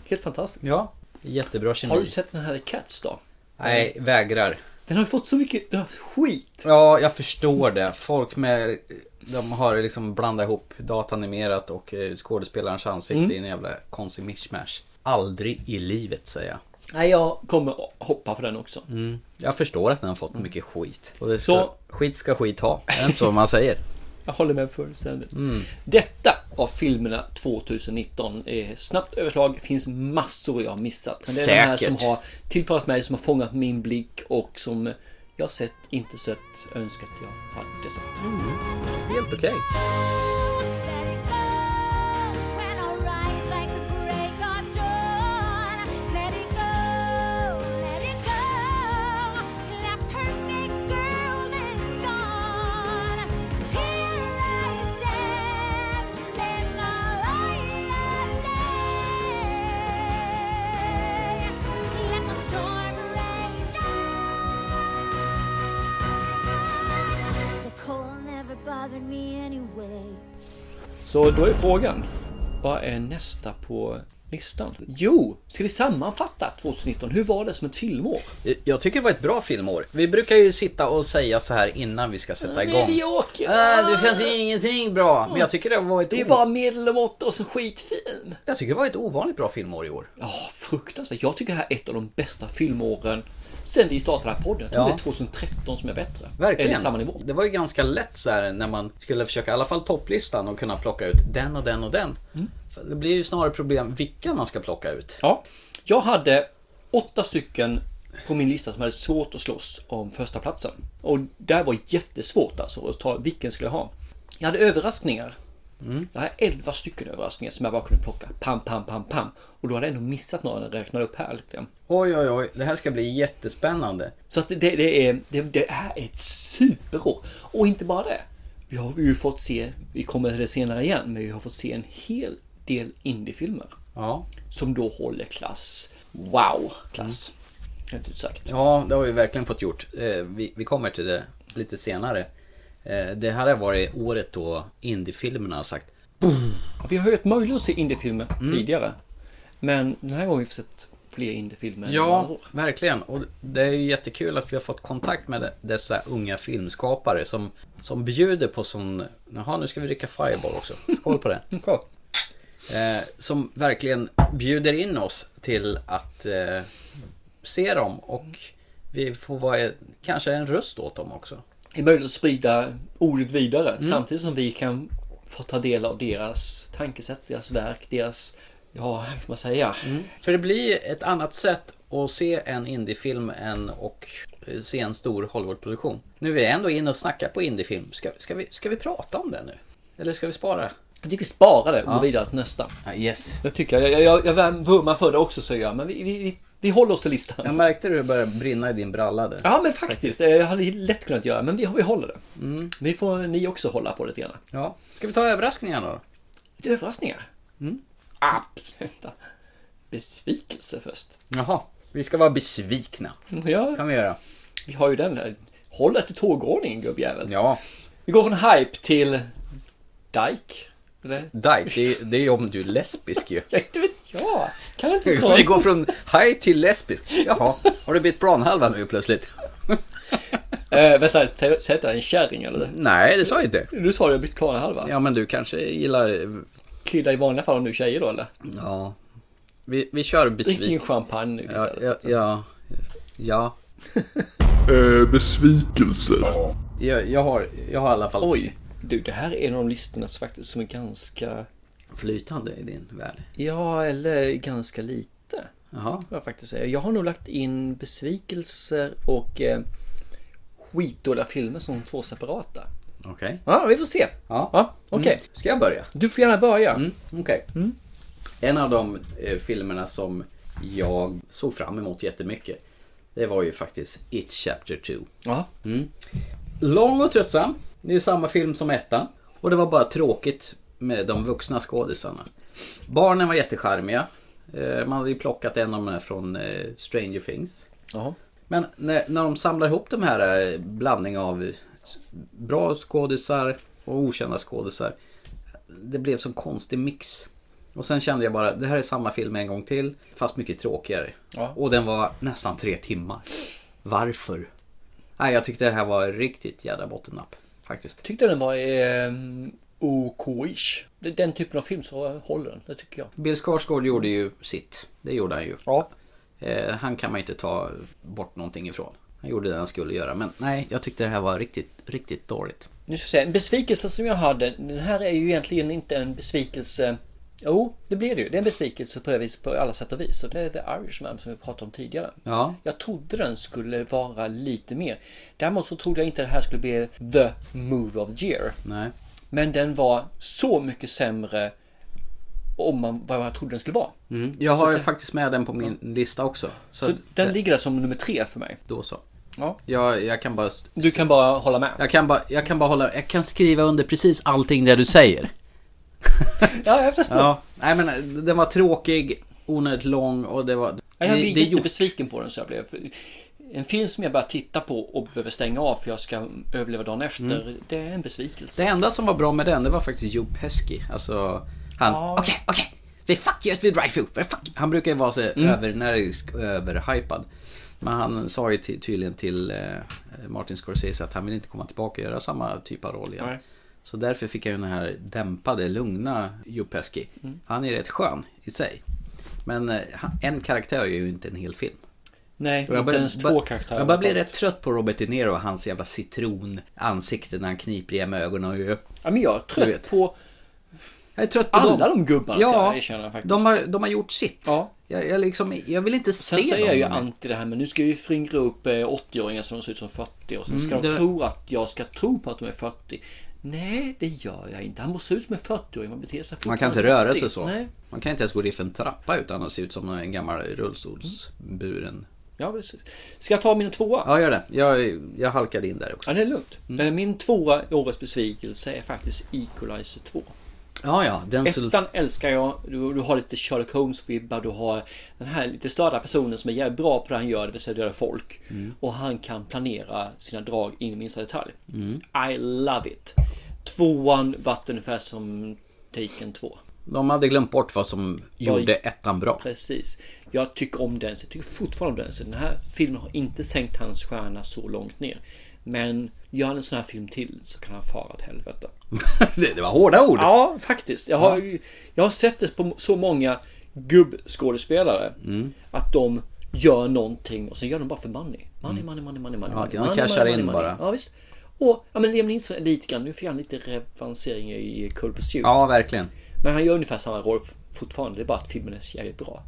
Helt fantastiskt.
Ja. Jättebra kemi.
Har du sett Mm. den här Cats då?
Nej, vägrar.
Den har ju fått så mycket den har skit.
Ja, jag förstår det. Folk med... De har liksom blandat ihop datanimerat och eh, skådespelarens ansikte
Mm.
i en jävla konstig mishmash. Aldrig i livet, säger jag. Mm.
Nej, jag Mm. kommer hoppa för den också.
Jag förstår att den har fått mycket skit. Och det ska,
Mm. Så-
Skit ska skit ha. Det är inte så man säger.
Jag håller med fullständigt.
Mm.
Detta av filmerna 2019. Eh, Snabbt överslag, finns massor jag har missat. Men det är de här
Säkert.
som har tilltalat mig, som har fångat min blick och som jag sett, inte sett, önskat jag hade sett.
Helt okej.
When I rise like the break of dawn, let it go, let it go. That perfect girl is gone. Here I stand in the light of day. Let the storm rage on. The cold never bothered me anyway.
Så då är frågan, vad är nästa på listan? Jo, ska vi sammanfatta 2019? Hur var det som ett filmår?
Jag tycker det var ett bra filmår. Vi brukar ju sitta och säga så här innan vi ska
Mm,
sätta igång.
Medioker!
Äh, det finns ingenting bra. Men jag tycker det var ett,
Mm. Det är
o-
bara medelmåttor och så skitfilm.
jag tycker det var ett ovanligt bra filmår i år.
Ja, fruktansvärt. Jag tycker det här är ett av de bästa filmåren sen vi startade den här podden. Jag tror
Ja.
det är 2013 som är bättre.
Verkligen.
Eller samma nivå.
Det var ju ganska lätt så här när man skulle försöka, i alla fall topplistan, och kunna plocka ut den och den och den.
Mm.
För Det blir ju snarare problem vilka man ska plocka ut.
Ja. Jag hade åtta stycken på min lista som hade svårt att slåss om första platsen. Och där var jättesvårt alltså att ta vilken skulle jag ha. Jag hade överraskningar.
Mm.
Jag hade elva stycken överraskningar som jag bara kunde plocka. Pam, pam, pam, pam. Och då hade jag ändå missat några när jag räknade upp här. Liksom.
Oj, oj, oj. Det här ska bli jättespännande.
Så att det, det, är, det, det här är ett superår. Och inte bara det. Vi har ju fått se, vi kommer till det senare igen, men vi har fått se en hel del indiefilmer.
Ja.
Som då håller klass. Wow-klass. Helt ut sagt.
Mm. Ja, det har vi verkligen fått gjort. Eh, Vi, vi kommer till det lite senare. Eh, Det här har varit året då indiefilmerna har sagt
Vi har ju haft möjlighet att se indiefilmer
Mm.
tidigare. Men den här gången har vi sett fler indiefilmer än andra
Ja,
år.
verkligen. Och det är ju jättekul att vi har fått kontakt med dessa unga filmskapare som, som bjuder på sån... Jaha, nu ska vi dricka Fireball också. Skål på det.
Ja.
Eh, som verkligen bjuder in oss till att eh, se dem och vi får vara eh, kanske en röst åt dem också.
Det är möjligt att sprida ordet vidare
Mm.
samtidigt som vi kan få ta del av deras tankesätt, deras verk, deras, ja, vad
Mm.
ska man säga?
För det blir ett annat sätt att se en indiefilm än och eh, se en stor Hollywoodproduktion. Nu är vi ändå inne och snackar på indiefilm. Ska, ska, vi, ska vi prata om det nu? Eller ska vi spara?
Jag tycker spara det och gå vidare till nästa.
Ja, Ah, yes.
Det tycker jag. Jag, jag, jag vurmar för det också så jag. Men vi, vi, vi, vi håller oss till listan.
Jag märkte hur det började brinna i din bralla där.
Ja men faktiskt. eh, Jag hade lätt kunnat göra men vi, vi håller det.
Mm.
Vi får ni också hålla på lite grann.
Ja. Ska vi ta överraskningar då?
Lite överraskningar. Mm. Ah, vänta. Besvikelse först.
Jaha. Vi ska vara besvikna.
Ja,
Mm. kan vi göra.
vi har ju den här. Håll dig till tågordningen gubbjävel.
Ja.
Vi går från hype till Dyke. Eller?
Dyke, det är, det är om du är lesbisk ju.
Ja, inte vet jag. Kan inte
Vi
sånt.
går från haj till lesbisk. Jaha, har du bytt planhalva nu plötsligt?
Äh, vänta, t- säg att jag är en kärring eller?
Nej, det sa jag inte.
Du sa det, jag bytt plan halva.
Ja, men du kanske gillar...
Krydda i vanliga fall om du är tjejer då eller?
Ja. Vi, vi kör
Drick din
besviken.
champagne nu
Ja,
istället.
ja, ja. ja.
Eh, besvikelse.
Jag, jag, har, jag har i alla fall
Oj, du det här är en av de listorna som faktiskt som är ganska,
flytande i din värld.
ja eller ganska lite.
Jaha.
Vad jag faktiskt säger. Jag har nog lagt in besvikelser och eh, skitdåliga filmer som två separata.
Okej.
Ja, vi får se.
Ja. Mm.
Okej,
Ska jag börja?
du får gärna börja.
Mm, Okej. En av de eh, filmerna som jag såg fram emot jättemycket. Det var ju faktiskt It Chapter 2.
Ja.
Lång och tröttsam. Det är ju samma film som ettan. Och det var bara tråkigt med de vuxna skådisarna. Barnen var jättecharmiga. Eh, Man hade ju plockat en av dem här från eh, Stranger Things.
Jaha.
Men när, när de samlar ihop de här eh, blandning av s- bra skådisar och okända skådisar. Det blev som konstig mix. Och sen kände jag bara, det här är samma film en gång till, fast mycket tråkigare.
Ja.
Och den var nästan tre timmar. Varför? Nej, jag tyckte det här var riktigt jävla bottennapp. Faktiskt.
Tyckte den var eh, OK-ish. Det är Den typen av film så håller den, det tycker jag.
Bill Skarsgård gjorde ju sitt. Det gjorde han ju.
Ja.
Eh, han kan man ju inte ta bort någonting ifrån. Han gjorde det han skulle göra. Men nej, jag tyckte det här var riktigt, riktigt dåligt.
Nu ska jag säga, en besvikelse som jag hade. Den här är ju egentligen inte en besvikelse. Jo, det blir det ju. Det är en besvikelse på, det vis- på alla sätt och vis. Och det är The Irishman som vi pratade om tidigare.
Ja.
Jag trodde den skulle vara lite mer. Däremot så trodde jag inte det här skulle bli the move of the year.
Nej.
Men den var så mycket sämre om man, vad jag trodde den skulle vara.
Jag har ju faktiskt med den på min lista också. Mm. Så,
Så den
det-
ligger där som nummer tre för mig.
Då så.
Ja.
Jag, jag kan bara...
Du kan bara hålla med.
Jag kan bara, jag kan bara hålla... Jag kan skriva under precis allting det du säger.
Ja, jag förstår.
Ja. Nej men den var tråkig, onödigt lång och det var...
Ja, Jag
det-
blev
det är gjort.
jättebesviken på den så jag blev. För En film som jag bara tittar på och behöver stänga av för jag ska överleva dagen efter.
Mm.
Det är en besvikelse.
Det enda som var bra med den, det var faktiskt Joe Pesci. Alltså, han... Okej,
Ja.
okej! We fuck you, we drive through. We fuck you. Han brukar ju vara så
Mm.
övernärgisk och överhypad. Men han sa ju ty- tydligen till eh, Martin Scorsese att han vill inte komma tillbaka och göra samma typ av roll igen.
Nej.
Så därför fick jag ju den här dämpade, lugna Joe Pesci.
Mm.
Han är rätt skön i sig. Men eh, han- en karaktär är ju inte en hel film.
Nej,
Och jag
inte
börjar-
ens
bör-
två karaktärer.
Jag bara blir
Fan.
rätt trött på Robert De Niro och hans jävla citronansikte när han kniper igen med ögonen och gör
Ja, men jag är
Du vet.
trött på...
jag är trött på
Alla
dem.
de gubbarna, så jag erkänner det faktiskt.
De har, de har gjort sitt.
Ja.
Jag, jag, liksom, jag vill inte
Sen
se
säger
dem.
jag ju anti det här men nu ska jag ju fringra upp eh, 80-åringar som ser ut som 40 och sen ska
Mm,
de
det-
tro att jag ska tro på att de är 40. Nej, det gör jag inte. Han måste se ut som en 40-åring. Man beter sig
Man kan inte
fortfarande som
röra
80.
sig så.
Nej.
Man kan inte ens gå ner för en trappa utan att se ut som en gammal rullstolsburen.
Ja, precis. Ska jag ta min tvåa?
Ja, Mm. gör det. Jag, jag halkade in där också.
Ja, det är lugnt. Eh, Min tvåa i årets besvikelse är faktiskt Equalizer 2.
Ja, ja. Den så...
Ettan älskar jag. Du, du har lite Sherlock Holmes-vibbar. Du har den här lite störda personen som är jävligt bra på det han gör, det vill säga döda folk. Och han kan planera sina drag in i minsta detalj. I love it. Tvåan vart ungefär som Taken 2.
De hade glömt bort vad som gjorde ettan bra.
Precis. Jag tycker om den, jag tycker fortfarande om den. Så den här filmen har inte sänkt hans stjärna så långt ner. Men gör han en sån här film till så kan han fara åt helvete.
det, det var hårda ord.
Ja, faktiskt. Jag har, jag har sett det på så många gubbskådespelare.
Mm.
Att de gör någonting och sen gör de bara för money. Money, money, money, money, money. money,
Mm. de
money,
cashar
money,
in
money, money.
bara.
Ja, visst. Och ja, men Liam Neeson är lite grann, nu fick han lite revansering i Cold Pursuit.
Ja, verkligen.
Men han gör ungefär samma roll f-
Mm.
fortfarande. Det är bara att filmen är så jävligt bra.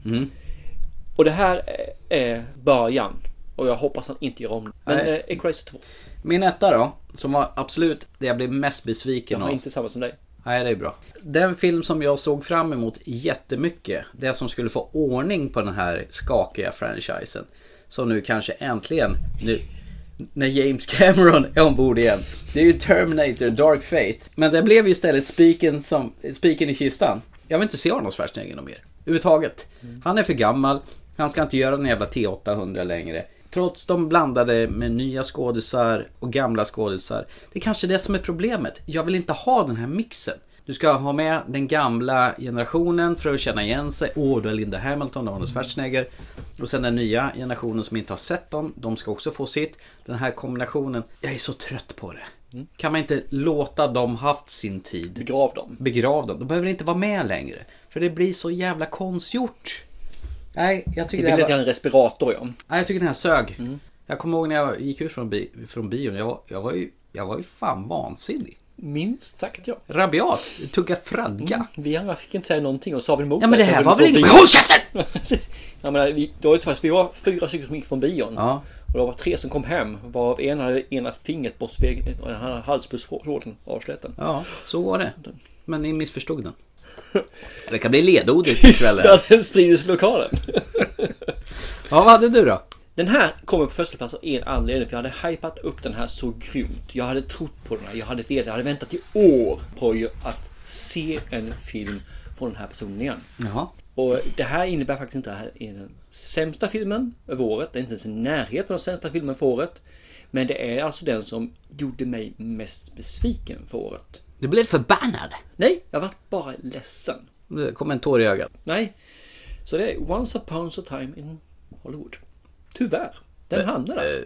Och det här är- är början Och jag hoppas han inte gör om det. Men
Nej.
eh, Equalizer 2.
Min etta då, som var absolut det jag blev mest
Jag
besviken
har
av.
inte samma som dig.
Nej, det är bra. Den film som jag såg fram emot jättemycket, det som skulle få ordning på den här skakiga franchisen. Som nu kanske äntligen, nu, när James Cameron är ombord igen. Det är ju Terminator Dark Fate. Men det blev ju istället spiken, som, spiken i kistan. Jag vill inte se Arnold Schwarzenegger någon mer. Överhuvudtaget. Han är för gammal, han ska inte göra den jävla T800 längre. Trots de blandade med nya skådisar och gamla skådisar. Det är kanske det som är problemet. Jag vill inte ha den här mixen. Du ska ha med den gamla generationen för att känna igen sig. Åh, du har Linda Hamilton, du har Arnold Schwarzenegger. Och sen den nya generationen som inte har sett dem, de ska också få sitt. Den här kombinationen, jag är så trött på det. Kan man inte låta dem haft sin tid?
Begrav dem.
Begrav dem. De behöver inte vara med längre. För det blir så jävla konstgjort. Nej, jag tycker
Det
det, Mm.
blir
här
lite
var...
grann en respirator ja.
Nej, jag tycker den här sög. Jag kommer ihåg när jag gick ut från, bi... från bion. Jag var... Jag, var ju... jag var ju fan vansinnig.
Minst sagt ja.
Rabiat, tugga fradga.
Vi andra fick inte säga någonting och sa vi emot
Ja men det
så
här
vi
var väl
gått
inget...
dit.
Håll käften!
Jag menar, vi, det var ju tvärs, vi var fyra stycken som gick från bion.
Ja.
Och det var tre som kom hem. Varav en hade ena fingret bortsväg och en hade halspulshålen avsläten.
Ja, så var det. Men ni missförstod den. Mm. Det kan bli ledordet ikväll.
Tystnaden sprids i lokalen.
Ja, vad hade du då?
Den här kommer på första plats av en anledning. För jag hade hypat upp den här så grymt. Jag hade trott på den här. Jag hade vetat. Jag hade väntat i år på ju att se en film från den här personen
Mm.
igen.
Jaha.
Och det här innebär faktiskt inte att det här är den sämsta filmen över året. Det är inte ens i närheten av sämsta filmen för året. Men det är alltså den som gjorde mig mest besviken för året.
Du blev förbannad.
Nej, jag vart bara ledsen.
Det kom en tår i ögat.
Nej. Så det är Once upon a time in Hollywood. Tyvärr. Den hamnade där.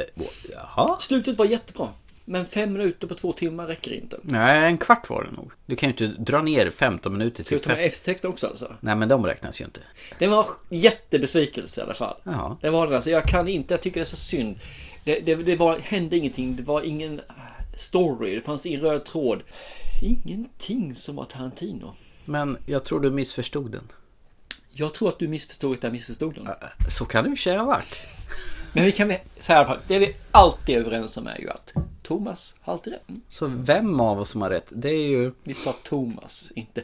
Eh, Jaha?
Slutet var jättebra. Men fem minuter på två timmar räcker inte.
Nej, en kvart var det nog. Du kan ju inte dra ner 15 minuter
Ska
till
vi ta med
fem...
eftertexten också alltså?
Nej, men de räknas ju inte.
Den var jättebesvikelse i alla fall.
Jaha.
Den var den alltså. Jag kan inte, jag tycker det är så synd. Det, det, det var, hände ingenting, det var ingen äh, story, det fanns ingen röd tråd. Ingenting som var Tarantino.
Men jag tror du missförstod den.
Jag tror att du missförstod att jag missförstod
Äh.
den.
Så kan du i och för sig ha varit.
Men vi kan väl säga i alla fall, det vi alltid är överens om är ju att Thomas har alltid rätt. Mm.
Så vem av oss som har rätt, det är ju...
Vi sa Thomas, inte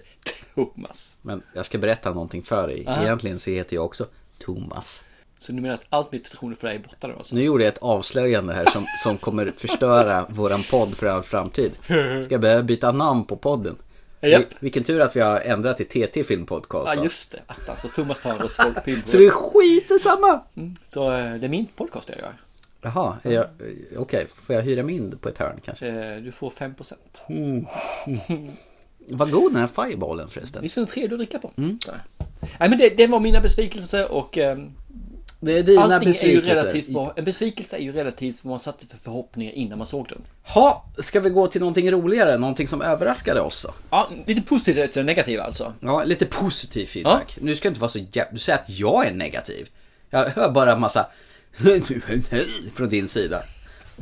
Thomas.
Men jag ska berätta någonting för dig. Egentligen så heter jag också Thomas.
Så du menar att allt mitt förtroende för dig är borta då? Alltså.
Nu gjorde jag ett avslöjande här som, som kommer förstöra våran podd för all framtid. Ska jag börja byta namn på podden?
Japp.
Vil- Vilken tur att vi har ändrat till TT Film Podcast.
Ja
då.
just det, att alltså Thomas tar en röst folk på
Så det är skit i samma!
Så eh, det är min podcast det jag gör.
Jaha, är jag- okej, får jag hyra mig in på ett hörn kanske?
Eh, Du får 5%.
Vad god den här fireballen förresten.
Visst är den trevlig att dricka på?
Mm.
Nej. Nej men det, det var mina besvikelser och ehm,
Det är dina
allting är ju
besvikelser.
relativt vad, En besvikelse är ju relativt vad man satte för förhoppningar innan man såg den.
Ha, ska vi gå till någonting roligare? Någonting som överraskade oss då?
Ja, lite positivt efter det negativa alltså.
Ja, lite positiv feedback. Nu ska jag inte vara så jä... Du säger att jag är negativ. Jag hör bara massa från din sida.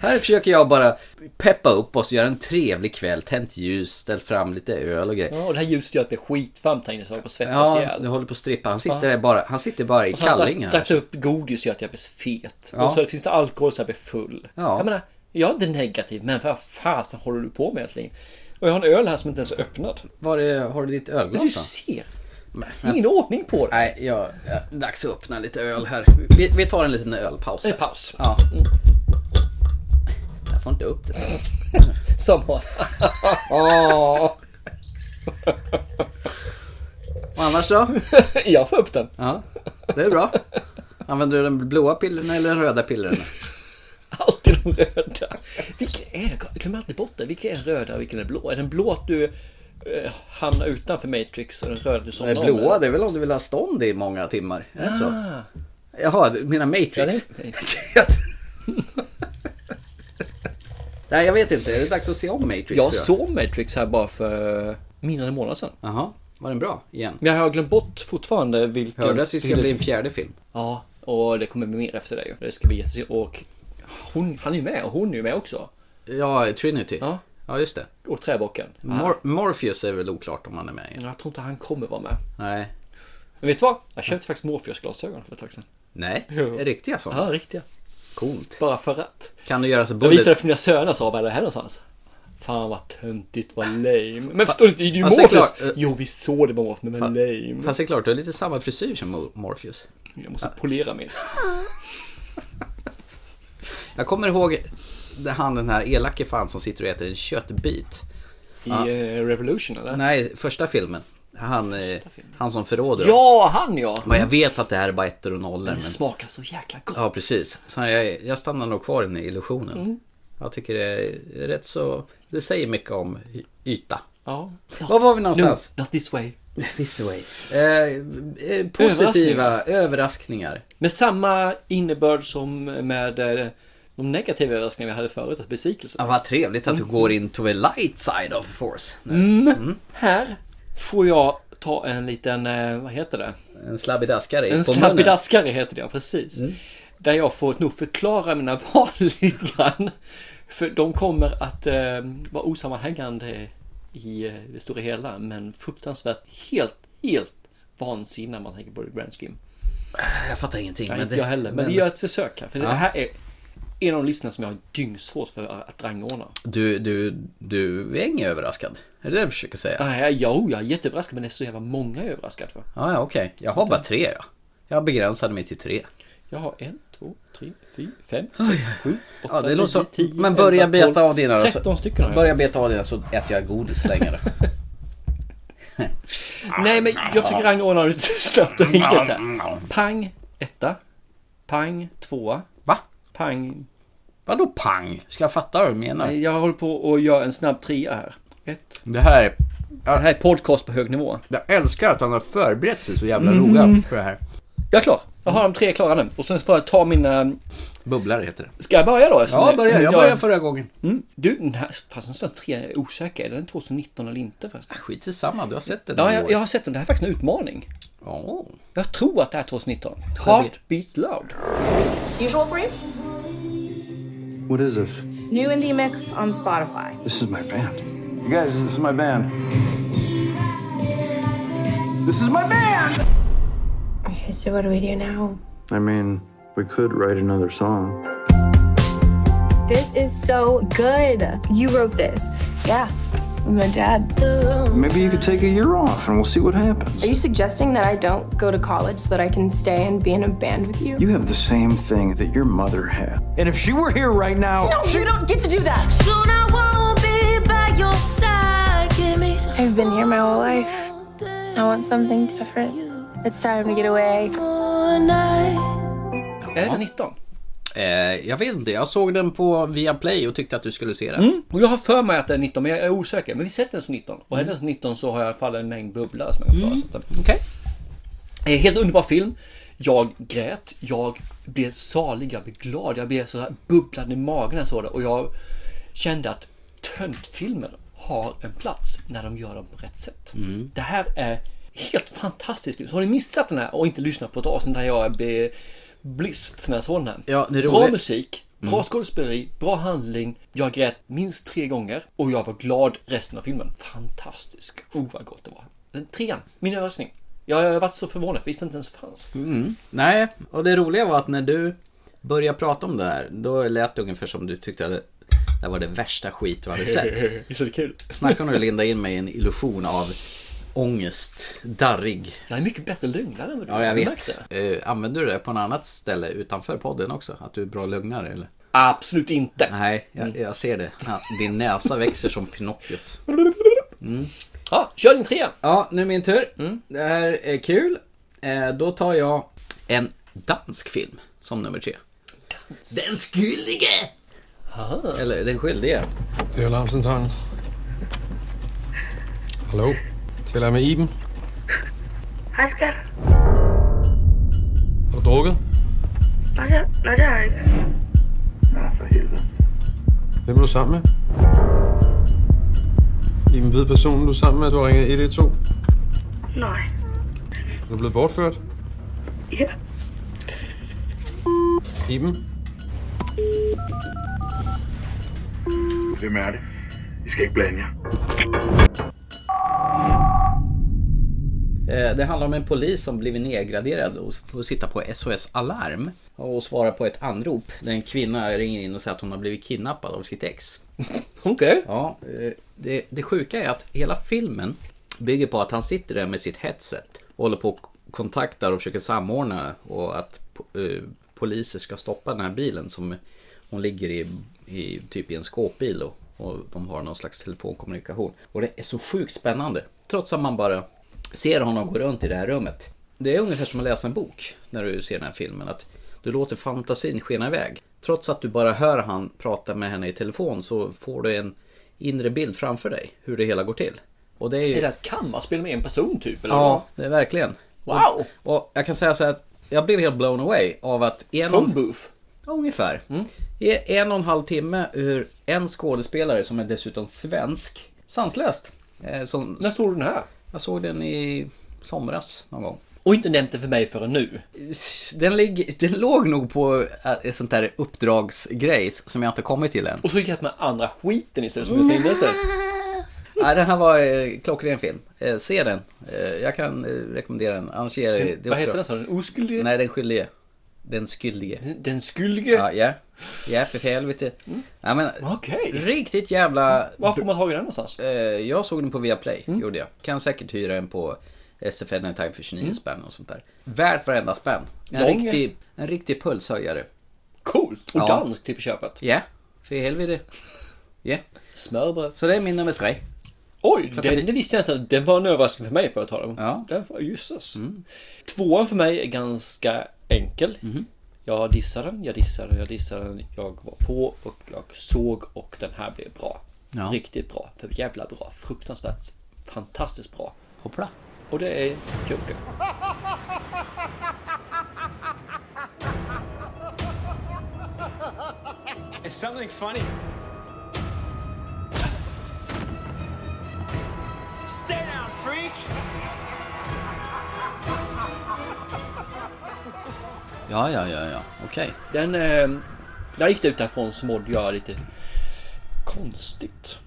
Här försöker jag bara peppa upp oss, göra en trevlig kväll, tänt ljus, ställ fram lite öl och grejer.
Ja, och det här ljuset gör att jag blir skitvarm tänkte jag på och svettas
Ja,
ihjäl.
du håller på att strippa. Han sitter, där bara, han sitter bara i
Och så har
kallingar. alltså.
jag drack upp godis gör att jag blir fet.
Ja.
Och så finns det alkohol så jag blir full.
Ja.
Jag menar, jag är inte negativ men vad fasen håller du på med egentligen? Och jag har en öl här som inte ens är öppnad.
Var är, har du ditt
Du
ölglas då?
ser! Ingen ordning på det.
Nej, jag, jag, dags att öppna lite öl här. Vi, vi tar en liten ölpaus.
En
Här.
paus.
Ja. Jag får inte upp det.
Som har...
Åh. Och annars då?
jag får upp den.
Ja, det är bra. Använder du den blåa pillren eller den röda pillren?
Alltid de röda. Vilken är det? Jag glömmer alltid bort det. Vilken är den röda och vilken är den blå? Är den blå att du eh, hamnar utanför Matrix och den röda du somnar
Den
om,
blåa,
eller?
det är väl om du vill ha stånd i många timmar? Är det inte så?
Ah,
Jaha, du menar Matrix?
Ja, det är
Nej, jag vet inte. Är det dags att se om Matrix?
jag
då?
såg Matrix här bara för mindre än en månad sedan.
Jaha, var den bra igen?
Men jag har glömt bort fortfarande vilken...
Hörde att det ska
stil-
bli en fjärde film.
Ja, och det kommer bli mer efter det ju. Det ska bli jättesegt. Och hon, han är ju med och hon är ju med också.
Ja, Trinity.
Ja.
ja just det.
Och träbocken.
Mor- Morpheus är väl oklart om han är med igen.
Jag tror inte han kommer vara med.
Nej.
Men vet du vad? Jag köpte faktiskt Morpheus glasögon för ett tag sedan.
Nej,
Jo.
riktiga sådana.
Ja, riktiga.
Coolt.
Bara för att.
Kan du göra så
Jag
bullet...
visade det för mina söner sa bara, det här någonstans? Fan vad töntigt, vad lame. Men förstår du inte, det är ju
Fast det är
Morpheus.
klart, eh,
Jo, vi såg det på Morpheus, men lame.
Fast det är klart, du har lite samma frisyr som Mor- Morpheus.
Jag måste polera mer.
Jag kommer ihåg när han den här elake fan som sitter och äter en köttbit.
I eh, Revolution eller?
Nej, första filmen. Han, eh,
filmen.
han som förråder dem.
Ja, han ja!
Men jag vet att det här är bara ettor och nollor.
Det
Men...
smakar så jäkla gott.
Ja, precis. Så jag, jag stannar nog kvar i den här illusionen.
Mm.
Jag tycker det är rätt så... Det säger mycket om y- yta.
Ja.
Var var vi någonstans?
No, not this way.
This way. Eh, eh, positiva överraskningar.
Med samma innebörd som med eh, de negativa överraskningar vi hade förut, att besvikelsen.
Ah, vad trevligt att du
Mm.
går in to the light side of force. Nu. Mm.
Här får jag ta en liten, eh, vad heter det?
En slabbidaskare
En
på munnen.
slabbidaskare heter det, ja, precis.
Mm.
Där jag får nog förklara mina val lite grann. För de kommer att eh, vara osammanhängande i eh, det stora hela, men fruktansvärt helt, helt vansinniga när man tänker på det grand scheme.
Jag fattar ingenting.
Nej,
men
inte
det-
jag heller, men, vi gör ett försök här. För det här är en av listorna som jag har dyngsvårt för att rangordna.
Du, du, du är inget överraskad. Är det det du försöker säga?
Nej, jo, oh, jag är jätteöverraskad, men det är så jävla många jag är överraskad för.
Ja, ja okej. Jag har bara tre, ja. Jag begränsade mig till tre.
Jag har en, två, tre, fyra, fem, sex, sju, åtta,
Ja, det låter så.
nio, tio,
Men börja
elva, tolv,
beta av dina då, så-
tretton stycken har jag.
Börja beta av dina så äter jag godis längre.
Nej, men jag försöker rangordna det lite snabbt och enkelt här. Pang, etta. Pang, tvåa.
Va?
Pang.
Vadå pang? Ska jag fatta vad du menar?
Jag håller på och gör en snabb trea här. Ett.
Det här är...
Det här är podcast på hög nivå.
Jag älskar att han har förberett sig så jävla
Mm.
noga för det här.
Jag är klar. Jag har de tre klara nu. Och sen får jag ta mina...
Bubblare heter det.
Ska jag börja då? Eftersom
Ja,
det-
börja. Jag började förra gången.
Mm. Du, den här... Fast någonstans tre är osäker. Är den 2019 eller inte förresten?
Skit i samma, du har sett den
Ja,
i
jag,
år.
jag har sett den. Det här är faktiskt en utmaning.
Åh.
Jag tror att det här är 2019. Heartbeat Loud.
Usual for you?
What is this?
New indie mix on Spotify.
This is my band. You guys, this is my band. This is my band!
Okay, so what do we do now?
I mean, we could write another song.
This is so good. You wrote this. Yeah. With my dad.
Maybe you could take a year off and we'll see what happens.
Are you suggesting that I don't go to college so that I can stay and be in a band with you?
You have the same thing that your mother had. And if she were here right now,
You don't get to do that.
Soon I won't be by your side. Give me
I've been here my whole life.
all day,
I want something different. It's time to get away.
all night.
Är det 19?
Eh, jag vet inte, jag såg den på Viaplay och tyckte att du skulle se den.
Och jag har för mig att det är 19, men jag är osäker. Men vi sätter den som 19. Och är den som 19 så har jag i alla fall en mängd bubblor som jag kan klara. Mm.
Okej.
Eh, Helt underbar film. Jag grät, jag blev salig, jag blev glad, jag blev så här bubblande i magen när jag såg det. Och jag kände att töntfilmer har en plats när de gör dem på rätt sätt.
Mm.
Det här är helt fantastiskt. Så har ni missat den här och inte lyssnat på ett avsnitt där jag blev blist när jag såg den här.
Ja, det är
bra
roligt.
musik, bra
Mm.
skådespeleri, bra handling. Jag grät minst tre gånger och jag var glad resten av filmen. Fantastisk. Oh, vad gott det var. Den trean, min överraskning. Jag har varit så förvånad, för visste inte ens fanns.
Nej, och det roliga var att när du började prata om det här, då lät det ungefär som du tyckte att det var det värsta skit du hade sett.
Visst är det kul?
Snacka om att linda in mig i en illusion av ångest, darrig.
Jag är mycket bättre lugnare än vad du
Ja, jag
har märkt
vet.
det.
Eh, använder du det på något annat ställe utanför podden också? Att du är bra lugnare eller?
Absolut inte.
Nej, jag,
Mm.
jag ser det. Ja, din näsa växer som Pinocchios.
Ja, kör din trea.
Ja, nu är min tur. Det här är kul. Eh, då tar jag en dansk film som nummer tre. Den skyldige! Eller den skyldige.
Det er Larmsentangen. Hallo? Taler jeg med Iben?
Hej skat.
Har du drukket?
Nej, det, nej, det har jeg ikke.
Hvem er du sammen med? Iben, ved personen, du er sammen med, at du har ringet 112?
Nej.
Er du blevet bortført?
Ja.
Iben?
Hvem er det? I skal ikke blande jer.
Eh, Det handlar om en polis som blivit nedgraderad och får sitta på SOS Alarm och svara på ett anrop där en kvinna ringer in och säger att hon har blivit kidnappad av sitt ex.
Okej.
Ja, eh, det, det sjuka är att hela filmen bygger på att han sitter där med sitt headset och håller på och kontaktar och försöker samordna och att po- eh, poliser ska stoppa den här bilen som hon ligger i, i typ i en skåpbil och, och de har någon slags telefonkommunikation. Och det är så sjukt spännande. Trots att man bara ser honom gå runt i det här rummet. Det är ungefär som att läsa en bok när du ser den här filmen. Att du låter fantasin skena iväg. Trots att du bara hör han prata med henne i telefon så får du en inre bild framför dig hur det hela går till. Och det är ju...
Är det ett kammarspel med en person typ? Eller
Ja, det är verkligen.
Wow!
Och, och jag kan säga så här att jag blev helt blown away av att
vad?
en
Phone booth?
Ja, ungefär.
Mm.
I en och en halv timme ur en skådespelare som är dessutom svensk. Sanslöst. Eh, Som,
När såg du den här?
jag såg den i somras någon gång.
Och inte nämnt det för mig förrän nu.
Den, ligg, den låg nog på eh, ett sånt där uppdragsgrejs som jag inte kommit till än.
Och så gick jag med andra skiten istället som jag
Mm.
tänkte sig.
Nej, den här var eh, klockren film. Eh, se den. Eh, jag kan eh, rekommendera den. Annars ger jag det
Vad heter den
uppdrag.
sa du? Den oskyldige?
Nej, den skyldige. Den skyldige.
Den skyldige?
Ja, ja. Ja, för helvete. Ja, men,
Mm. Okej.
Riktigt jävla...
Var får man tag i den någonstans?
Eh, jag såg den på Viaplay,
Mm.
gjorde jag. Kan säkert hyra den på SF Anytime för 29 spänn och sånt där. Värt varenda spänn. En,
Mm. Lång.
riktig, en riktig pulshöjare.
Coolt! Och
Ja.
dansk till på köpet.
Ja, för helvete. Ja,
Smörbröd.
så det är min nummer tre.
Oj, den, det visste jag inte. Den var en överraskning för mig för att ta den.
Ja. Mm.
Den var, jösses. Tvåan för mig är ganska enkel.
Mhm.
Jag dissade den, jag dissade den, jag dissade den. Jag var på och jag såg och den här blev bra.
Ja.
Riktigt bra. För jävla bra. Fruktansvärt fantastiskt bra.
Hoppla.
Och det är Joker.
It's something funny. Stay down, freak!
Ja, ja, ja, ja. Okej.
Den... Eh, när jag gick ut därifrån så mådde jag lite konstigt.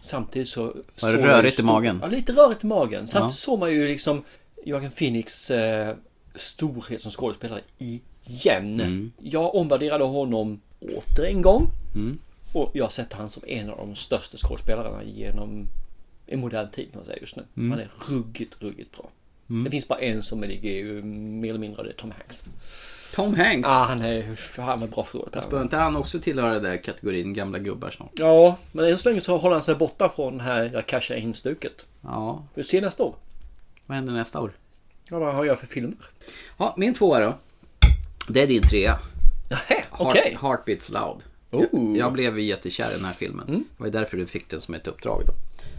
Samtidigt så... så jag
Mm. rörigt
stor-
i magen?
Ja, lite rörigt i magen. Samtidigt såg man ju liksom Joaquin Phoenix eh, storhet som skådespelare igen.
Mm.
Jag omvärderade honom åter en gång.
Mm.
Och jag sätter han som en av de största skådespelarna genom i modern tid kan man säga just nu.
Mm.
Han är ruggigt, ruggigt bra. Det finns bara en som ligger ju mer eller mindre och det är Tom Hanks.
Tom Hanks.
Ja, han är, han är bra förlorare.
Bör inte han också tillhöra den där kategorin gamla gubbar snart?
Ja, men än så länge så håller han sig borta från det här jag cashar in-stuket.
Ja,
Vi ser nästa år.
vad händer nästa år?
Ja, vad har jag för filmer?
Ja, min tvåa då. Det är din trea.
Nähä,
Heart,
okej.
Heartbeats Loud.
Oh.
Jag, jag blev ju jättekär i den här filmen.
Mm.
Det var ju därför du fick den som ett uppdrag då.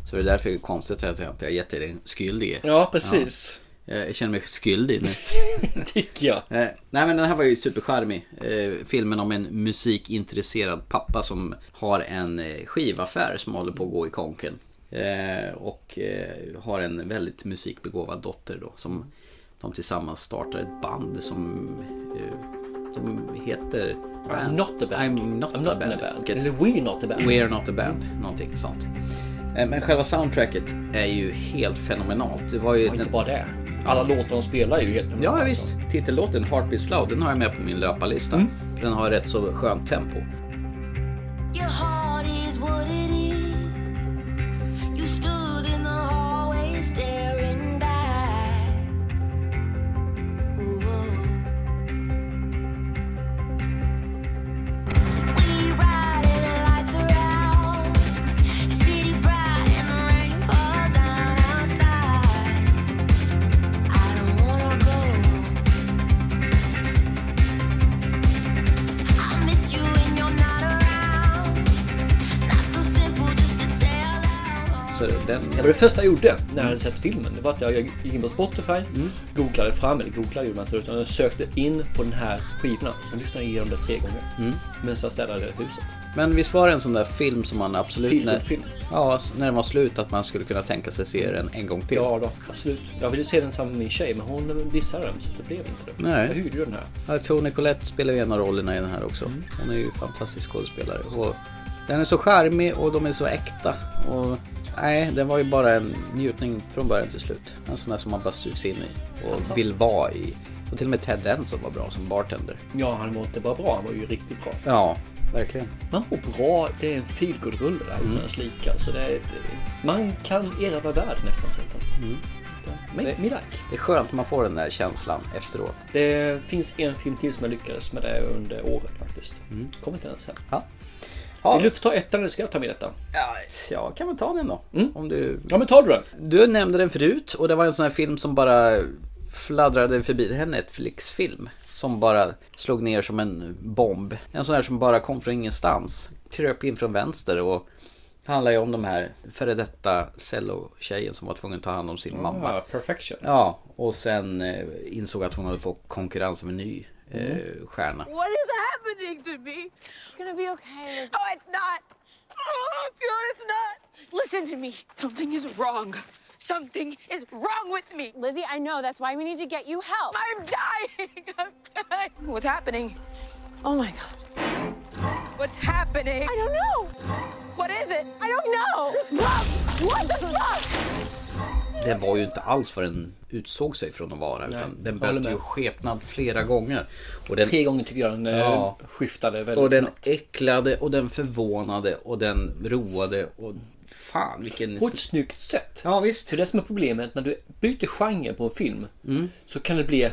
Så det är därför det är konstigt att jag inte har gett dig den skyldige.
Ja, precis.
Jag känner mig skyldig nu.
Tycker jag.
Eh, nej men den här var ju supercharmig. Eh, filmen om en musikintresserad pappa som har en eh, skivaffär som håller på att gå i konken. Eh, och eh, har en väldigt musikbegåvad dotter då som de tillsammans startar ett band som, eh, som heter...
I'm not a band.
I'm not,
I'm
a band. Vilket-
Eller We're not a band.
We're not a band, någonting sånt. Eh, Men själva soundtracket är ju helt fenomenalt. Det var ju...
Och inte
den-
bara det. Alla låtar de spelar är ju helt
Ja visst, titellåten Heartbeats Loud, den har jag med på min löparlista.
Mm.
För den har rätt så skönt tempo.
Your heart is what it is. You stood in the hallway staring back. Ooh. oh. We ride and the lights are out. City bright and the rain fall down outside. I don't wanna go. I miss you when you're not around. Not so simple just to say out loud.
Så den...
Det var det första jag gjorde när jag hade sett filmen. Det var att jag gick in på Spotify,
Mm.
googlade fram, eller googlade gjorde man inte, utan jag sökte in på den här skivorna. Sen lyssnade jag igenom det tre gånger. Mm. Medan jag städade huset.
Men visst var det en sån där film som man absolut...
Feel
när...
good film.
Ja, s- när den var slut att man skulle kunna tänka sig se den en gång till.
Ja då, absolut. Jag ville se den samma med min tjej men hon dissade den så det blev inte det.
Nej.
Jag hyrde ju den här. Mm.
Ja, Tony Collette spelar ju en av rollerna i den här också. Hon är ju fantastisk skådespelare. Och Den är så charmig och de är så äkta. Och nej, den var ju bara en njutning från början till slut. En sån där som man bara sugs in i och vill vara i. Och till och med Ted Denson var bra som bartender.
Ja, han var inte bara bra, han var ju riktigt bra.
Ja, verkligen.
Man mår bra, det är en feelgood-rulle där utan dess like. Alltså det är, det, man kan erövra världen efter man sett den. Men,
Det-
me like.
Det är skönt att man får den där känslan efteråt.
Det finns en film till som jag lyckades med det under året faktiskt. Kommer inte ens här.
Ja.
Vill du ta ettan eller ska jag ta min etta?
Ja, jag kan väl ta den då. Om du...
Ja men tar du den.
du nämnde den förut och det var en sån här film som bara fladdrade förbi. Det här är en Netflix-film som bara slog ner som en bomb. En sån här som bara kom från ingenstans. Kröp in från vänster och handlar ju om de här före detta cello-tjejen som var tvungen att ta hand om sin mamma.
Ah, perfection.
Ja, och sen eh, insåg att hon hade fått konkurrens av en ny eh, stjärna.
What is happening to me? It's gonna be okay. Oh, it's not. Oh, God, it's not. Listen to me. Something is wrong. Something is wrong with me. Lizzie, I know. That's why we need to get you help. I'm dying. I'm dying. What's happening? Oh my God. What's happening? I don't know. What is it? I don't know. Love, what the fuck?
Det var ju inte alls vad den utsåg sig från att vara. Utan den
håller
bytte
med.
ju skepnad flera gånger. Och den,
Tre gånger tycker jag den eh,
Ja.
skiftade väldigt
och den
snabbt.
äcklade och den förvånade och den roade. Och fan vilken...
På ett snyggt sätt.
Ja visst.
För det som är problemet när du byter genre på en film
Mm.
så kan det bli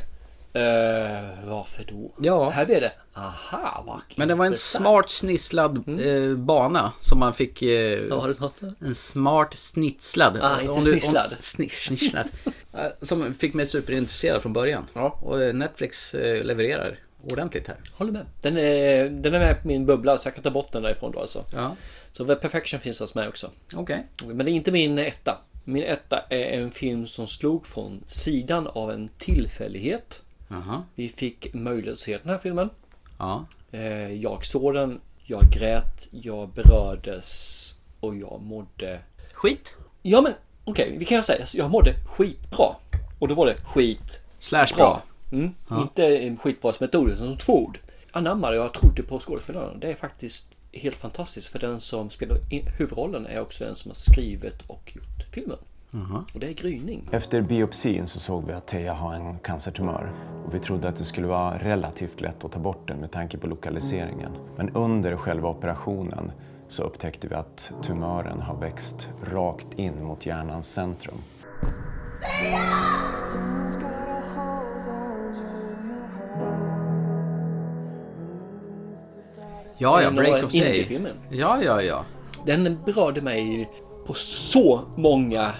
eh, varför då?
Ja.
Här blir det aha vad
Men det var en
intressant."
smart snisslad eh, bana som man fick... Eh,
Mm. Ja, har du något?
En smart snitslad.
Ah, inte snisslad.
sniss, snisslad. Eh, som fick mig superintresserad från början.
Ja.
Och eh, Netflix eh, levererar ordentligt här.
Håller med. Den är, den är med på min bubbla så jag kan ta bort den därifrån då alltså.
Ja,
Så The Perfection finns alltså med också.
okej.
Men det är inte min etta. Min etta är en film som slog från sidan av en tillfällighet.
Jaha.
Vi fick möjlighet att se den här filmen.
Ja.
Eh, Jag såg den, jag grät, jag berördes och jag mådde...
Skit.
Ja men okej, vi kan säga jag mådde skitbra. Och då var det skit
Slash
bra.
bra.
Mm. Inte en skitbra som ett ord, utan som två ord. Anammade jag trodde på skådespelarna. Det är faktiskt helt fantastiskt för den som spelar in- huvudrollen är också den som har skrivit och gjort filmen. Och det är gryning.
Efter biopsin så såg vi att Teija har en cancertumör. Och vi trodde att det skulle vara relativt lätt att ta bort den med tanke på lokaliseringen. Men under själva operationen så upptäckte vi att tumören har växt rakt in mot hjärnans centrum.
Ja, ja,
Men
Break
några
of Day.
indiefilmer.
Ja, ja, ja.
Den berörde mig på så många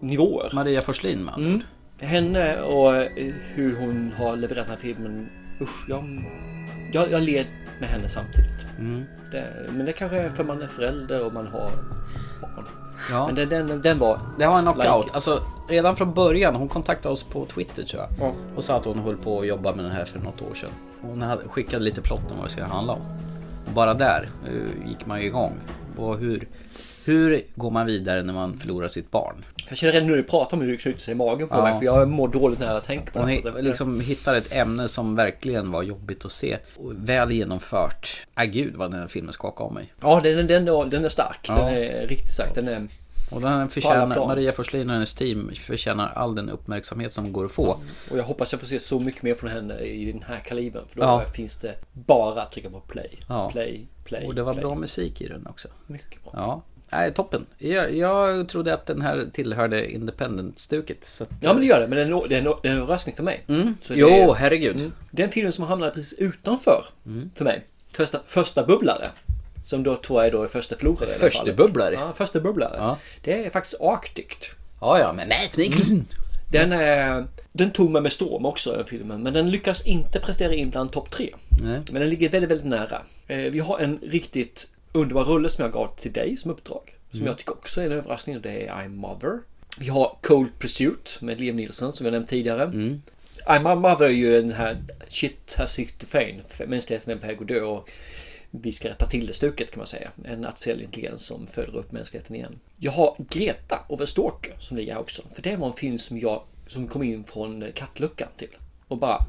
nivåer.
Maria Forslin man.
Mm. Henne och eh, hur hon har levererat den här filmen. Usch, jag, jag, jag led med henne samtidigt.
Mm.
Det, men det kanske är för man är förälder och man har barn.
Ja.
Men den, den, den var...
Det var en knockout.
like-
Alltså, redan från början, hon kontaktade oss på Twitter tror jag.
Ja.
Och sa att hon höll på att jobba med den här för något år sedan. Hon hade, skickade lite plotten vad det skulle handla om. Och bara där eh, gick man ju igång. Och hur, hur går man vidare när man förlorar sitt barn?
Jag känner redan nu när du pratar om hur det knyter sig i magen på
Ja.
mig. För jag mår dåligt när jag tänker på
Hon
det.
hi- liksom hittade ett ämne som verkligen var jobbigt att se. Och väl genomfört. Äh, gud vad den här filmen skakade om mig.
Ja, den, den, den, den är stark.
Ja.
Den är riktigt stark. Den är...
Och den
På alla
förtjänar,
plan.
Maria Forslin och hennes team förtjänar all den uppmärksamhet som går att få.
Och jag hoppas jag får se så mycket mer från henne i den här kalibern. För då
Ja.
finns det bara att trycka på play.
Ja.
Play, play,
Och det var
play.
bra musik i den också.
Mycket bra.
Ja, nej toppen. Jag, jag trodde att den här tillhörde independent-stuket. Så att,
Ja men det gör det, men den är- den är den är en röstning för mig. Så det
Mm. Jo,
är- Mm.
herregud.
Den filmen som hamnade precis utanför
Mm.
för mig. Första, första bubblare. Som då tror jag då är första förlorare i det
Första
fallet.
bubblare?
Ja, första bubblare.
Ja.
Det är faktiskt Arctic.
Ja, ja, men Matt Mikkelsen.
Mm. Den, är, den tog mig med storm också den filmen. Men den lyckas inte prestera in bland topp tre.
Nej.
Men den ligger väldigt, väldigt nära. Eh, vi har en riktigt underbar rulle som jag gav till dig som uppdrag. Som
Mm.
jag tycker också är en överraskning och det är I'm Mother. Vi har Cold Pursuit med Liam Neeson som jag nämnt tidigare.
Mm.
I'm Mother är ju den här shit has hit the fan. Mänskligheten är på väg att dö och vi ska rätta till det stuket kan man säga. En artificiell intelligens som föder upp mänskligheten igen. Jag har Greta och The Stalker som ligger här också. För det var en eh, film som jag som kom in från kattluckan till. Och bara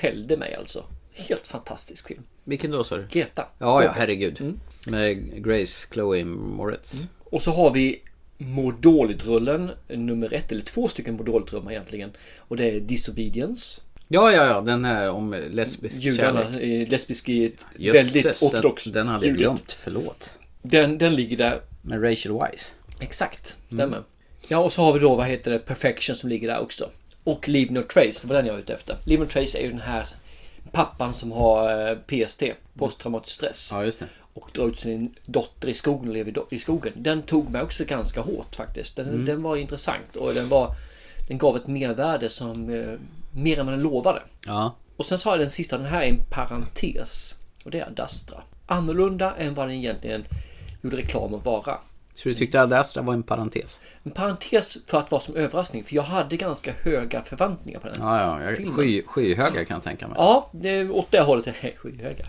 fällde mig alltså. Helt fantastisk film.
Vilken då sa du?
Greta.
Ja, ja, herregud.
Mm.
Med Grace Chloe Moretz.
Och så har vi Mår dåligt-rullen nummer ett, eller två stycken mår dåligt-rullar egentligen. Och det är Disobedience.
Ja, ja, ja, den här om lesbisk
Judarna,
kärlek.
eh, lesbisk i ett
Jösses,
väldigt
den-
ortodox
den hade jag
judigt.
glömt. Förlåt.
Den, den ligger där.
Med Rachel Wise.
Exakt, stämmer.
Mm.
Ja, och så har vi då, vad heter det, Perfection som ligger där också. Och Leave No Trace, det var den jag var ute efter. Leave No Trace är ju den här pappan som har eh, PST, posttraumatisk stress.
Ja, just det.
Och drar ut sin dotter i skogen och lever i do- i skogen. Den tog mig också ganska hårt faktiskt. Den,
Mm.
den var intressant och den, var, den gav ett mervärde som eh, mer än vad den lovade.
Ja.
Och sen sa jag den sista, den här är en parentes. Och det är Ad Astra. Annorlunda än vad den egentligen gjorde reklam att vara.
Så
Mm.
du tyckte Ad Astra var en parentes?
En parentes för att vara som överraskning, för jag hade ganska höga förväntningar på den.
Ja, ja, jag,
Filmen.
sky, skyhöga kan jag tänka mig.
Ja, det, åt det hållet. är- Skyhöga.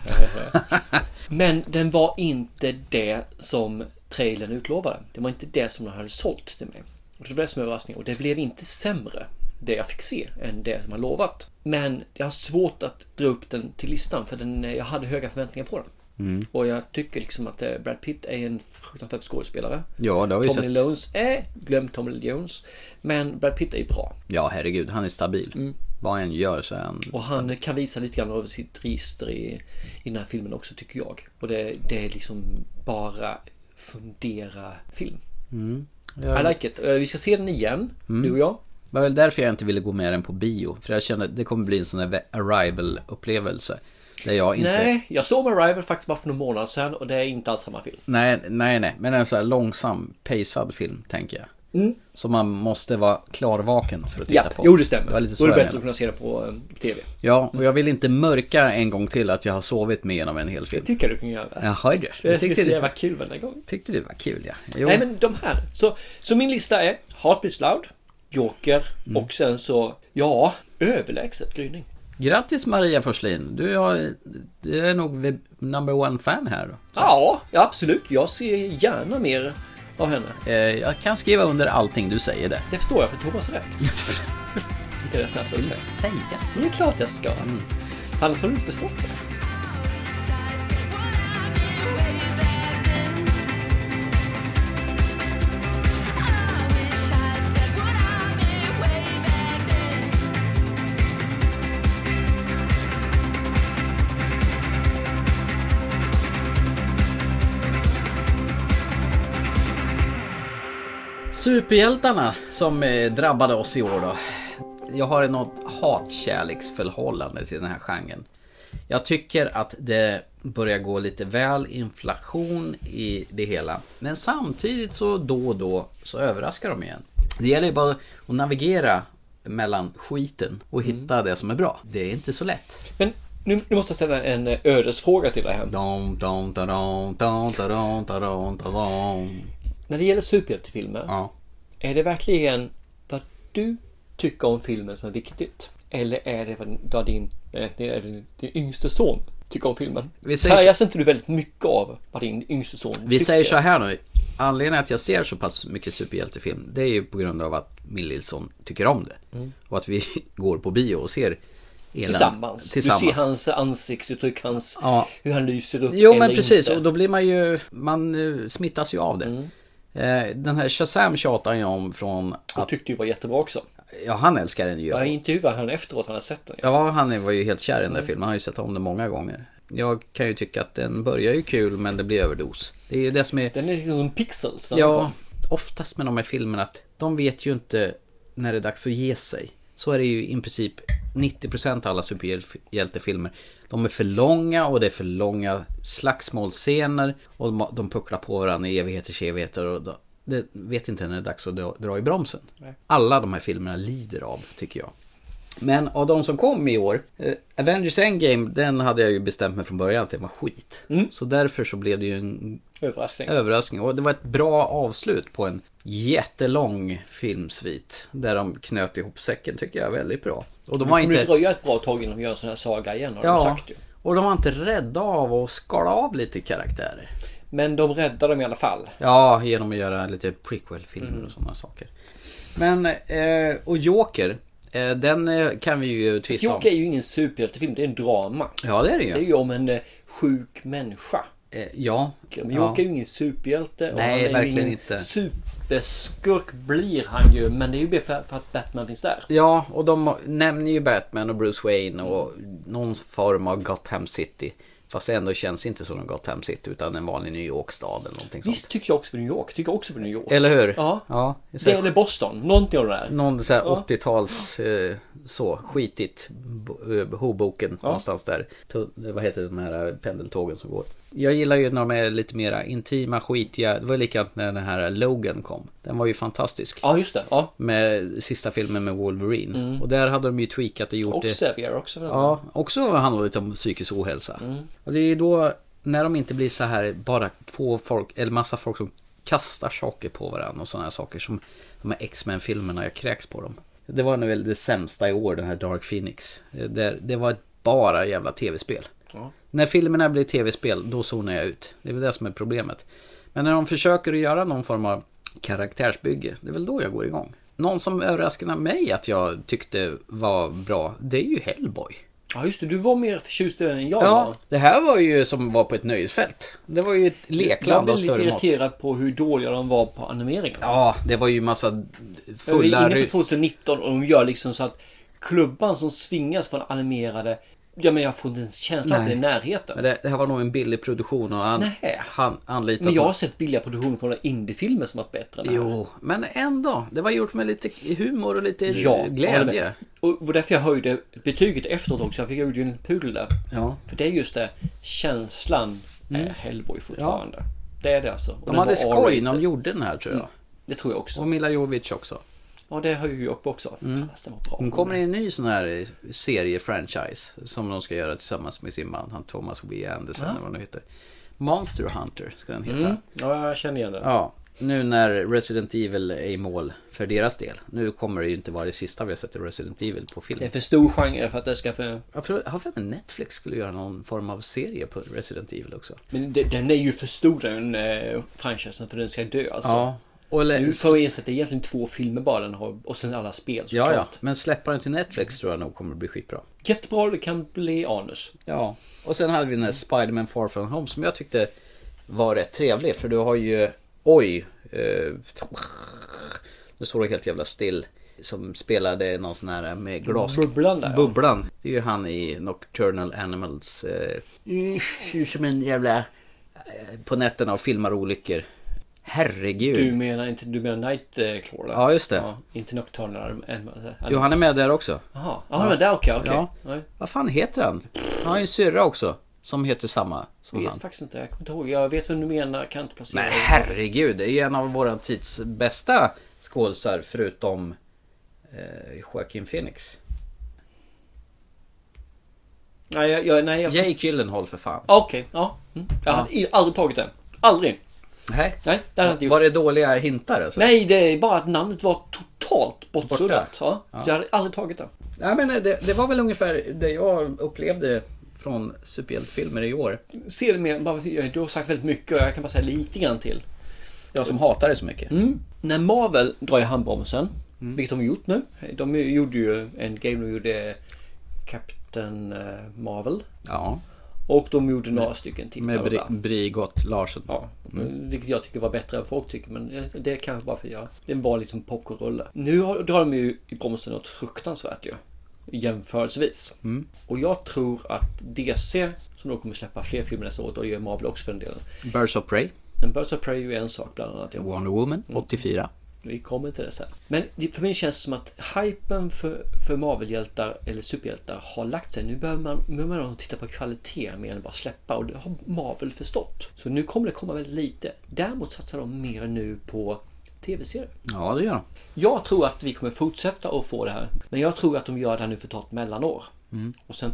Men den var inte det som trailern utlovade. Det var inte det som den hade sålt till mig. Och det var det som var överraskningen. Och det blev inte sämre, det jag fick se, än det som han lovat. Men jag har svårt att dra upp den till listan, för den, jag hade höga förväntningar på den.
Mm.
Och jag tycker liksom att eh, Brad Pitt är en fruktansvärd skådespelare.
Ja, det har vi
Tommy
sett.
Lee Jones är, glöm Tommy Lee Jones. Men Brad Pitt är ju bra.
Ja, herregud, han är stabil.
Mm.
Vad han gör så är han...
Och han kan visa lite grann av sitt register i, i den här filmen också tycker jag. Och det, det är liksom bara fundera film.
Mm.
I like it. Eh, Vi ska se den igen,
Mm.
du och jag.
Det var väl därför jag inte ville gå med den på bio. För jag kände att det kommer bli en sån där arrival-upplevelse. Där jag inte...
Nej, jag såg Arrival faktiskt bara för några månader sedan och det är inte alls samma film.
Nej, nej, nej. Men en sån här långsam, pejsad film, tänker jag.
Mm.
Som man måste vara klarvaken för att titta
Ja,
på.
jo det stämmer.
Det var lite så
Då är det
jag
bättre att
menade.
kunna se den på eh, TV.
Ja, och jag vill inte mörka en gång till att jag har sovit med genom en hel film.
Det tycker jag du kan göra.
Jaha, du.
Det
tyckte
tyckte
du-
jag var kul varenda gång.
Tyckte du var kul, ja. Jo.
Nej men de här. Så, så min lista är Heartbeats Loud, Joker
Mm.
och sen så, ja, överlägset gryning.
Grattis Maria Forslin. Du, har, du är nog the number one fan här då.
Ja, ja, absolut. Jag ser gärna mer av henne.
Eh, Jag kan skriva under allting du säger där.
Det förstår jag, för Thomas har rätt. Det är det
Mm.
snällaste du
säger.
Det är klart jag ska.
Mm.
Annars har du inte förstått det.
Superhjältarna som eh, drabbade oss i år då. Jag har något hatkärleksförhållande till den här genren. Jag tycker att det börjar gå lite väl inflation i det hela. Men samtidigt så då och då så överraskar de igen. Det gäller ju bara att navigera mellan skiten och hitta det som är bra. Det är inte så lätt.
Men nu, nu måste jag ställa en eh, ödesfråga till dig här.
Dom, dom, da, dom, dom, da, dom, da, dom, da, dom.
När det gäller superhjältefilmer,
Ja.
är det verkligen vad du tycker om filmen som är viktigt? Eller är det vad- vad din, eh, din, eh, din, din yngste son tycker om filmen?
Vi säger så-
Färgas inte du väldigt mycket av vad din yngste son
Vi
tycker?
säger så här nu. Anledningen att jag ser så pass mycket superhjältefilm det är ju på grund av att min lillson tycker om det.
Mm.
Och att vi går på bio och ser elän-
Tillsammans.
tillsammans.
Du ser hans ansiktsuttryck, hans,
Ja.
hur han lyser upp
Jo
eller
men precis
inte.
och då blir man ju, man eh, smittas ju av det.
Mm.
Eh, Den här Shazam tjatar jag om från
Och
att,
tyckte ju var jättebra också.
ja han älskar den ju.
Jag intervjuade han efteråt, han har sett den.
Ja, han var ju helt kär i den där filmen. Han har ju sett om den många gånger. Jag kan ju tycka att den börjar ju kul men det blir överdos. Det är ju det som är...
Den är liksom som pixels. när den
Ja, oftast med de här filmerna att de vet ju inte när det är dags att ge sig. Så är det ju i princip 90% av alla superhjältefilmer. De är för långa och det är för långa slagsmålscener och de- de pucklar på varandra i evigheters evigheter. Och då- det vet inte när det är dags att dra- dra i bromsen.
Nej.
Alla de här filmerna lider av, tycker jag. Men av de som kom i år, eh, Avengers Endgame, den hade jag ju bestämt mig från början att det var skit. Så därför så blev det ju en
kom. Överraskning.
överraskning. Och det var ett bra avslut på en jättelång filmsvit. Där de knöt ihop säcken tycker jag väldigt bra. Och de var
det kommer ju
inte...
dröja ett bra tag innan de gör en sån här saga igen har de
Ja,
sagt ju.
och de var inte rädda av att skala av lite karaktärer.
Men de räddar dem i alla fall.
Ja,
Mm.
genom att göra lite prequel-filmer och sådana saker. Men, eh, och Joker Eh, Den eh, kan vi ju tvista om.
Sjoka Alltså, är ju ingen superhjältefilm, det är en drama.
Ja, det är det ju. Eh,
Det är ju om en eh, sjuk människa.
Ja.
Men
ja.
Jocke är ju ingen superhjälte. och
Nej,
han är ju
verkligen
ingen
inte.
Superskurk blir han ju, men det är ju bara för för att Batman finns där.
Ja, och de nämner ju Batman och Bruce Wayne och någon form av Gotham City. Fast det ändå känns inte som en Gotham City utan en vanlig New York-stad eller någonting sånt.
Visst tycker jag också för New York. Tycker också för New York.
Liksom. Eller hur?
Ja.
ja
Det eller Boston. Någonting av det där.
Någon så här
Ja.
80-tals eh, så skitigt bo- eh, Hoboken någonstans där. Tu- Vad heter de här eh, pendeltågen som går? Jag gillar ju när de är lite mera intima, skitiga. Det var likadant när den här Logan kom. Den var ju fantastisk.
Ja, just det. Ja.
Med sista filmen med Wolverine.
Mm.
Och där hade de ju tweakat och gjort
Och
det.
Xavier också. väl?
Ja, också handlar lite om psykisk ohälsa. Och det är ju då när de inte blir så här bara få folk, eller massa folk som kastar saker på varandra och sådana här saker som de här X-Men-filmerna, jag kräks på dem. Det var nog väl det sämsta i år, den här Dark Phoenix. Det, det var bara jävla tv-spel.
Ja.
När filmerna blir tv-spel, då zonar jag ut. Det är väl det som är problemet. Men när de försöker att göra någon form av karaktärsbygge, det är väl då jag går igång. Någon som överraskade mig att jag tyckte var bra, det är ju Hellboy.
Ja, just det. Du var mer förtjust i den än jag
Ja,
var.
det här var ju som var på ett nöjesfält. Det var ju ett
Jag
lekland
blev
av
lite
större mått.
irriterad på hur dåliga de var på animeringen.
Ja, det var ju massa
Vi är
fulla
inne
ru-
på 2019 och de gör liksom så att klubban som svingas från animerade, ja men jag får inte ens känslan att det är
Nej.
närheten.
Men det, det här var nog en billig produktion och an,
Nej.
han anlitat...
Men jag har sett billiga produktioner från indiefilmer som varit bättre än det här.
Jo, men ändå. Det var gjort med lite humor och lite
Ja, jag håller med.
glädje.
Och det var därför jag höjde betyget efteråt också. Jag fick ju en pudel där.
Ja. Mm.
För det är just det, känslan är Hellboy fortfarande. Det är det alltså. Och
De
den
hade
var
skoj
R-rated.
när de gjorde Mm. den här tror jag.
Det tror jag också.
Och Mila Jovovich också.
Ja, det höjer ju upp också. Mm. Fasen vad bra.
Hon kommer i en ny sån här eh, serie-franchise som de ska göra tillsammans med sin man, han Thomas W. Anderson
Ja.
eller vad han heter. Monster Hunter ska den heta.
Mm. Ja, jag känner igen det.
Ja, nu när Resident Evil är i mål för deras del. Nu kommer det ju inte vara det sista vi har sett i Resident Evil på film.
Det är för stor genre för att det ska för...
Jag tror, jag har för mig Netflix skulle göra någon form av serie på Resident Evil också.
Men de- den är ju för stor den eh, franchisen för den ska dö alltså.
Ja. Och lä-
nu får vi ersätta det är egentligen två filmer bara den har och sen alla spel
Ja,
såklart.
ja, men släppa den till Netflix tror jag nog kommer bli skitbra.
Jättebra det kan bli anus.
Ja, och sen hade vi den här Spider-Man Far From Home som jag tyckte var rätt trevlig för du har ju, oj, eh, nu står det helt jävla still, som spelade någon sån här med glas...
Bubblan där, ja.
Bubblan. Det är ju han i Nocturnal Animals. Eh,
Mm,
ser ut som en jävla... eh, På nätterna och filmar olyckor. Herregud.
Du menar inte, du menar eh, Nightcrawler?
Ja, just det.
inte Nocturnal Animal.
Jo, han är med där också.
Jaha, ja, han är där okej, okej.
Ja.
Nej.
Vad fan heter han? Han har ju en syrra också. Som heter samma som
Jag
han.
vet faktiskt inte, jag kommer inte ihåg. Jag vet vem du menar, kan inte placera.
Men herregud, det är ju en av våra tids bästa skådisar förutom eh, Joaquin Phoenix.
Nej, jag, jag, nej, jag...
Jake Gyllenhaal för fan.
Okej, ja. Mm. Jag hade i- aldrig tagit det. Aldrig.
Nej,
Nej, det hade jag inte gjort.
Var det dåliga hintar alltså?
Nej, det är bara att namnet var totalt bortsuddat. Ja.
Ja.
Så jag hade aldrig tagit det.
Nej men eh, det, det var väl ungefär det jag upplevde från superhjältefilmer i år.
Ser det mer, bara, du har sagt väldigt mycket och jag kan bara säga lite grann till.
Jag som hatar det så mycket.
Mm. När Marvel drar i handbromsen, vilket de har gjort nu. De gjorde ju en game, de gjorde Captain eh, Marvel.
Ja,
Och de gjorde några stycken till.
med
bla, bla,
Bri-
bla.
Brigott Larsson.
Ja. Vilket jag tycker var bättre än folk tycker. Men det- det är kanske bara för att jag... Den var liksom popcornrulle. Nu har, drar de ju i bromsen något fruktansvärt ju. Jämförelsevis.
Mm.
Och jag tror att DC, som då kommer släppa fler filmer nästa år, och det gör Marvel också för den delen.
Birds of Prey,
Men Birds of Prey är ju en sak bland annat. ja.
Wonder Woman, 84.
Vi kommer till det sen. Men det- för mig känns det som att hypen för, för Marvel-hjältar eller superhjältar har lagt sig. Nu behöver man, nu behöver man titta på kvalitet mer än bara släppa och det har Marvel förstått. Så nu kommer det komma väldigt lite. Däremot satsar de mer nu på tv-serier.
Ja, det gör de.
Jag tror att vi kommer fortsätta att få det här. Men jag tror att de gör det här nu för att ta ett mellanår.
Mm.
Och sen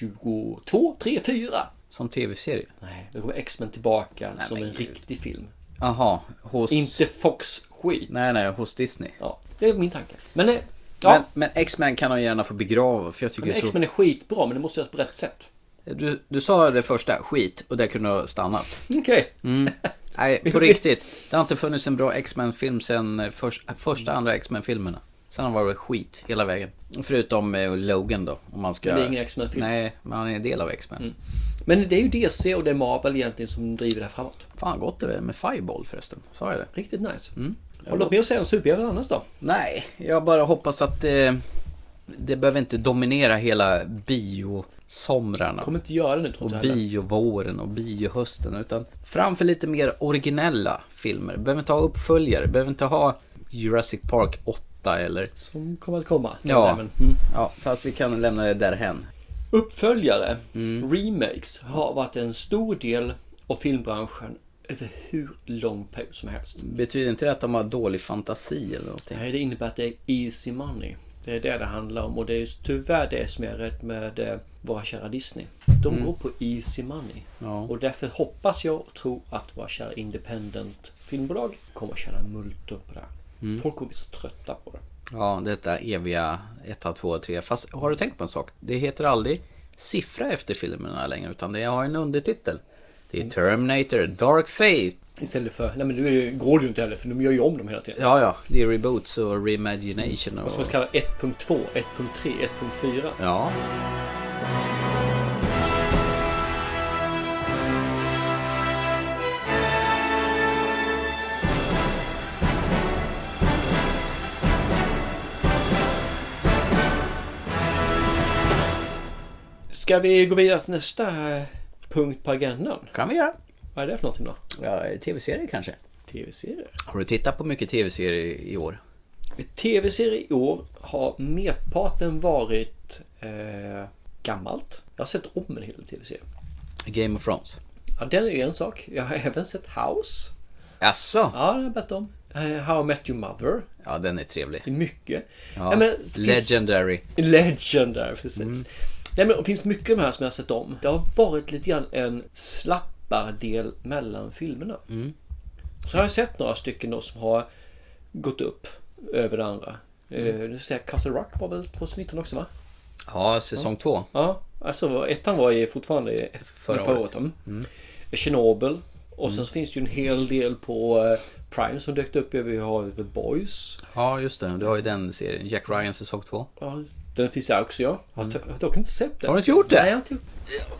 2022, 3, 4.
Som tv-serie.
Nej, då kommer X-Men tillbaka
Nej,
som
men
en
gud.
riktig film.
Aha, hos...
Inte Fox-skit.
Nej, nej, hos Disney.
Ja, det är min tanke. Men, eh, ja,
Men, men X-Men kan de gärna få begrava för jag tycker
men
det är så...
X-Men är skitbra men det måste göras på rätt sätt.
Du, du sa det första, skit, och där kunde du ha stannat.
Okej.
Mm. eh, Nej, på riktigt. Det har inte funnits en bra X-Men-film sen först, första, andra X-Men-filmerna. Sen har han varit skit hela vägen. Förutom eh, Logan då. Om man ska...
Men det är ingen X-Men-film.
Nej, men han är en del av X-Men.
Men det är ju DC och det är Marvel egentligen som driver det här framåt.
Fan gott det är med Fireball förresten. Sa jag det?
Riktigt nice.
Mm.
Har du något mer att säga om superhjältar annars då?
Nej, jag bara hoppas att eh, det behöver inte dominera hela biosomrarna.
Kommer inte göra det nu tror
Och
jag inte heller.
biovåren och biohösten. Utan framför lite mer originella filmer. Behöver inte ha uppföljare. Behöver inte ha Jurassic Park 8 eller...
Som kommer att komma. tänkte
Ja,
jag, men- Mm.
ja, fast vi kan lämna det därhen.
Uppföljare,
Mm.
remakes, har varit en stor del av filmbranschen över hur lång period som helst.
Betyder inte det att de har dålig fantasi eller någonting?
Nej, det innebär att det är easy money. Det är det det handlar om och det är tyvärr det som jag är rädd med eh, våra kära Disney. De
Mm.
går på easy money.
Ja.
Och därför hoppas jag och tror att våra kära independent filmbolag kommer att tjäna multum på det här.
Mm.
Folk kommer bli så trötta på det.
Ja, detta eviga 1, 2, 3. Fast har du tänkt på en sak? Det heter aldrig siffra efter filmerna längre, utan det har en undertitel. Det är Terminator, Dark Fate.
Istället för, nej men nu är det- går det ju inte heller för de gör ju om dem hela tiden.
Ja, ja. Det är reboots och reimagination. Och...
Vad ska man kalla 1.2, 1.3, 1.4?
Ja.
Ska vi gå vidare till nästa eh, punkt på agendan?
kan vi göra.
Vad är det för någonting då?
Ja, tv-serier kanske?
Tv-serier?
Har du tittat på mycket tv-serier i år?
Tv-serier i år har merparten varit eh, gammalt. Jag har sett om en hel del tv-serier.
Game of Thrones?
Ja, den är ju en sak. Jag har även sett House.
Jaså?
Ja, den har jag bett om. Eh, How I Met Your Mother.
Ja, den är trevlig.
Det är mycket.
Ja.
Nej, men det finns-
Legendary.
Legend där, precis.
Mm.
Nej, men det finns mycket av de här som jag har sett om. Det har varit lite grann en slappardel mellan filmerna.
Mm.
Så har jag sett några stycken då som har gått upp över det andra. Mm.
Mm.
Eh, nu säger jag Castle Rock var väl 2019 också va?
Ja, säsong två.
Ja, alltså ettan var ju fortfarande i-
Förra
förra året.
året.
Mm.
Mm.
Chernobyl. Och sen
Mm.
så finns det ju en hel del på eh, Prime som dök upp. Vi har The Boys.
Ja, just det. Du har ju den serien. Jack Ryan säsong två.
Ja, den finns där också ja. Jag har
Mm.
dock- jag har dock inte sett den.
Har du inte gjort det?
Nej, jag har inte gjort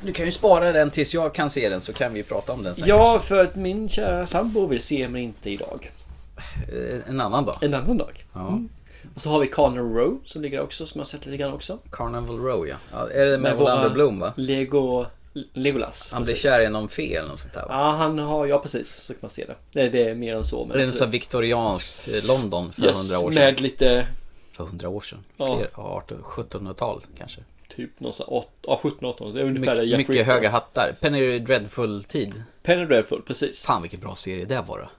Du kan ju spara den tills jag kan se den så kan vi prata om den sen.
Ja, för att min kära sambo vill se men inte idag.
Eh, En annan dag.
En annan dag.
Ja.
Mm. Och så har vi Carnival Row som ligger också, som jag har sett lite grann också.
Carnival Row ja. ja är det med,
våra
Orlando Bloom va?
Lego... Legolas.
Han
precis.
blir kär i någon fel eller något sånt där va?
Ja, han har... Ja, precis. Så kan man se det. Det, det är mer än så. Men
det är en sån här viktorianskt eh, London för
Yes,
hundra år sedan.
med lite...
För hundra år sedan?
Ja.
Fler, ja. 18 1700-tal kanske.
Typ någonstans... åt- Ja, 17-18. Det är ungefär det
My,
Jack
mycket
Ripper.
höga hattar. Penny Dreadful-tid.
Penny Dreadful, precis.
Fan vilken bra serie det var då.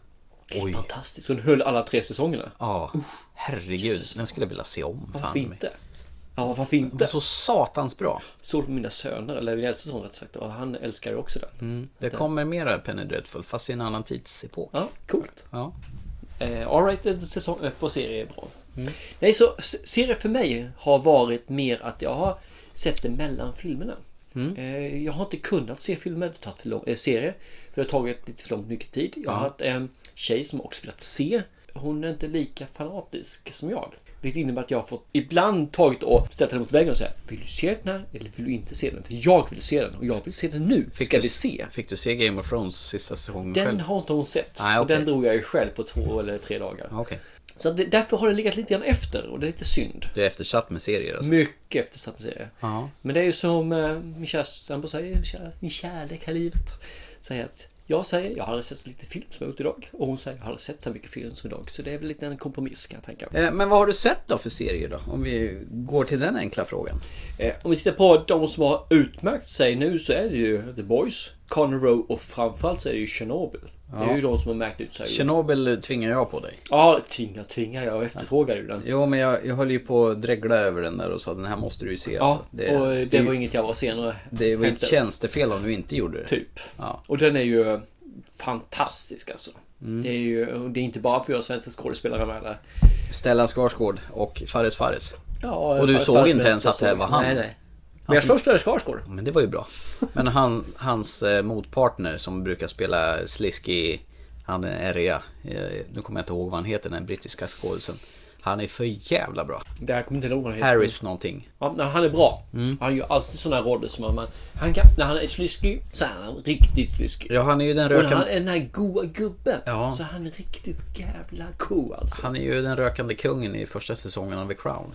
Oj.
Fantastiskt. Hon höll alla tre säsongerna.
Ja, herregud. Den skulle jag vilja se om.
Varför
fan i mig.
inte? Ja, varför inte? Den var
så satans bra.
Såg på mina söner, eller min äldste son rätt sagt. Och han älskar ju också den.
Mm. Det kommer mera Penny Dreadful fast i en annan tidsepok.
Ja, coolt.
Ja.
Eh, Alright, säsong eh, på serie är bra.
Mm.
Nej, så s- serie för mig har varit mer att jag har sett det mellan filmerna.
Mm.
Eh, jag har inte kunnat se filmer, det har tagit för lång, eh, serier. För det har tagit lite för lång mycket tid. Jag har
Ja.
haft en tjej som också velat se. Hon är inte lika fanatisk som jag. Vilket innebär att jag har fått ibland tagit och ställt henne mot väggen och säga Vill du se den här eller vill du inte se den? För jag vill se den och jag vill se den nu.
Fick
Ska
du-
vi se?
Fick du se Game of Thrones sista säsongen
Den
själv?
har inte hon sett.
Nej,
så
okej.
den drog jag ju själv på två eller tre dagar.
Okej.
Så att det, därför har det legat lite grann efter och det är lite synd.
Du är eftersatt med serier alltså?
Mycket eftersatt serie.
Ja.
Men det är ju som eh, min kära sambo säger, min kära- min kärlek här i livet. Säger att jag säger jag har aldrig sett så lite film som jag gjort idag. Och hon säger jag har aldrig sett så mycket film som idag. Så det är väl lite en kompromiss kan jag tänka.
Eh, Men vad har du sett då för serier då? Om vi går till den enkla frågan.
Eh, Om vi tittar på de som har utmärkt sig nu så är det ju The Boys, Connor Row och framförallt så är det ju Chernobyl. Det är
Ja.
ju de som har märkt ut sig.
Tjernobyl tvingar jag på dig.
Ja, tvinga, tvinga. Jag efterfrågar ju den.
Jo, men jag, jag höll ju på att dregla över den där och sa den här måste du ju se.
Ja,
alltså.
och det, var inget jag var senare.
Det var ju ett
hämtade.
tjänstefel om du inte gjorde det.
Typ.
Ja.
Och den är ju fantastisk alltså.
Mm.
Det är ju det är inte bara för jag svenska skådespelare med där.
Stellan Skarsgård och Fares Fares.
Ja,
och du
Fares
såg
Fares
inte
med-
ens att det var han?
Nej, nej.
Han
Men jag
som-
förstår Stellan Skarsgård.
Men det var ju bra. Men han, hans eh, motpartner som brukar spela sliskig, han är rea. Eh, nu kommer jag inte ihåg vad han heter, den brittiska skådisen. Han är för jävla bra.
Det här kommer inte ihåg vad han heter.
Harris någonting.
Ja, nej, han är bra.
Mm.
Han gör alltid sådana roller som man... Han kan, när han är sliskig så är han riktigt sliskig.
Ja, han är ju den
Och när
rökande...
han är den här goa gubben
Ja.
så är han riktigt jävla cool alltså.
Han är ju den rökande kungen i första säsongen av The Crown.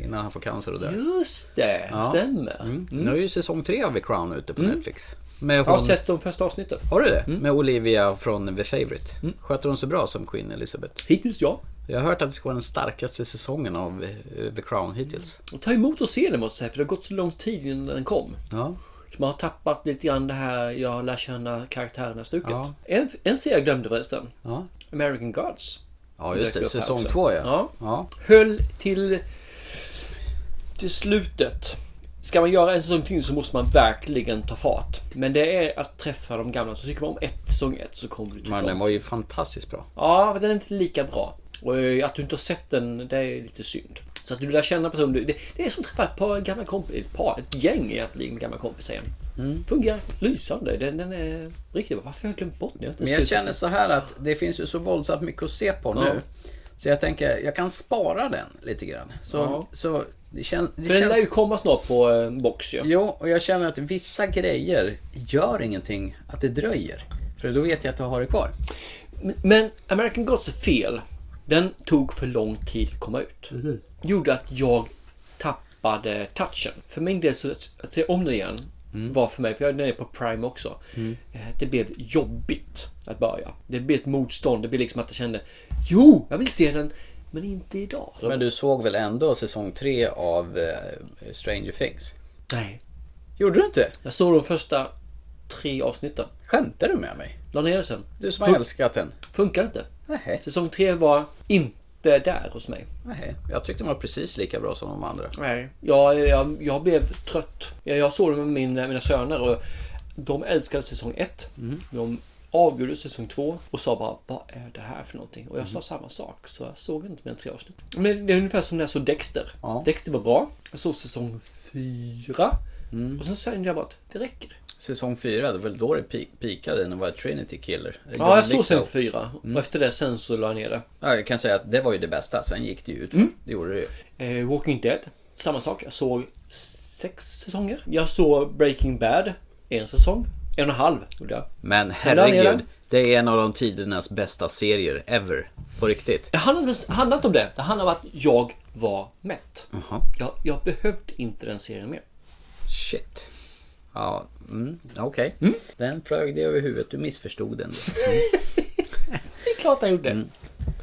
Innan han får cancer och dör.
Just det, stämmer.
Mm.
Mm.
Nu är ju säsong tre av The Crown ute på Netflix. Med
Jag har
hon...
sett de första avsnitten.
Har du det? Med Olivia från The Favourite. Sköter hon sig bra som Queen Elizabeth?
Hittills ja.
Jag har hört att det ska vara den starkaste säsongen av eh, The Crown hittills.
Och ta emot att se den måste jag säga, för det har gått så lång tid innan den kom.
Ja.
Så Man har tappat lite grann det här jag lär känna karaktärerna-stuket.
Ja.
En, en serie jag glömde förresten.
Ja.
American Gods.
Ja, just
Dök
det.
upp här
Säsong
också.
två, ja.
ja.
Ja.
Höll till, till slutet. Ska man göra en säsong till så måste man verkligen ta fart. Men det är att träffa de gamla. Så tycker man om ett säsong ett så kommer du tycka
Men
om
den var ju fantastiskt bra.
Ja, men den är inte lika bra. Och eh, att du inte har sett den, det är lite synd. Så att du lär känna personen. Det, det är som att träffa ett par gamla kompisar, ett par, ett gäng egentligen med gamla kompisar igen.
Mm.
Fungerar lysande. Den, den är riktigt bra. Varför har jag glömt bort den? har inte
Men
skrivit den.
jag känner så här att det finns ju så våldsamt mycket att se på
Ja.
nu. Så jag tänker, jag kan spara den lite grann. Så,
Ja.
så det, kän, det
För den lär
känns...
ju komma snart på eh, box ju.
Jo, och jag känner att vissa grejer gör ingenting att det dröjer. För då vet jag att jag har det kvar.
Men American Gods är fel. Den tog för lång tid att komma ut.
Mhm.
Gjorde att jag tappade touchen. För min del så att, att se om den igen
Mm.
var för mig, för jag den är på Prime också. eh, Det blev jobbigt att börja. Det blev ett motstånd. Det blev liksom att jag kände Jo, jag vill se den, men inte idag.
Men du såg väl ändå säsong tre av eh, Stranger Things?
Nej.
Gjorde du inte?
Jag såg de första tre avsnitten.
Skämtar du med mig?
La ner det sen.
Du som har
Fun-
älskat den.
Funkar inte.
Nej.
Säsong tre var inte där hos mig.
Nej, jag tyckte den var precis lika bra som de andra.
Nej. Jag, jag, jag blev trött. Jag, jag såg det med min, mina söner och de älskade säsong 1. De avgjorde säsong 2 och sa bara vad är det här för någonting? Och jag sa samma sak så jag såg inte mer än tre avsnitt. Men det är ungefär som när jag såg Dexter. Dexter var bra. Jag såg säsong 4 och sen sa jag bara att Mm. det räcker.
Säsong fyra, det var väl då det pe- peakade när det var Trinity Killer.
Ja, jag såg
sen
sen 4 och efter det sen så la jag ner det.
Ja, jag kan säga att det var ju det bästa. Sen gick det ju ut.
Mm.
Det gjorde det ju.
Eh, Walking Dead, samma sak. Jag såg sex säsonger. Jag såg Breaking Bad, en säsong. En och en halv gjorde jag.
Men
Sen la jag ner
herregud,
den.
det är en av de tidernas bästa serier ever. På riktigt.
Det handlar inte handlar inte om det. Det handlar om att jag var mätt.
Mm.
Jag, jag behövde inte den serien mer.
Shit. Ja, mm, okej. Den flög dig över huvudet. Du missförstod den.
Det är klart jag gjorde.
Mm.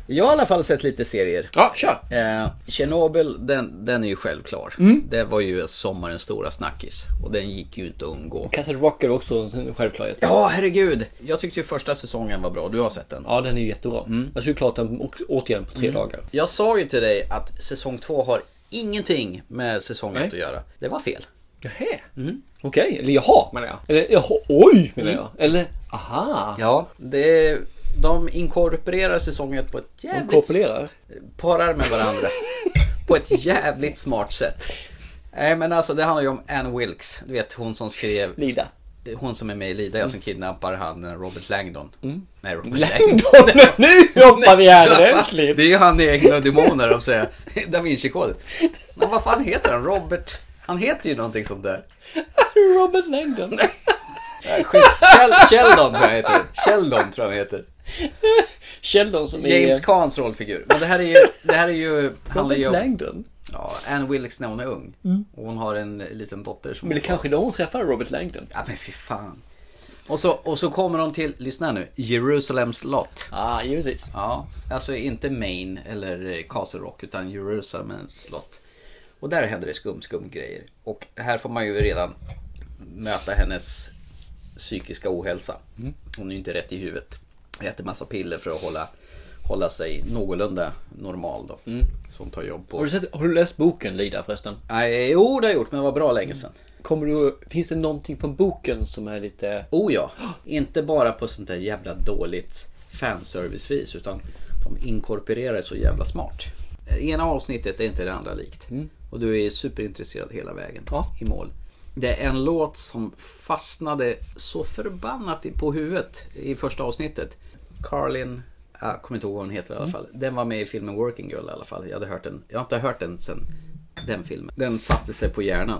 Jag har i alla fall sett lite serier.
Ja, kör!
Eh, Tjernobyl, den, den är ju självklar.
Mm.
Det var ju sommarens stora snackis. Och den gick ju inte att undgå.
Castle Rock är också en självklarhet.
Ja, herregud. Jag tyckte ju första säsongen var bra. Du har sett den?
Ja, den är ju jättebra.
Mm.
Jag såg klart den å- återigen på tre dagar.
Jag sa ju till dig att säsong två har ingenting med säsong ett att göra. Det var fel.
Nähä? Mm.
Mm.
Okej, eller jaha menar jag. Eller jaha, oj menar jag. Eller aha.
Ja, det, de inkorporerar säsong ett på ett
De
jävligt...
korpulerar.
Parar med varandra. på ett jävligt smart sätt. Nej men alltså det handlar ju om Anne Wilkes. Du vet hon som skrev...
Lida. Mm.
Hon som är med i Lida, jag som kidnappar han eh, Robert Langdon. Nej, Robert Langdon.
Langdon! Nu hoppar vi här ordentligt!
Det är ju han i Änglar och Demoner, de säger. Da Vinci-koden. Men vad fan heter han? Robert? Han heter ju någonting sånt där.
Robert Langdon.
Skit. Shel- Sheldon tror jag han heter. Sheldon tror jag han heter.
Sheldon som är...
James Cans rollfigur. Men det här är ju... Det här är ju handlar ju
Robert
om
Langdon.
ja, Anne Wilkes när hon är ung. Och hon har en liten dotter som...
Men det kanske är då hon träffar Robert Langdon.
Ja men fy fan. Och så, och så kommer de till, lyssna nu, Jerusalem slott.
Ah, givetvis.
Ja, alltså inte Maine eller eh, Castle Rock utan Jerusalems slott. Och där händer det skum, skum grejer. Och här får man ju redan möta hennes psykiska ohälsa.
Mm.
Hon är ju inte rätt i huvudet. Äter massa piller för att hålla, hålla sig någorlunda normal då. Så hon tar jobb
Mm. Har
på...
du, sett, har du läst boken Lida förresten?
Nej, jo det har jag gjort men det var bra
Mm.
länge sedan.
Kommer du, finns det någonting från boken som är lite...
Oh ja, inte bara på sånt där jävla dåligt fanservicevis utan de inkorporerar det så jävla smart. Eh, Ena avsnittet är inte det andra likt. Och du är superintresserad hela vägen
Ja.
i mål. Det är en låt som fastnade så förbannat i- på huvudet i första avsnittet. Carlin Jag kommer inte ihåg vad hon heter i alla fall. Den var med i filmen Working Girl i alla fall. Jag, hade hört den. jag har inte hört den sen den filmen. Den satte sig på hjärnan.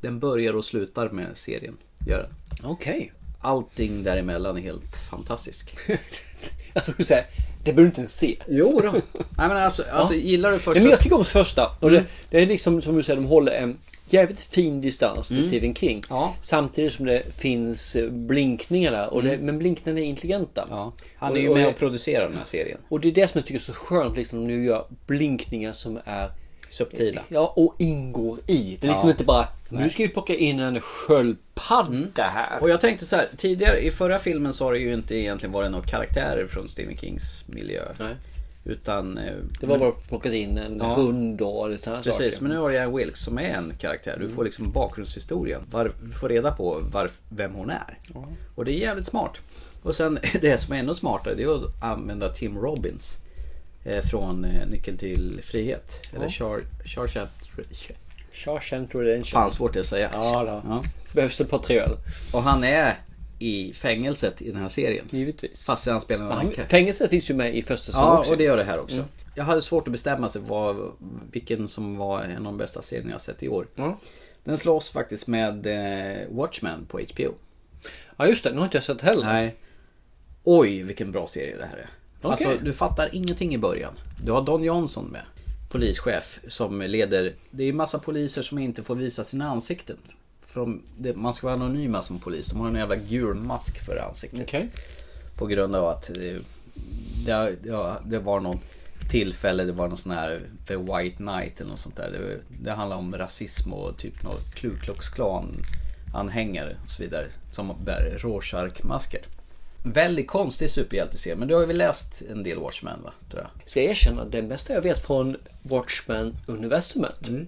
Den börjar och slutar med serien. Gör den.
Okej.
Allting däremellan är helt fantastisk.
jag skulle säga, det behöver du inte ens se.
Jo då. Nej, men alltså, alltså, gillar du första...
Men jag tycker om första. Och
Mm.
det, det är liksom som du säger, de håller en jävligt fin distans till
Mm.
Stephen King. Samtidigt som det finns eh, blinkningar där. Och det, Men blinkningarna är intelligenta.
Mm. Han är ju med och producerar den här serien.
Och det är det som jag tycker är så skönt liksom, om du gör blinkningar som är
Subtila.
Ja, och ingår i. Det är liksom
Ja.
inte bara, nu
Nej. Mm.
ska vi plocka in en sköldpadda här.
Och jag tänkte så här, tidigare i förra filmen så har det ju inte egentligen varit några karaktärer från Stephen Kings miljö. Utan... eh,
Det var
men-
bara plockat in en
Ja.
hund och lite sådana
Precis,
saker.
men nu har jag en Wilkes som är en karaktär. Du får liksom bakgrundshistorien. Var, du får reda på var, vem hon är. Och det är jävligt smart. Och sen det som är ännu smartare det är att använda Tim Robbins. eh, Från eh, Nyckeln till Frihet. Eller
Ja.
Char... Char... Char...
Shawshank Redemption.
Fan svårt det att säga.
Ja, då. Behövs ett par tre öl.
Och han är i fängelset i den här serien.
Givetvis.
Fast han spelar en
Han-
annan
Fängelset finns ju med i första säsongen
Ja,
också.
och det gör det här också.
Mm.
Jag hade svårt att bestämma sig vad, vilken som var en av de bästa serierna jag sett i år. Den slås faktiskt med eh, Watchmen på HBO.
Ja, just det. Nu har inte jag sett heller.
Nej. Oj, vilken bra serie det här är.
Okej.
Alltså, du fattar ingenting i början. Du har Don Johnson med. Polischef som leder... Det är ju massa poliser som inte får visa sina ansikten. För de, det, man ska vara anonyma som polis. De har en jävla gul mask för ansiktet. På grund av att eh, det, ja, det var någon tillfälle, det var någon sån här The White Knight eller något sånt där. Det, det handlar om rasism och typ någon Ku Klux Klan anhängare och så vidare. Som bär Rorschach-masker. Väldigt konstig superhjälteserie, men du har ju läst en del Watchmen va? Tror jag.
Ska jag erkänna, den bästa jag vet från Watchmen-universumet.
Mm.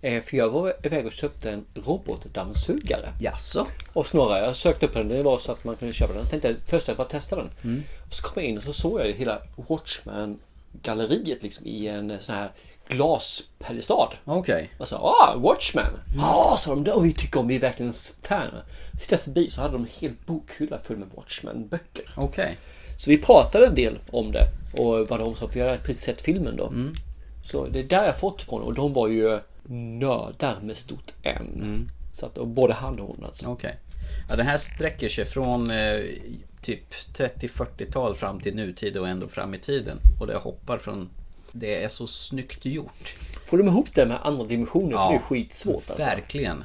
Eh, För jag var iväg och köpte en robotdammsugare.
Jaså?
Och snarare, jag sökte upp den. Det var så att man kunde köpa den. Jag tänkte först att jag bara testa den.
Mm.
Och så kom jag in och så såg jag ju hela Watchmen-galleriet liksom i en sån här glaspedestad.
Okej.
Och så, ah, Watchmen! Ja, sa de, det och vi tycker om, vi är verkligen fan. Tittade förbi så hade de en hel bokhylla full med Watchmen-böcker.
Okej.
Så vi pratade en del om det och vad de sa, för jag hade precis sett filmen då. Så det är där jag fått från och de var ju nördar med stort N. Så att, och både han och hon alltså.
Okej. Ja, den här sträcker sig från eh, typ 30-40-tal fram till nutid och ändå fram i tiden. Och det hoppar från... Det är så snyggt gjort.
Får de ihop det med andra dimensioner? för det är skitsvårt alltså.
Verkligen.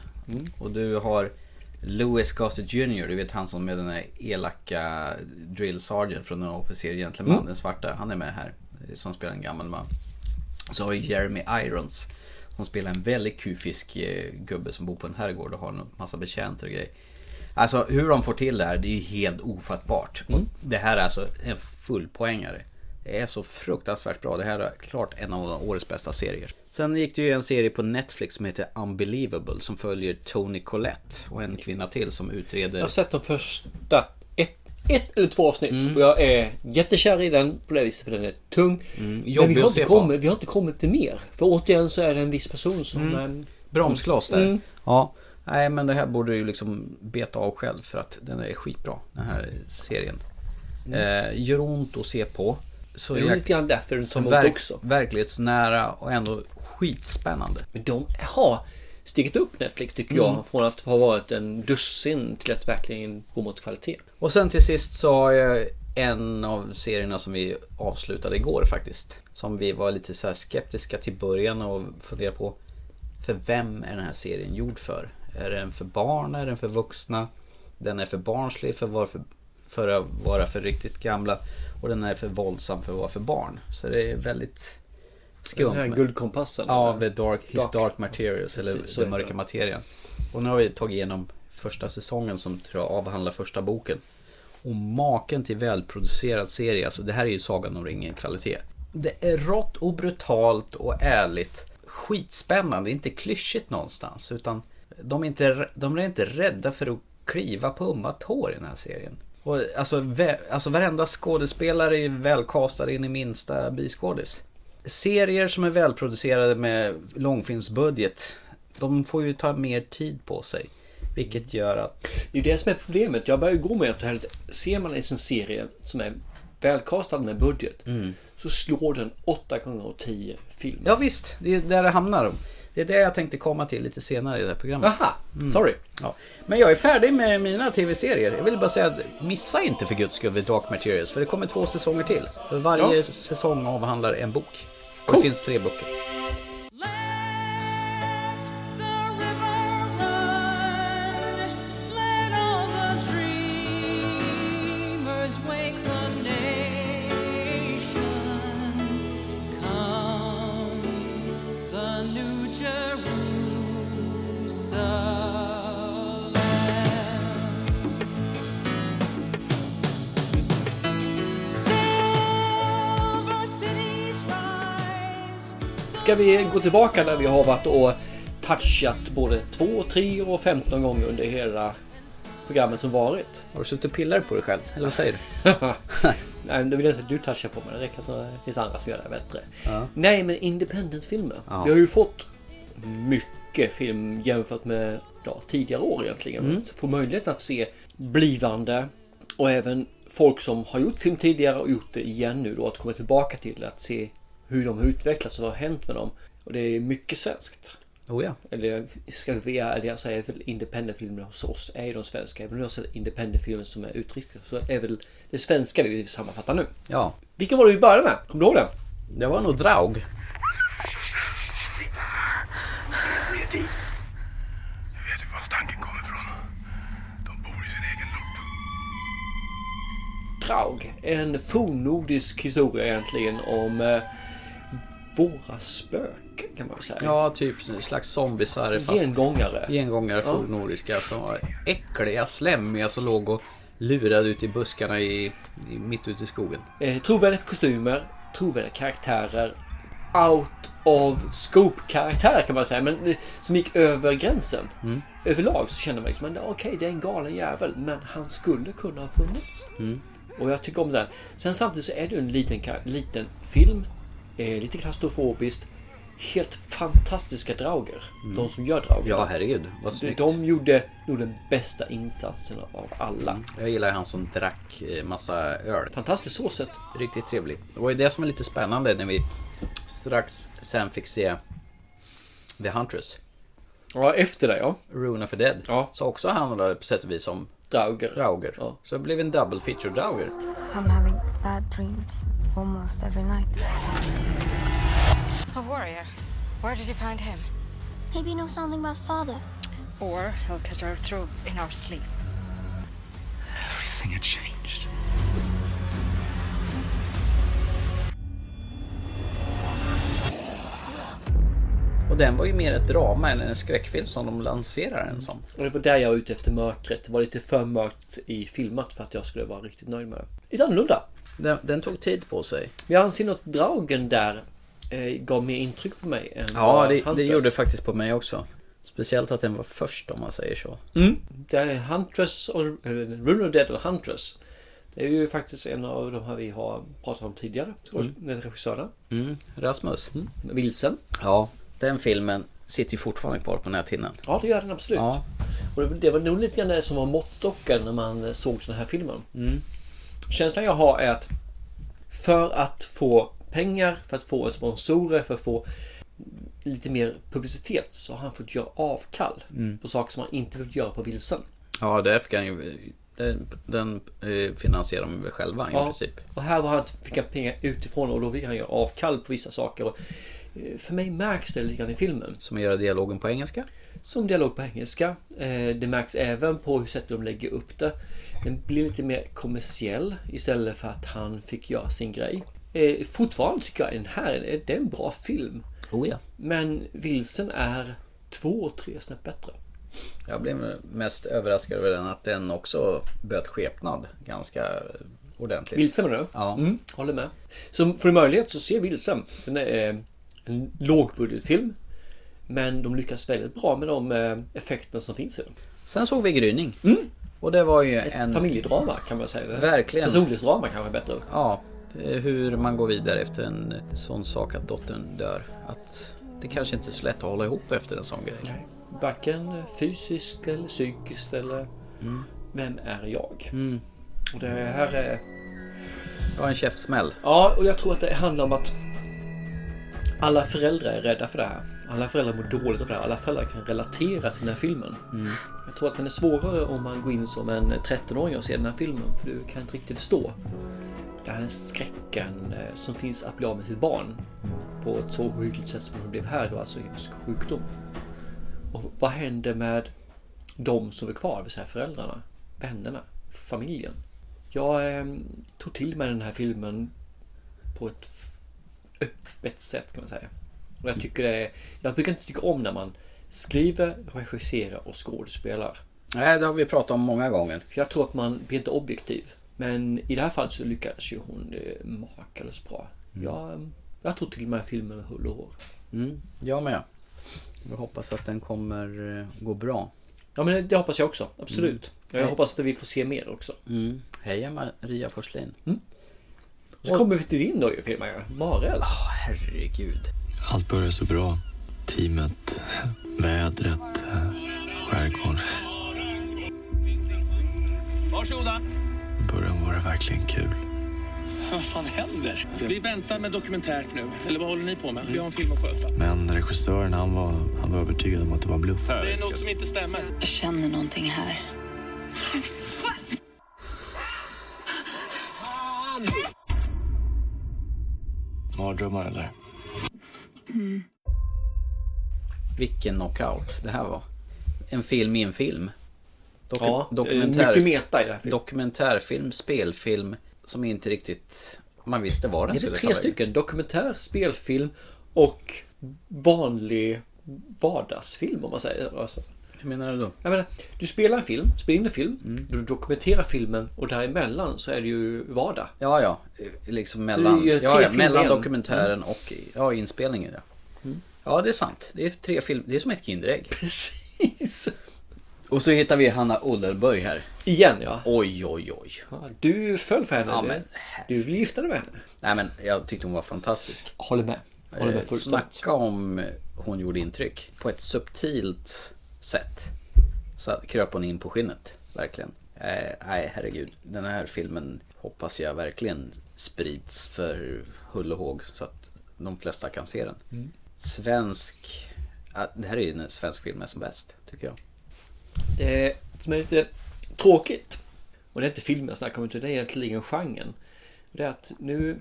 Och du har Louis Gossett Jr. Du vet han som är den här elaka drill sergeant från den officer gentleman,
Mm.
den svarta. Han är med här. eh, Som spelar en gammal man. Så har vi Jeremy Irons. Som spelar en väldigt kufisk eh, gubbe som bor på en herrgård och har en massa betjänter och grejer. Alltså hur de får till det här, det är ju helt ofattbart. Och det här är alltså en fullpoängare. Det är så fruktansvärt bra. Det här är klart en av årets bästa serier. Sen gick det ju en serie på Netflix som heter Unbelievable som följer Tony Collette och en kvinna till som utreder...
Jag har sett de första ett, ett eller två avsnitt
Mm.
och jag är jättekär i den på det viset för den är tung. Men vi
Mm, jobbig
har,
att
inte
se på.
kommit, vi har inte kommit till mer. För återigen så är det en viss person som...
Mm.
eh,
Bromskloss där.
Mm.
Ja. Nej men det här borde du ju liksom beta av själv för att den är skitbra den här serien.
Mm.
Eh, gör ont att se på. Så
Det är lite grann därför den
som
kom upp
verk,
också.
verklighetsnära och ändå skitspännande.
Men de har stigit upp Netflix tycker jag.
Mm.
Från att ha varit en dussin till att verkligen gå mot kvalitet.
Och sen till sist så har jag en av serierna som vi avslutade igår faktiskt. Som vi var lite så här skeptiska till början och funderade på. För vem är den här serien gjord för? Är den för barn? Är den för vuxna? Den är för barnslig för, var för, för att vara för riktigt gamla. Och den är för våldsam för att vara för barn. Så det är väldigt skumt.
Den här guldkompassen.
Ja, The Dark, His
Dark.
Dark, Materials eller
Precis, så
Den
heter
Mörka
den.
Materien. Och nu har vi tagit igenom första säsongen som tror jag avhandlar första boken. Och maken till välproducerad serie, alltså det här är ju Sagan om ringen-kvalitet. Det är rått och brutalt och ärligt. Skitspännande, inte klyschigt någonstans. Utan de är inte, de är inte rädda för att kliva på ömma tår i den här serien. Och alltså, vä- alltså varenda skådespelare är välkastad in i minsta biskådis. Serier som är välproducerade med långfilmsbudget, de får ju ta mer tid på sig. Vilket gör att...
Det är ju det som är problemet. Jag börjar ju gå med att det här lite- ser man i sin serie som är välkastad med budget så slår den 8 gånger 10 filmer.
Ja visst, det är där det hamnar. Det är det jag tänkte komma till lite senare i det här programmet.
Aha, sorry.
Ja. Men jag är färdig med mina tv-serier. Jag vill bara säga att missa inte för guds skull The Dark Materials för det kommer två säsonger till. Varje
Ja.
säsong avhandlar en bok.
Cool.
Det finns tre böcker.
Let all the dreamers wake the nation. Come the new Jerusalem. Silver cities rise.
Ska vi gå tillbaka där vi har varit och touchat både 2, 3 och 15 gånger under hela programmet som varit?
Har du suttit och pillat på dig själv? Eller vad säger du?
Nej, det vill jag inte att du touchar på mig. Det räcker att det finns andra som gör det bättre.
Ja.
Nej, men independent-filmer.
Ja.
Vi har ju fått mycket film jämfört med ja, tidigare år egentligen.
Mm.
Att Få möjligheten att se blivande och även folk som har gjort film tidigare och gjort det igen nu då. Att komma tillbaka till det, att se hur de har utvecklats och vad har hänt med dem. Och det är mycket svenskt.
Oh ja.
Eller ska vi vara ärliga så är väl independentfilmerna hos oss är ju de svenska. Även om jag sett independentfilmer som är uttryckta så är väl det svenska vi vill sammanfatta nu.
Ja.
Vilken var det vi började med? Kommer du ihåg den?
Det var nog Draug.
Nu vet vi var stanken kommer ifrån. De bor i sin egen lupp.
Draug. En fornnordisk historia egentligen om eh, våra spöken kan man säga.
Ja, typ en slags zombisar. fast-
Gengångare.
Gengångare
Ja.
fornnordiska som var äckliga, slemmiga som låg och lurade ute i buskarna i, i, mitt ute i skogen.
Eh, trovärdiga kostymer, trovärdiga karaktärer. Out of scope karaktärer kan man säga, men eh, som gick över gränsen.
Mm.
Överlag så känner man liksom att okej, det är en galen jävel, men han skulle kunna ha funnits.
Mm.
Och jag tycker om den. Sen samtidigt så är det ju en liten, kar- liten film. Eh, lite klaustrofobiskt. Helt fantastiska Drauger.
Mm.
De som gör Drauger.
Ja, herregud, vad
De-
snyggt.
De gjorde nog den bästa insatsen av alla.
Jag gillar han som drack eh, massa öl.
Fantastiskt så sett.
Riktigt trevligt. Det var ju det som var lite spännande när vi strax sen fick se The Huntress.
Ja, efter det ja.
Runa for Dead.
Ja.
Så också handlade på sätt och vis om
Drauger.
Drauger. Så det blev en double feature Drauger.
I'm having bad dreams almost every night.
A warrior. Where did you find him?
Maybe you know something about father.
Or he'll cut our throats in our sleep.
Everything had changed.
Och den var ju mer ett drama än en skräckfilm som de lanserar den som.
Och det var där jag var ute efter mörkret. Det var lite för mörkt i filmat för att jag skulle vara riktigt nöjd med det. Lite annorlunda.
Den, den tog tid på sig.
Men jag anser att dragen där eh, gav mer intryck på mig än
Ja,
vad
det, det
Hunters-
gjorde det faktiskt på mig också. Speciellt att den var först om man säger så.
Mm. Det är Huntress och eller Rune of Dead och Huntress. Det är ju faktiskt en av de här vi har pratat om tidigare.
Mm.
Mm. Regissörerna.
Mm, Rasmus.
Vilsen.
Ja, den filmen sitter ju fortfarande kvar på näthinnan.
Ja, det gör den absolut.
Ja.
Och det, det var nog lite grann det som var måttstocken när man eh, såg den här filmen.
Mm.
Känslan jag har är att för att få pengar, för att få sponsorer, för att få lite mer publicitet så har han fått göra avkall
Mm.
på saker som han inte fått göra på vilsen.
Ja, det fick han ju... Den, den eh, finansierar de väl själva i princip.
Och här var han, fick han pengar utifrån och då fick han göra avkall på vissa saker. Och eh, för mig märks det lite grann i filmen.
Som gör dialogen på engelska?
Som dialog på engelska. Eh, Det märks även på hur sättet de lägger upp det. Den blir lite mer kommersiell istället för att han fick göra sin grej. Eh, Fortfarande tycker jag den här eh, det är en bra film.
Oh ja.
Men Vilsen är två, tre snäpp bättre.
Jag blev mest överraskad över den att den också böt skepnad ganska ordentligt.
Vilsen menar du?
Ja.
Mm, håller med. Så får du möjlighet så se Vilsen. Den är eh, en lågbudgetfilm. Men de lyckas väldigt bra med de eh, effekterna som finns i den.
Sen såg vi Gryning. Och det var ju
Ett
en...
familjedrama kan man säga.
Verkligen.
Personlighetsdrama kanske är bättre.
Ja, det är hur man går vidare efter en sån sak att dottern dör. Att det kanske inte är så lätt att hålla ihop efter en sån grej.
Varken fysiskt eller psykiskt eller
Mm.
vem är jag?
Mm.
Och det här är
Det var en käftsmäll.
Ja, och jag tror att det handlar om att alla föräldrar är rädda för det här. Alla föräldrar mår dåligt av det här. Alla föräldrar kan relatera till den här filmen.
Mm.
Jag tror att den är svårare om man går in som en 13-åring och ser den här filmen. För du kan inte riktigt förstå den här skräcken eh, som finns att bli av med sitt barn. På ett så ohyggligt sätt som det blev här då, alltså just sjukdom. Och vad händer med de som är kvar, det vill säga föräldrarna, vännerna, familjen? Jag eh, tog till mig den här filmen på ett öppet sätt kan man säga. Och jag, tycker det är, jag brukar inte tycka om när man skriver, regisserar och skådespelar.
Nej, det har vi pratat om många gånger.
För jag tror att man blir inte objektiv. Men i det här fallet så lyckades ju hon eh, makalöst bra.
Mm.
Jag, jag tog till mig filmen med hull och hår.
Mm, jag med. Jag hoppas att den kommer eh, gå bra.
Ja, men det, det hoppas jag också. Absolut. Och Jag hoppas att vi får se mer också.
Mm. Heja Maria Forslin.
Så kommer vi till din då ju, filmen, Marel. Oh,
herregud.
Allt började så bra. Teamet, vädret, eh, skärgården.
Varsågoda.
I början var det verkligen kul.
Vad fan händer? Ska vi vänta med dokumentärt nu? Eller vad håller ni på med? Vi har en film att sköta.
Men regissören han var, han var övertygad om att det var bluff.
Det är något som inte stämmer.
Jag känner någonting här.
Mardrömmar eller?
Vilken knockout det här var. En film i en film. Doku-
Ja, eh,
dokumentär,
mycket meta i det här filmen.
Dokumentärfilm, spelfilm som inte riktigt man visste var den
är det
skulle
tre
ta vägen.
stycken? Dokumentär, spelfilm och vanlig vardagsfilm om man säger. Alltså,
Hur menar du då?
jag menar, du spelar en film, spelar in en film, du dokumenterar filmen och däremellan så är det ju vardag.
Ja, ja. Liksom
Det är ju
mellan,
tre
ja, ja,
filmer
mellan
i en.
dokumentären
Mm.
och ja, inspelningen. Ja. ja, det är sant. Det är tre filmer. Det är som ett Kinderägg.
Precis.
Och så hittar vi Hanna Oldenburg här.
Igen ja.
Oj, oj, oj.
Ja, Du föll för henne.
Ja,
du.
men
du vill gifta dig med henne.
Nej, men jag tyckte hon var fantastisk.
Håller med. Håller med
Eh,
fullständigt.
Snacka om eh, hon gjorde intryck. På ett subtilt sätt. Så att- kröp hon in på skinnet. Verkligen. Eh, Nej, herregud. Den här filmen hoppas jag verkligen sprids för hull och håg. Så att de flesta kan se den.
Mm.
Svensk... ja, Det här är ju en svensk film är som bäst, tycker jag.
Det Eh, som är lite tråkigt, och det är inte filmen jag snackar om utan det är egentligen genren. Det är att nu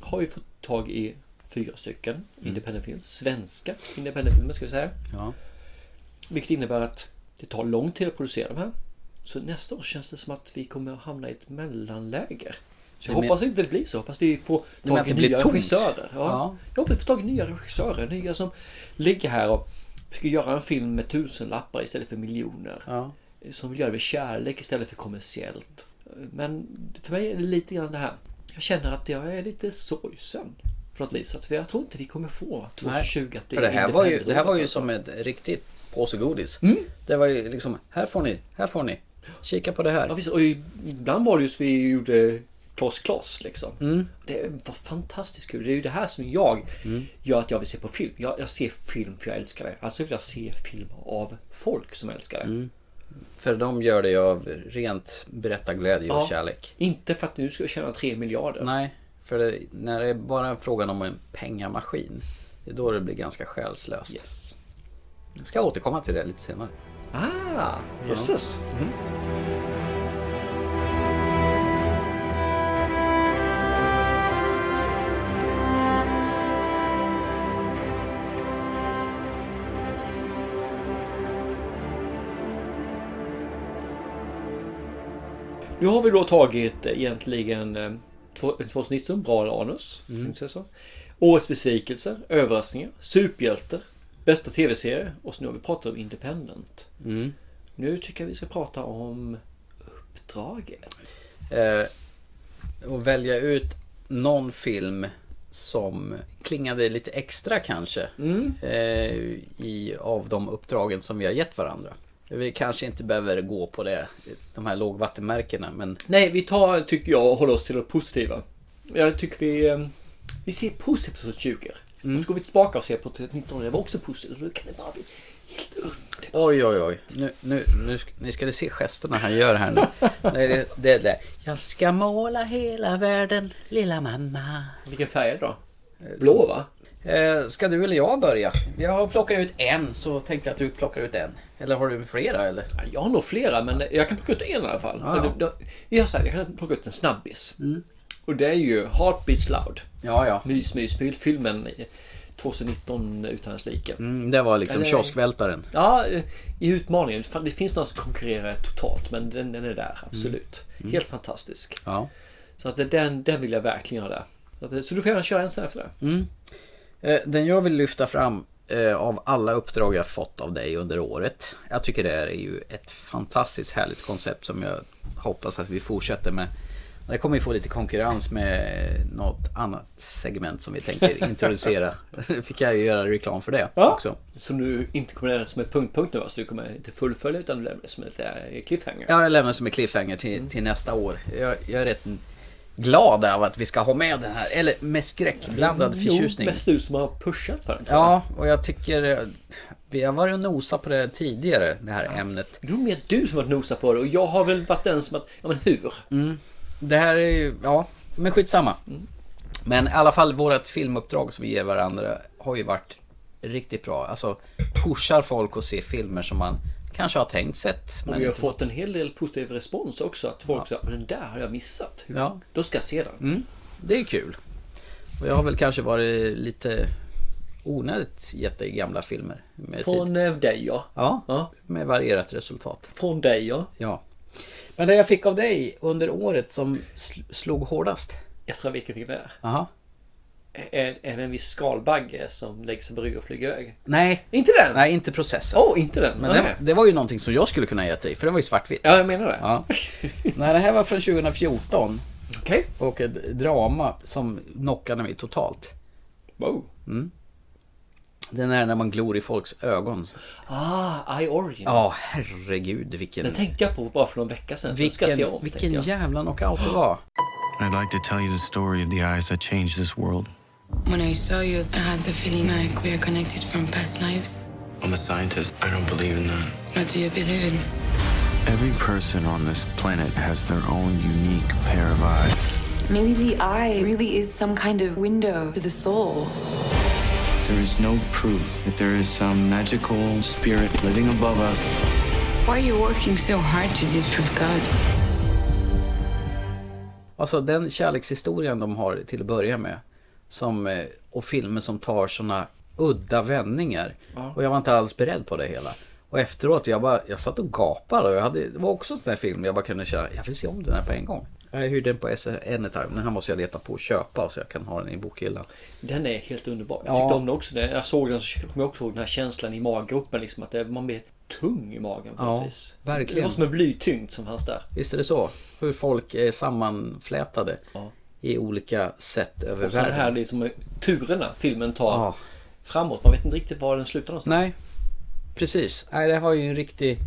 har vi fått tag i fyra stycken
Mm.
independent films, svenska independent filmer ska vi säga.
Ja.
Vilket innebär att det tar lång tid att producera de här. Så nästa år känns det som att vi kommer att hamna i ett mellanläger. Så jag
Du men-
hoppas inte det blir så. Hoppas vi får
Du menar
tag
att
i
det blir
nya
tomt?
regissörer. Ja.
Ja.
Jag hoppas vi får tag i nya regissörer. Nya som ligger här och ska göra en film med tusenlappar istället för miljoner. Som vill göra det med kärlek istället för kommersiellt. Men för mig är det lite grann det här. Jag känner att jag är lite sorgsen. På något vis. Att jag tror inte vi kommer få 2020 att bli
För det alltså. här var ju, det här var ju
independent.
som ett riktigt påsegodis. Det var ju liksom, här får ni, här får ni. Kika på det här.
Ja, visst, och ibland var det ju så vi gjorde Kloss Kloss liksom. Det var fantastiskt kul. Det är ju det här som jag gör att jag vill se på film. Jag, jag ser film för jag älskar det. Alltså vill jag se film av folk som älskar det.
För de gör det ju av rent berättarglädje och
Ja.
kärlek.
Inte för att nu ska jag tjäna 3 miljarder.
Nej, för det, när det är bara frågan om en pengamaskin, det är då det blir ganska själslöst.
Yes.
Jag ska återkomma till det lite senare.
Ah, jösses. Mm. Nu har vi då tagit eh, egentligen eh, två- 2019, bra anus. Mm. Så. Årets besvikelser, överraskningar, superhjältar, bästa tv-serier och så nu har vi pratat om Independent.
Mm.
Nu tycker jag vi ska prata om uppdraget.
Eh, och välja ut någon film som klingade lite extra kanske.
Mm.
Eh, i, av de uppdragen som vi har gett varandra. Vi kanske inte behöver gå på det, de här lågvattenmärkena men
Nej, vi tar, tycker jag, och håller oss till det positiva. Jag tycker vi, eh, vi ser positivt på 2020. Mm. Så går vi tillbaka och ser på 2019 det var också positivt. Så då kan det bara bli
Oj, oj, oj. Nu, nu, nu, ska- ni ska se gesterna han gör här nu. Nej, det, det, det. Jag ska måla hela världen, lilla mamma.
Vilken färg är det då? Blå va?
Eh, ska du eller jag börja? Jag har plockat ut en så tänkte jag att du plockar ut en. Eller har du flera eller?
Jag har nog flera men jag kan plocka ut en i alla fall.
Ja, ja.
Eller, då- Vi har så här, jag kan plocka ut en snabbis. Och det är ju Heartbeats Loud.
Ja, ja.
Mys, mys, mys, filmen 2019 utan dess like.
Mm, det var liksom
Eller-
kioskvältaren.
Ja, eh, i utmaningen. Fan, Det finns några som konkurrerar totalt men den, den är där, absolut.
Mm.
Helt fantastisk.
Ja.
Så att det- den, den vill jag verkligen ha där. Så, att, det- så du får gärna köra en sen efter det.
Mm. Eh, Den jag vill lyfta fram eh, av alla uppdrag jag fått av dig under året. Jag tycker det här är ju ett fantastiskt härligt koncept som jag hoppas att vi fortsätter med. Det kommer vi få lite konkurrens med något annat segment som vi tänker introducera. Fick jag ju göra reklam för det också.
Som du inte kommer lämna som en punktpunkt nu va? Så du kommer inte fullfölja utan du lämnar det som en liten cliffhanger.
Ja, jag lämnar som en cliffhanger till, till nästa år. Jag, jag är rätt glad över att vi ska ha med den här. Eller med skräckblandad förtjusning.
Jo, mest du som har pushat för den. tror jag.
Ja, och jag tycker eh, vi har varit och nosat på det tidigare, det här ämnet.
Det är nog mer du som har nosat på det och jag har väl varit den som att, ja men hur?
Mm. Det här är ju, ja, men skitsamma. Men i alla fall vårat filmuppdrag som vi ger varandra har ju varit riktigt bra. Alltså pushar folk att se filmer som man kanske har tänkt sett.
och vi har
inte-
fått en hel del positiv respons också. Att folk säger, men den där har jag missat. Hur?
Ja.
Då ska jag se den.
Mm. Det är kul. Och jag har väl kanske varit lite onödigt gett dig gamla filmer. Med tid.
Från eh, dig ja.
Ja, med varierat resultat.
Från dig ja.
Ja. Men det jag fick av dig under året som sl- slog hårdast?
Jag tror jag vet vilken det är.
Aha.
Är, är det en viss skalbagge som lägger sig på rygg och flyger iväg?
Nej.
Inte den?
Nej, inte processen.
Åh, inte den.
Men det,
Nej.
det var ju någonting som jag skulle kunna ge dig, för det var ju svartvitt.
Ja, jag menar det.
Ja. Nej, det här var från 2014.
Okej.
Och ett drama som knockade mig totalt.
Wow.
Mm. Den är när man glor i folks ögon.
Ah, I Origin.
Ja, herregud vilken...
Den tänkte jag på bara för någon vecka sedan. Den ska jag se
vilken
om,
vilken
tänkte jag.
jävla knockout det var.
I'd like to tell you the story of the eyes that changed this world.
When I saw you, I had the feeling like we are connected from past lives.
I'm a scientist. I don't believe in that.
What do you believe in?
Every person on this planet has their own unique pair of eyes.
Maybe the eye really is some kind of window to the soul.
There is no proof that there is some magical spirit living above us.
Why are you working so hard to disprove God?
Alltså den kärlekshistorien de har till att börja med. Som, eh, och filmer som tar såna udda vändningar.
Ja.
Och jag var inte alls beredd på det hela. Och efteråt, jag, bara, jag satt och gapade. Och jag hade, det var också en sån här film jag bara kunde känna, jag vill se om den här på en gång. Jag hyrde den på SR Anytime, den här måste jag leta på och köpa så jag kan ha den i bokhyllan.
Den är helt underbar. Jag
Ja.
tyckte om den också. När jag såg den så kommer jag också ihåg den här känslan i maggropen. Liksom, att det- man blir tung i magen på
Ja,
något vis.
verkligen.
Det var som en blytyngd som fanns där.
Visst är det så? Hur folk är sammanflätade i olika sätt över
Och så den
världen.
här liksom, turerna filmen tar framåt. Man vet inte riktigt var den slutar någonstans.
Nej, precis. Nej, det här var ju en riktig...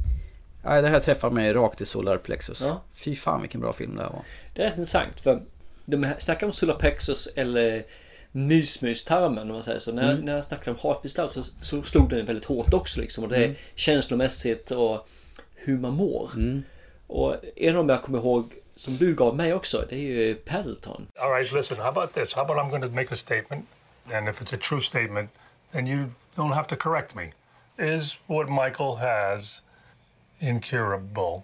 Nej, det här träffar mig rakt i solarplexus.
Ja.
Fy fan vilken bra film det här var.
Det är rätt intressant för de här, snackar om solapexus eller mysmys-tarmen om man säger så. När,
Mm.
när jag snackade om heartbeat så, så slog den väldigt hårt också liksom. Och det är
Mm.
känslomässigt och hur man mår. Och en av dem jag kommer ihåg som du gav mig också, det är ju Paddleton.
All right, listen, how about this? How about I'm going to make a statement, and if it's a true statement, then you don't have to correct me. Is what Michael has incurable?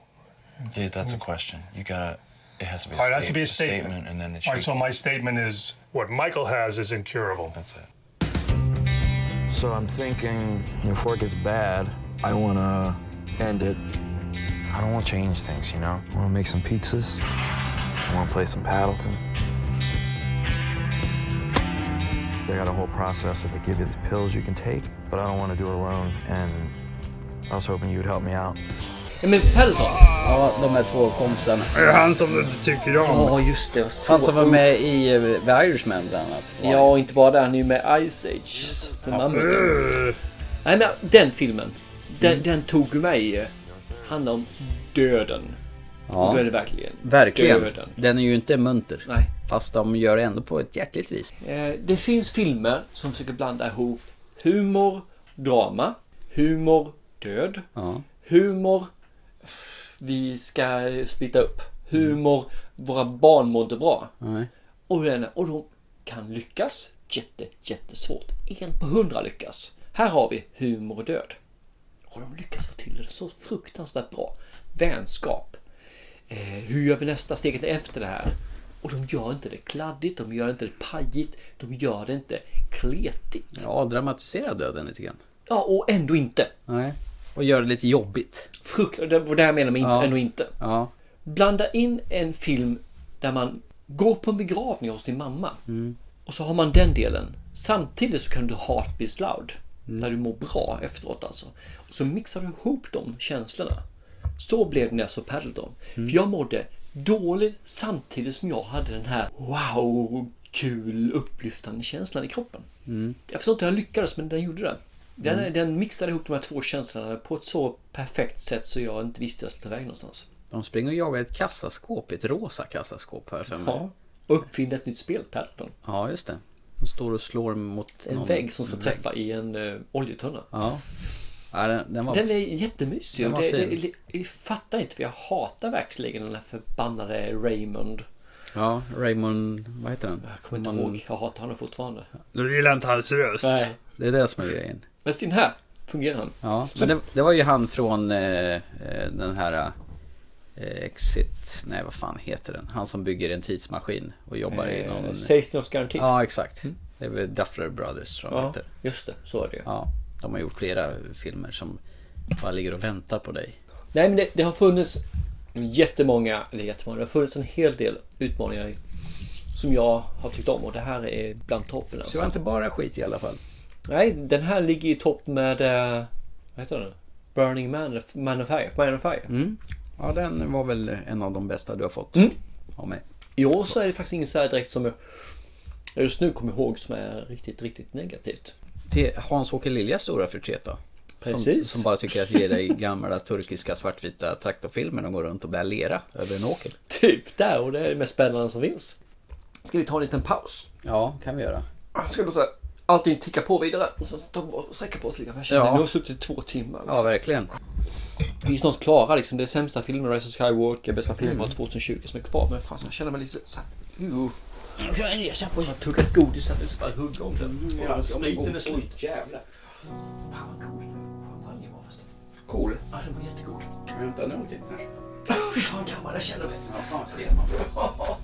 Dude, that's a question. You gotta. It has to be a,
All right,
sta-
that's to be a statement.
and then it
All
should.
right, so my statement is what Michael has is incurable. That's it.
So I'm thinking before it gets bad, I want to end it. I don't want to change things, you know? I want to make some pizzas. I want to play some Paddleton. They got a whole process that they give you these pills you can take, but I don't want to do it alone. And I was hoping you'd help me out.
Ja, men Paddleton!
Ja, de här två kompisarna.
Är det han som du inte tycker om?
Ja, just det. Jag såg
Han som var med i eh, The Irishman bland annat.
Ja, och inte bara det. Han är ju med i Ice Age. Med mammuten. Nej, men den filmen. Den,
Mm.
den tog ju mig. Handlar om döden.
Ja.
Och då är det verkligen,
Verkligen.
döden.
Den är ju inte munter.
Nej.
Fast de gör det ändå på ett hjärtligt vis.
Eh, Det finns filmer som försöker blanda ihop humor, drama, Humor, död. Humor, vi ska splitta upp. Humor, våra barn mår inte bra.
Nej.
Och, den, och de kan lyckas. Jätte, jättesvårt. En på hundra lyckas. Här har vi humor och död. Och de lyckas få till det så fruktansvärt bra. Vänskap. Eh, hur gör vi nästa steget efter det här? Och de gör inte det kladdigt, de gör inte det pajigt, de gör det inte kletigt.
Ja, dramatisera döden lite grann.
Ja, och ändå inte.
Nej. Och göra det lite jobbigt.
Frukt, och det och det här menar man inte,
Ja.
ändå inte.
Ja.
Blanda in en film där man går på en begravning hos din mamma. Och så har man den delen. Samtidigt så kan du ha Heart Beats Loud. Där du mår bra efteråt alltså. Och så mixar du ihop de känslorna. Så blev det när jag såg Paddle Dome. För jag mådde dåligt samtidigt som jag hade den här wow, kul, upplyftande känslan i kroppen. Jag förstår inte hur jag lyckades men den gjorde det. Den,
Mm.
den mixade ihop de här två känslorna på ett så perfekt sätt så jag inte visste jag skulle ta vägen någonstans.
De springer och jagar ett kassaskåp, ett rosa kassaskåp här för mig.
Ja. Och uppfinna ett nytt spel, Patton.
Ja, just det. De står och slår mot
En
någon
vägg som ska
vägg.
träffa i en uh, oljetunna.
Ja. ja den, den var...
Den är jättemysig.
Den
och
var
Det,
fin.
det, det, jag fattar inte för jag hatar verkligen den här förbannade Raymond.
Ja, Raymond... Vad heter den?
Jag kommer inte ihåg. Jag hatar honom fortfarande.
Du gillar inte hans röst.
Nej.
Det är det som är grejen.
Men sin här fungerar han.
Ja, men det, det var ju han från eh, eh, den här eh, Exit, nej vad fan heter den? Han som bygger en tidsmaskin och jobbar i
Eh,
någon...
Safety of Guarantee.
Ja, exakt. Det är väl Duffer Brothers som
Ja,
heter.
just det. Så är det
Ja, de har gjort flera filmer som bara ligger och väntar på dig.
Nej men det, det har funnits jättemånga, eller jättemånga, det har funnits en hel del utmaningar i- som jag har tyckt om och det här är bland toppen. alltså.
Så det var inte bara skit i alla fall.
Nej, den här ligger i topp med... eh, Vad heter den? Burning Man, Man of Fire. Man of Fire.
Mm. Ja, den var väl en av de bästa du har fått av mig.
I år så är det faktiskt ingen så här direkt som jag jag just nu kommer ihåg som är riktigt, riktigt negativt.
Till Hans-Åke Liljas stora förtret då? Som,
Precis.
som bara tycker att vi är i gamla turkiska svartvita traktorfilmer och går runt och bär lera över en åker.
Typ där och det är det mest spännande som finns. Ska vi ta en liten paus?
Ja, kan vi göra.
Ska vi låta allting ticka på vidare och sen ta och sträcka på oss lite. Jag känner,
Ja.
Nu har vi suttit i två timmar.
Ja, verkligen.
Vi är snart klara liksom. Det är sämsta filmen, Rise of Skywalker, bästa filmen av
Mm.
2020 som är kvar. Men fan, så jag känner mig lite såhär... Uh. Jag är ledsen på att jag har tuggat godis här nu så bara hugga om den.
Ja, spriten är
slut. Jävlar. Fan vad cool champagne var förresten. Cool? Ja, den var jättegod. Ska vi hämta en öl till kanske? Fy fan gammal jag känner mig. Ja, fan vad stel man blir.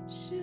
Should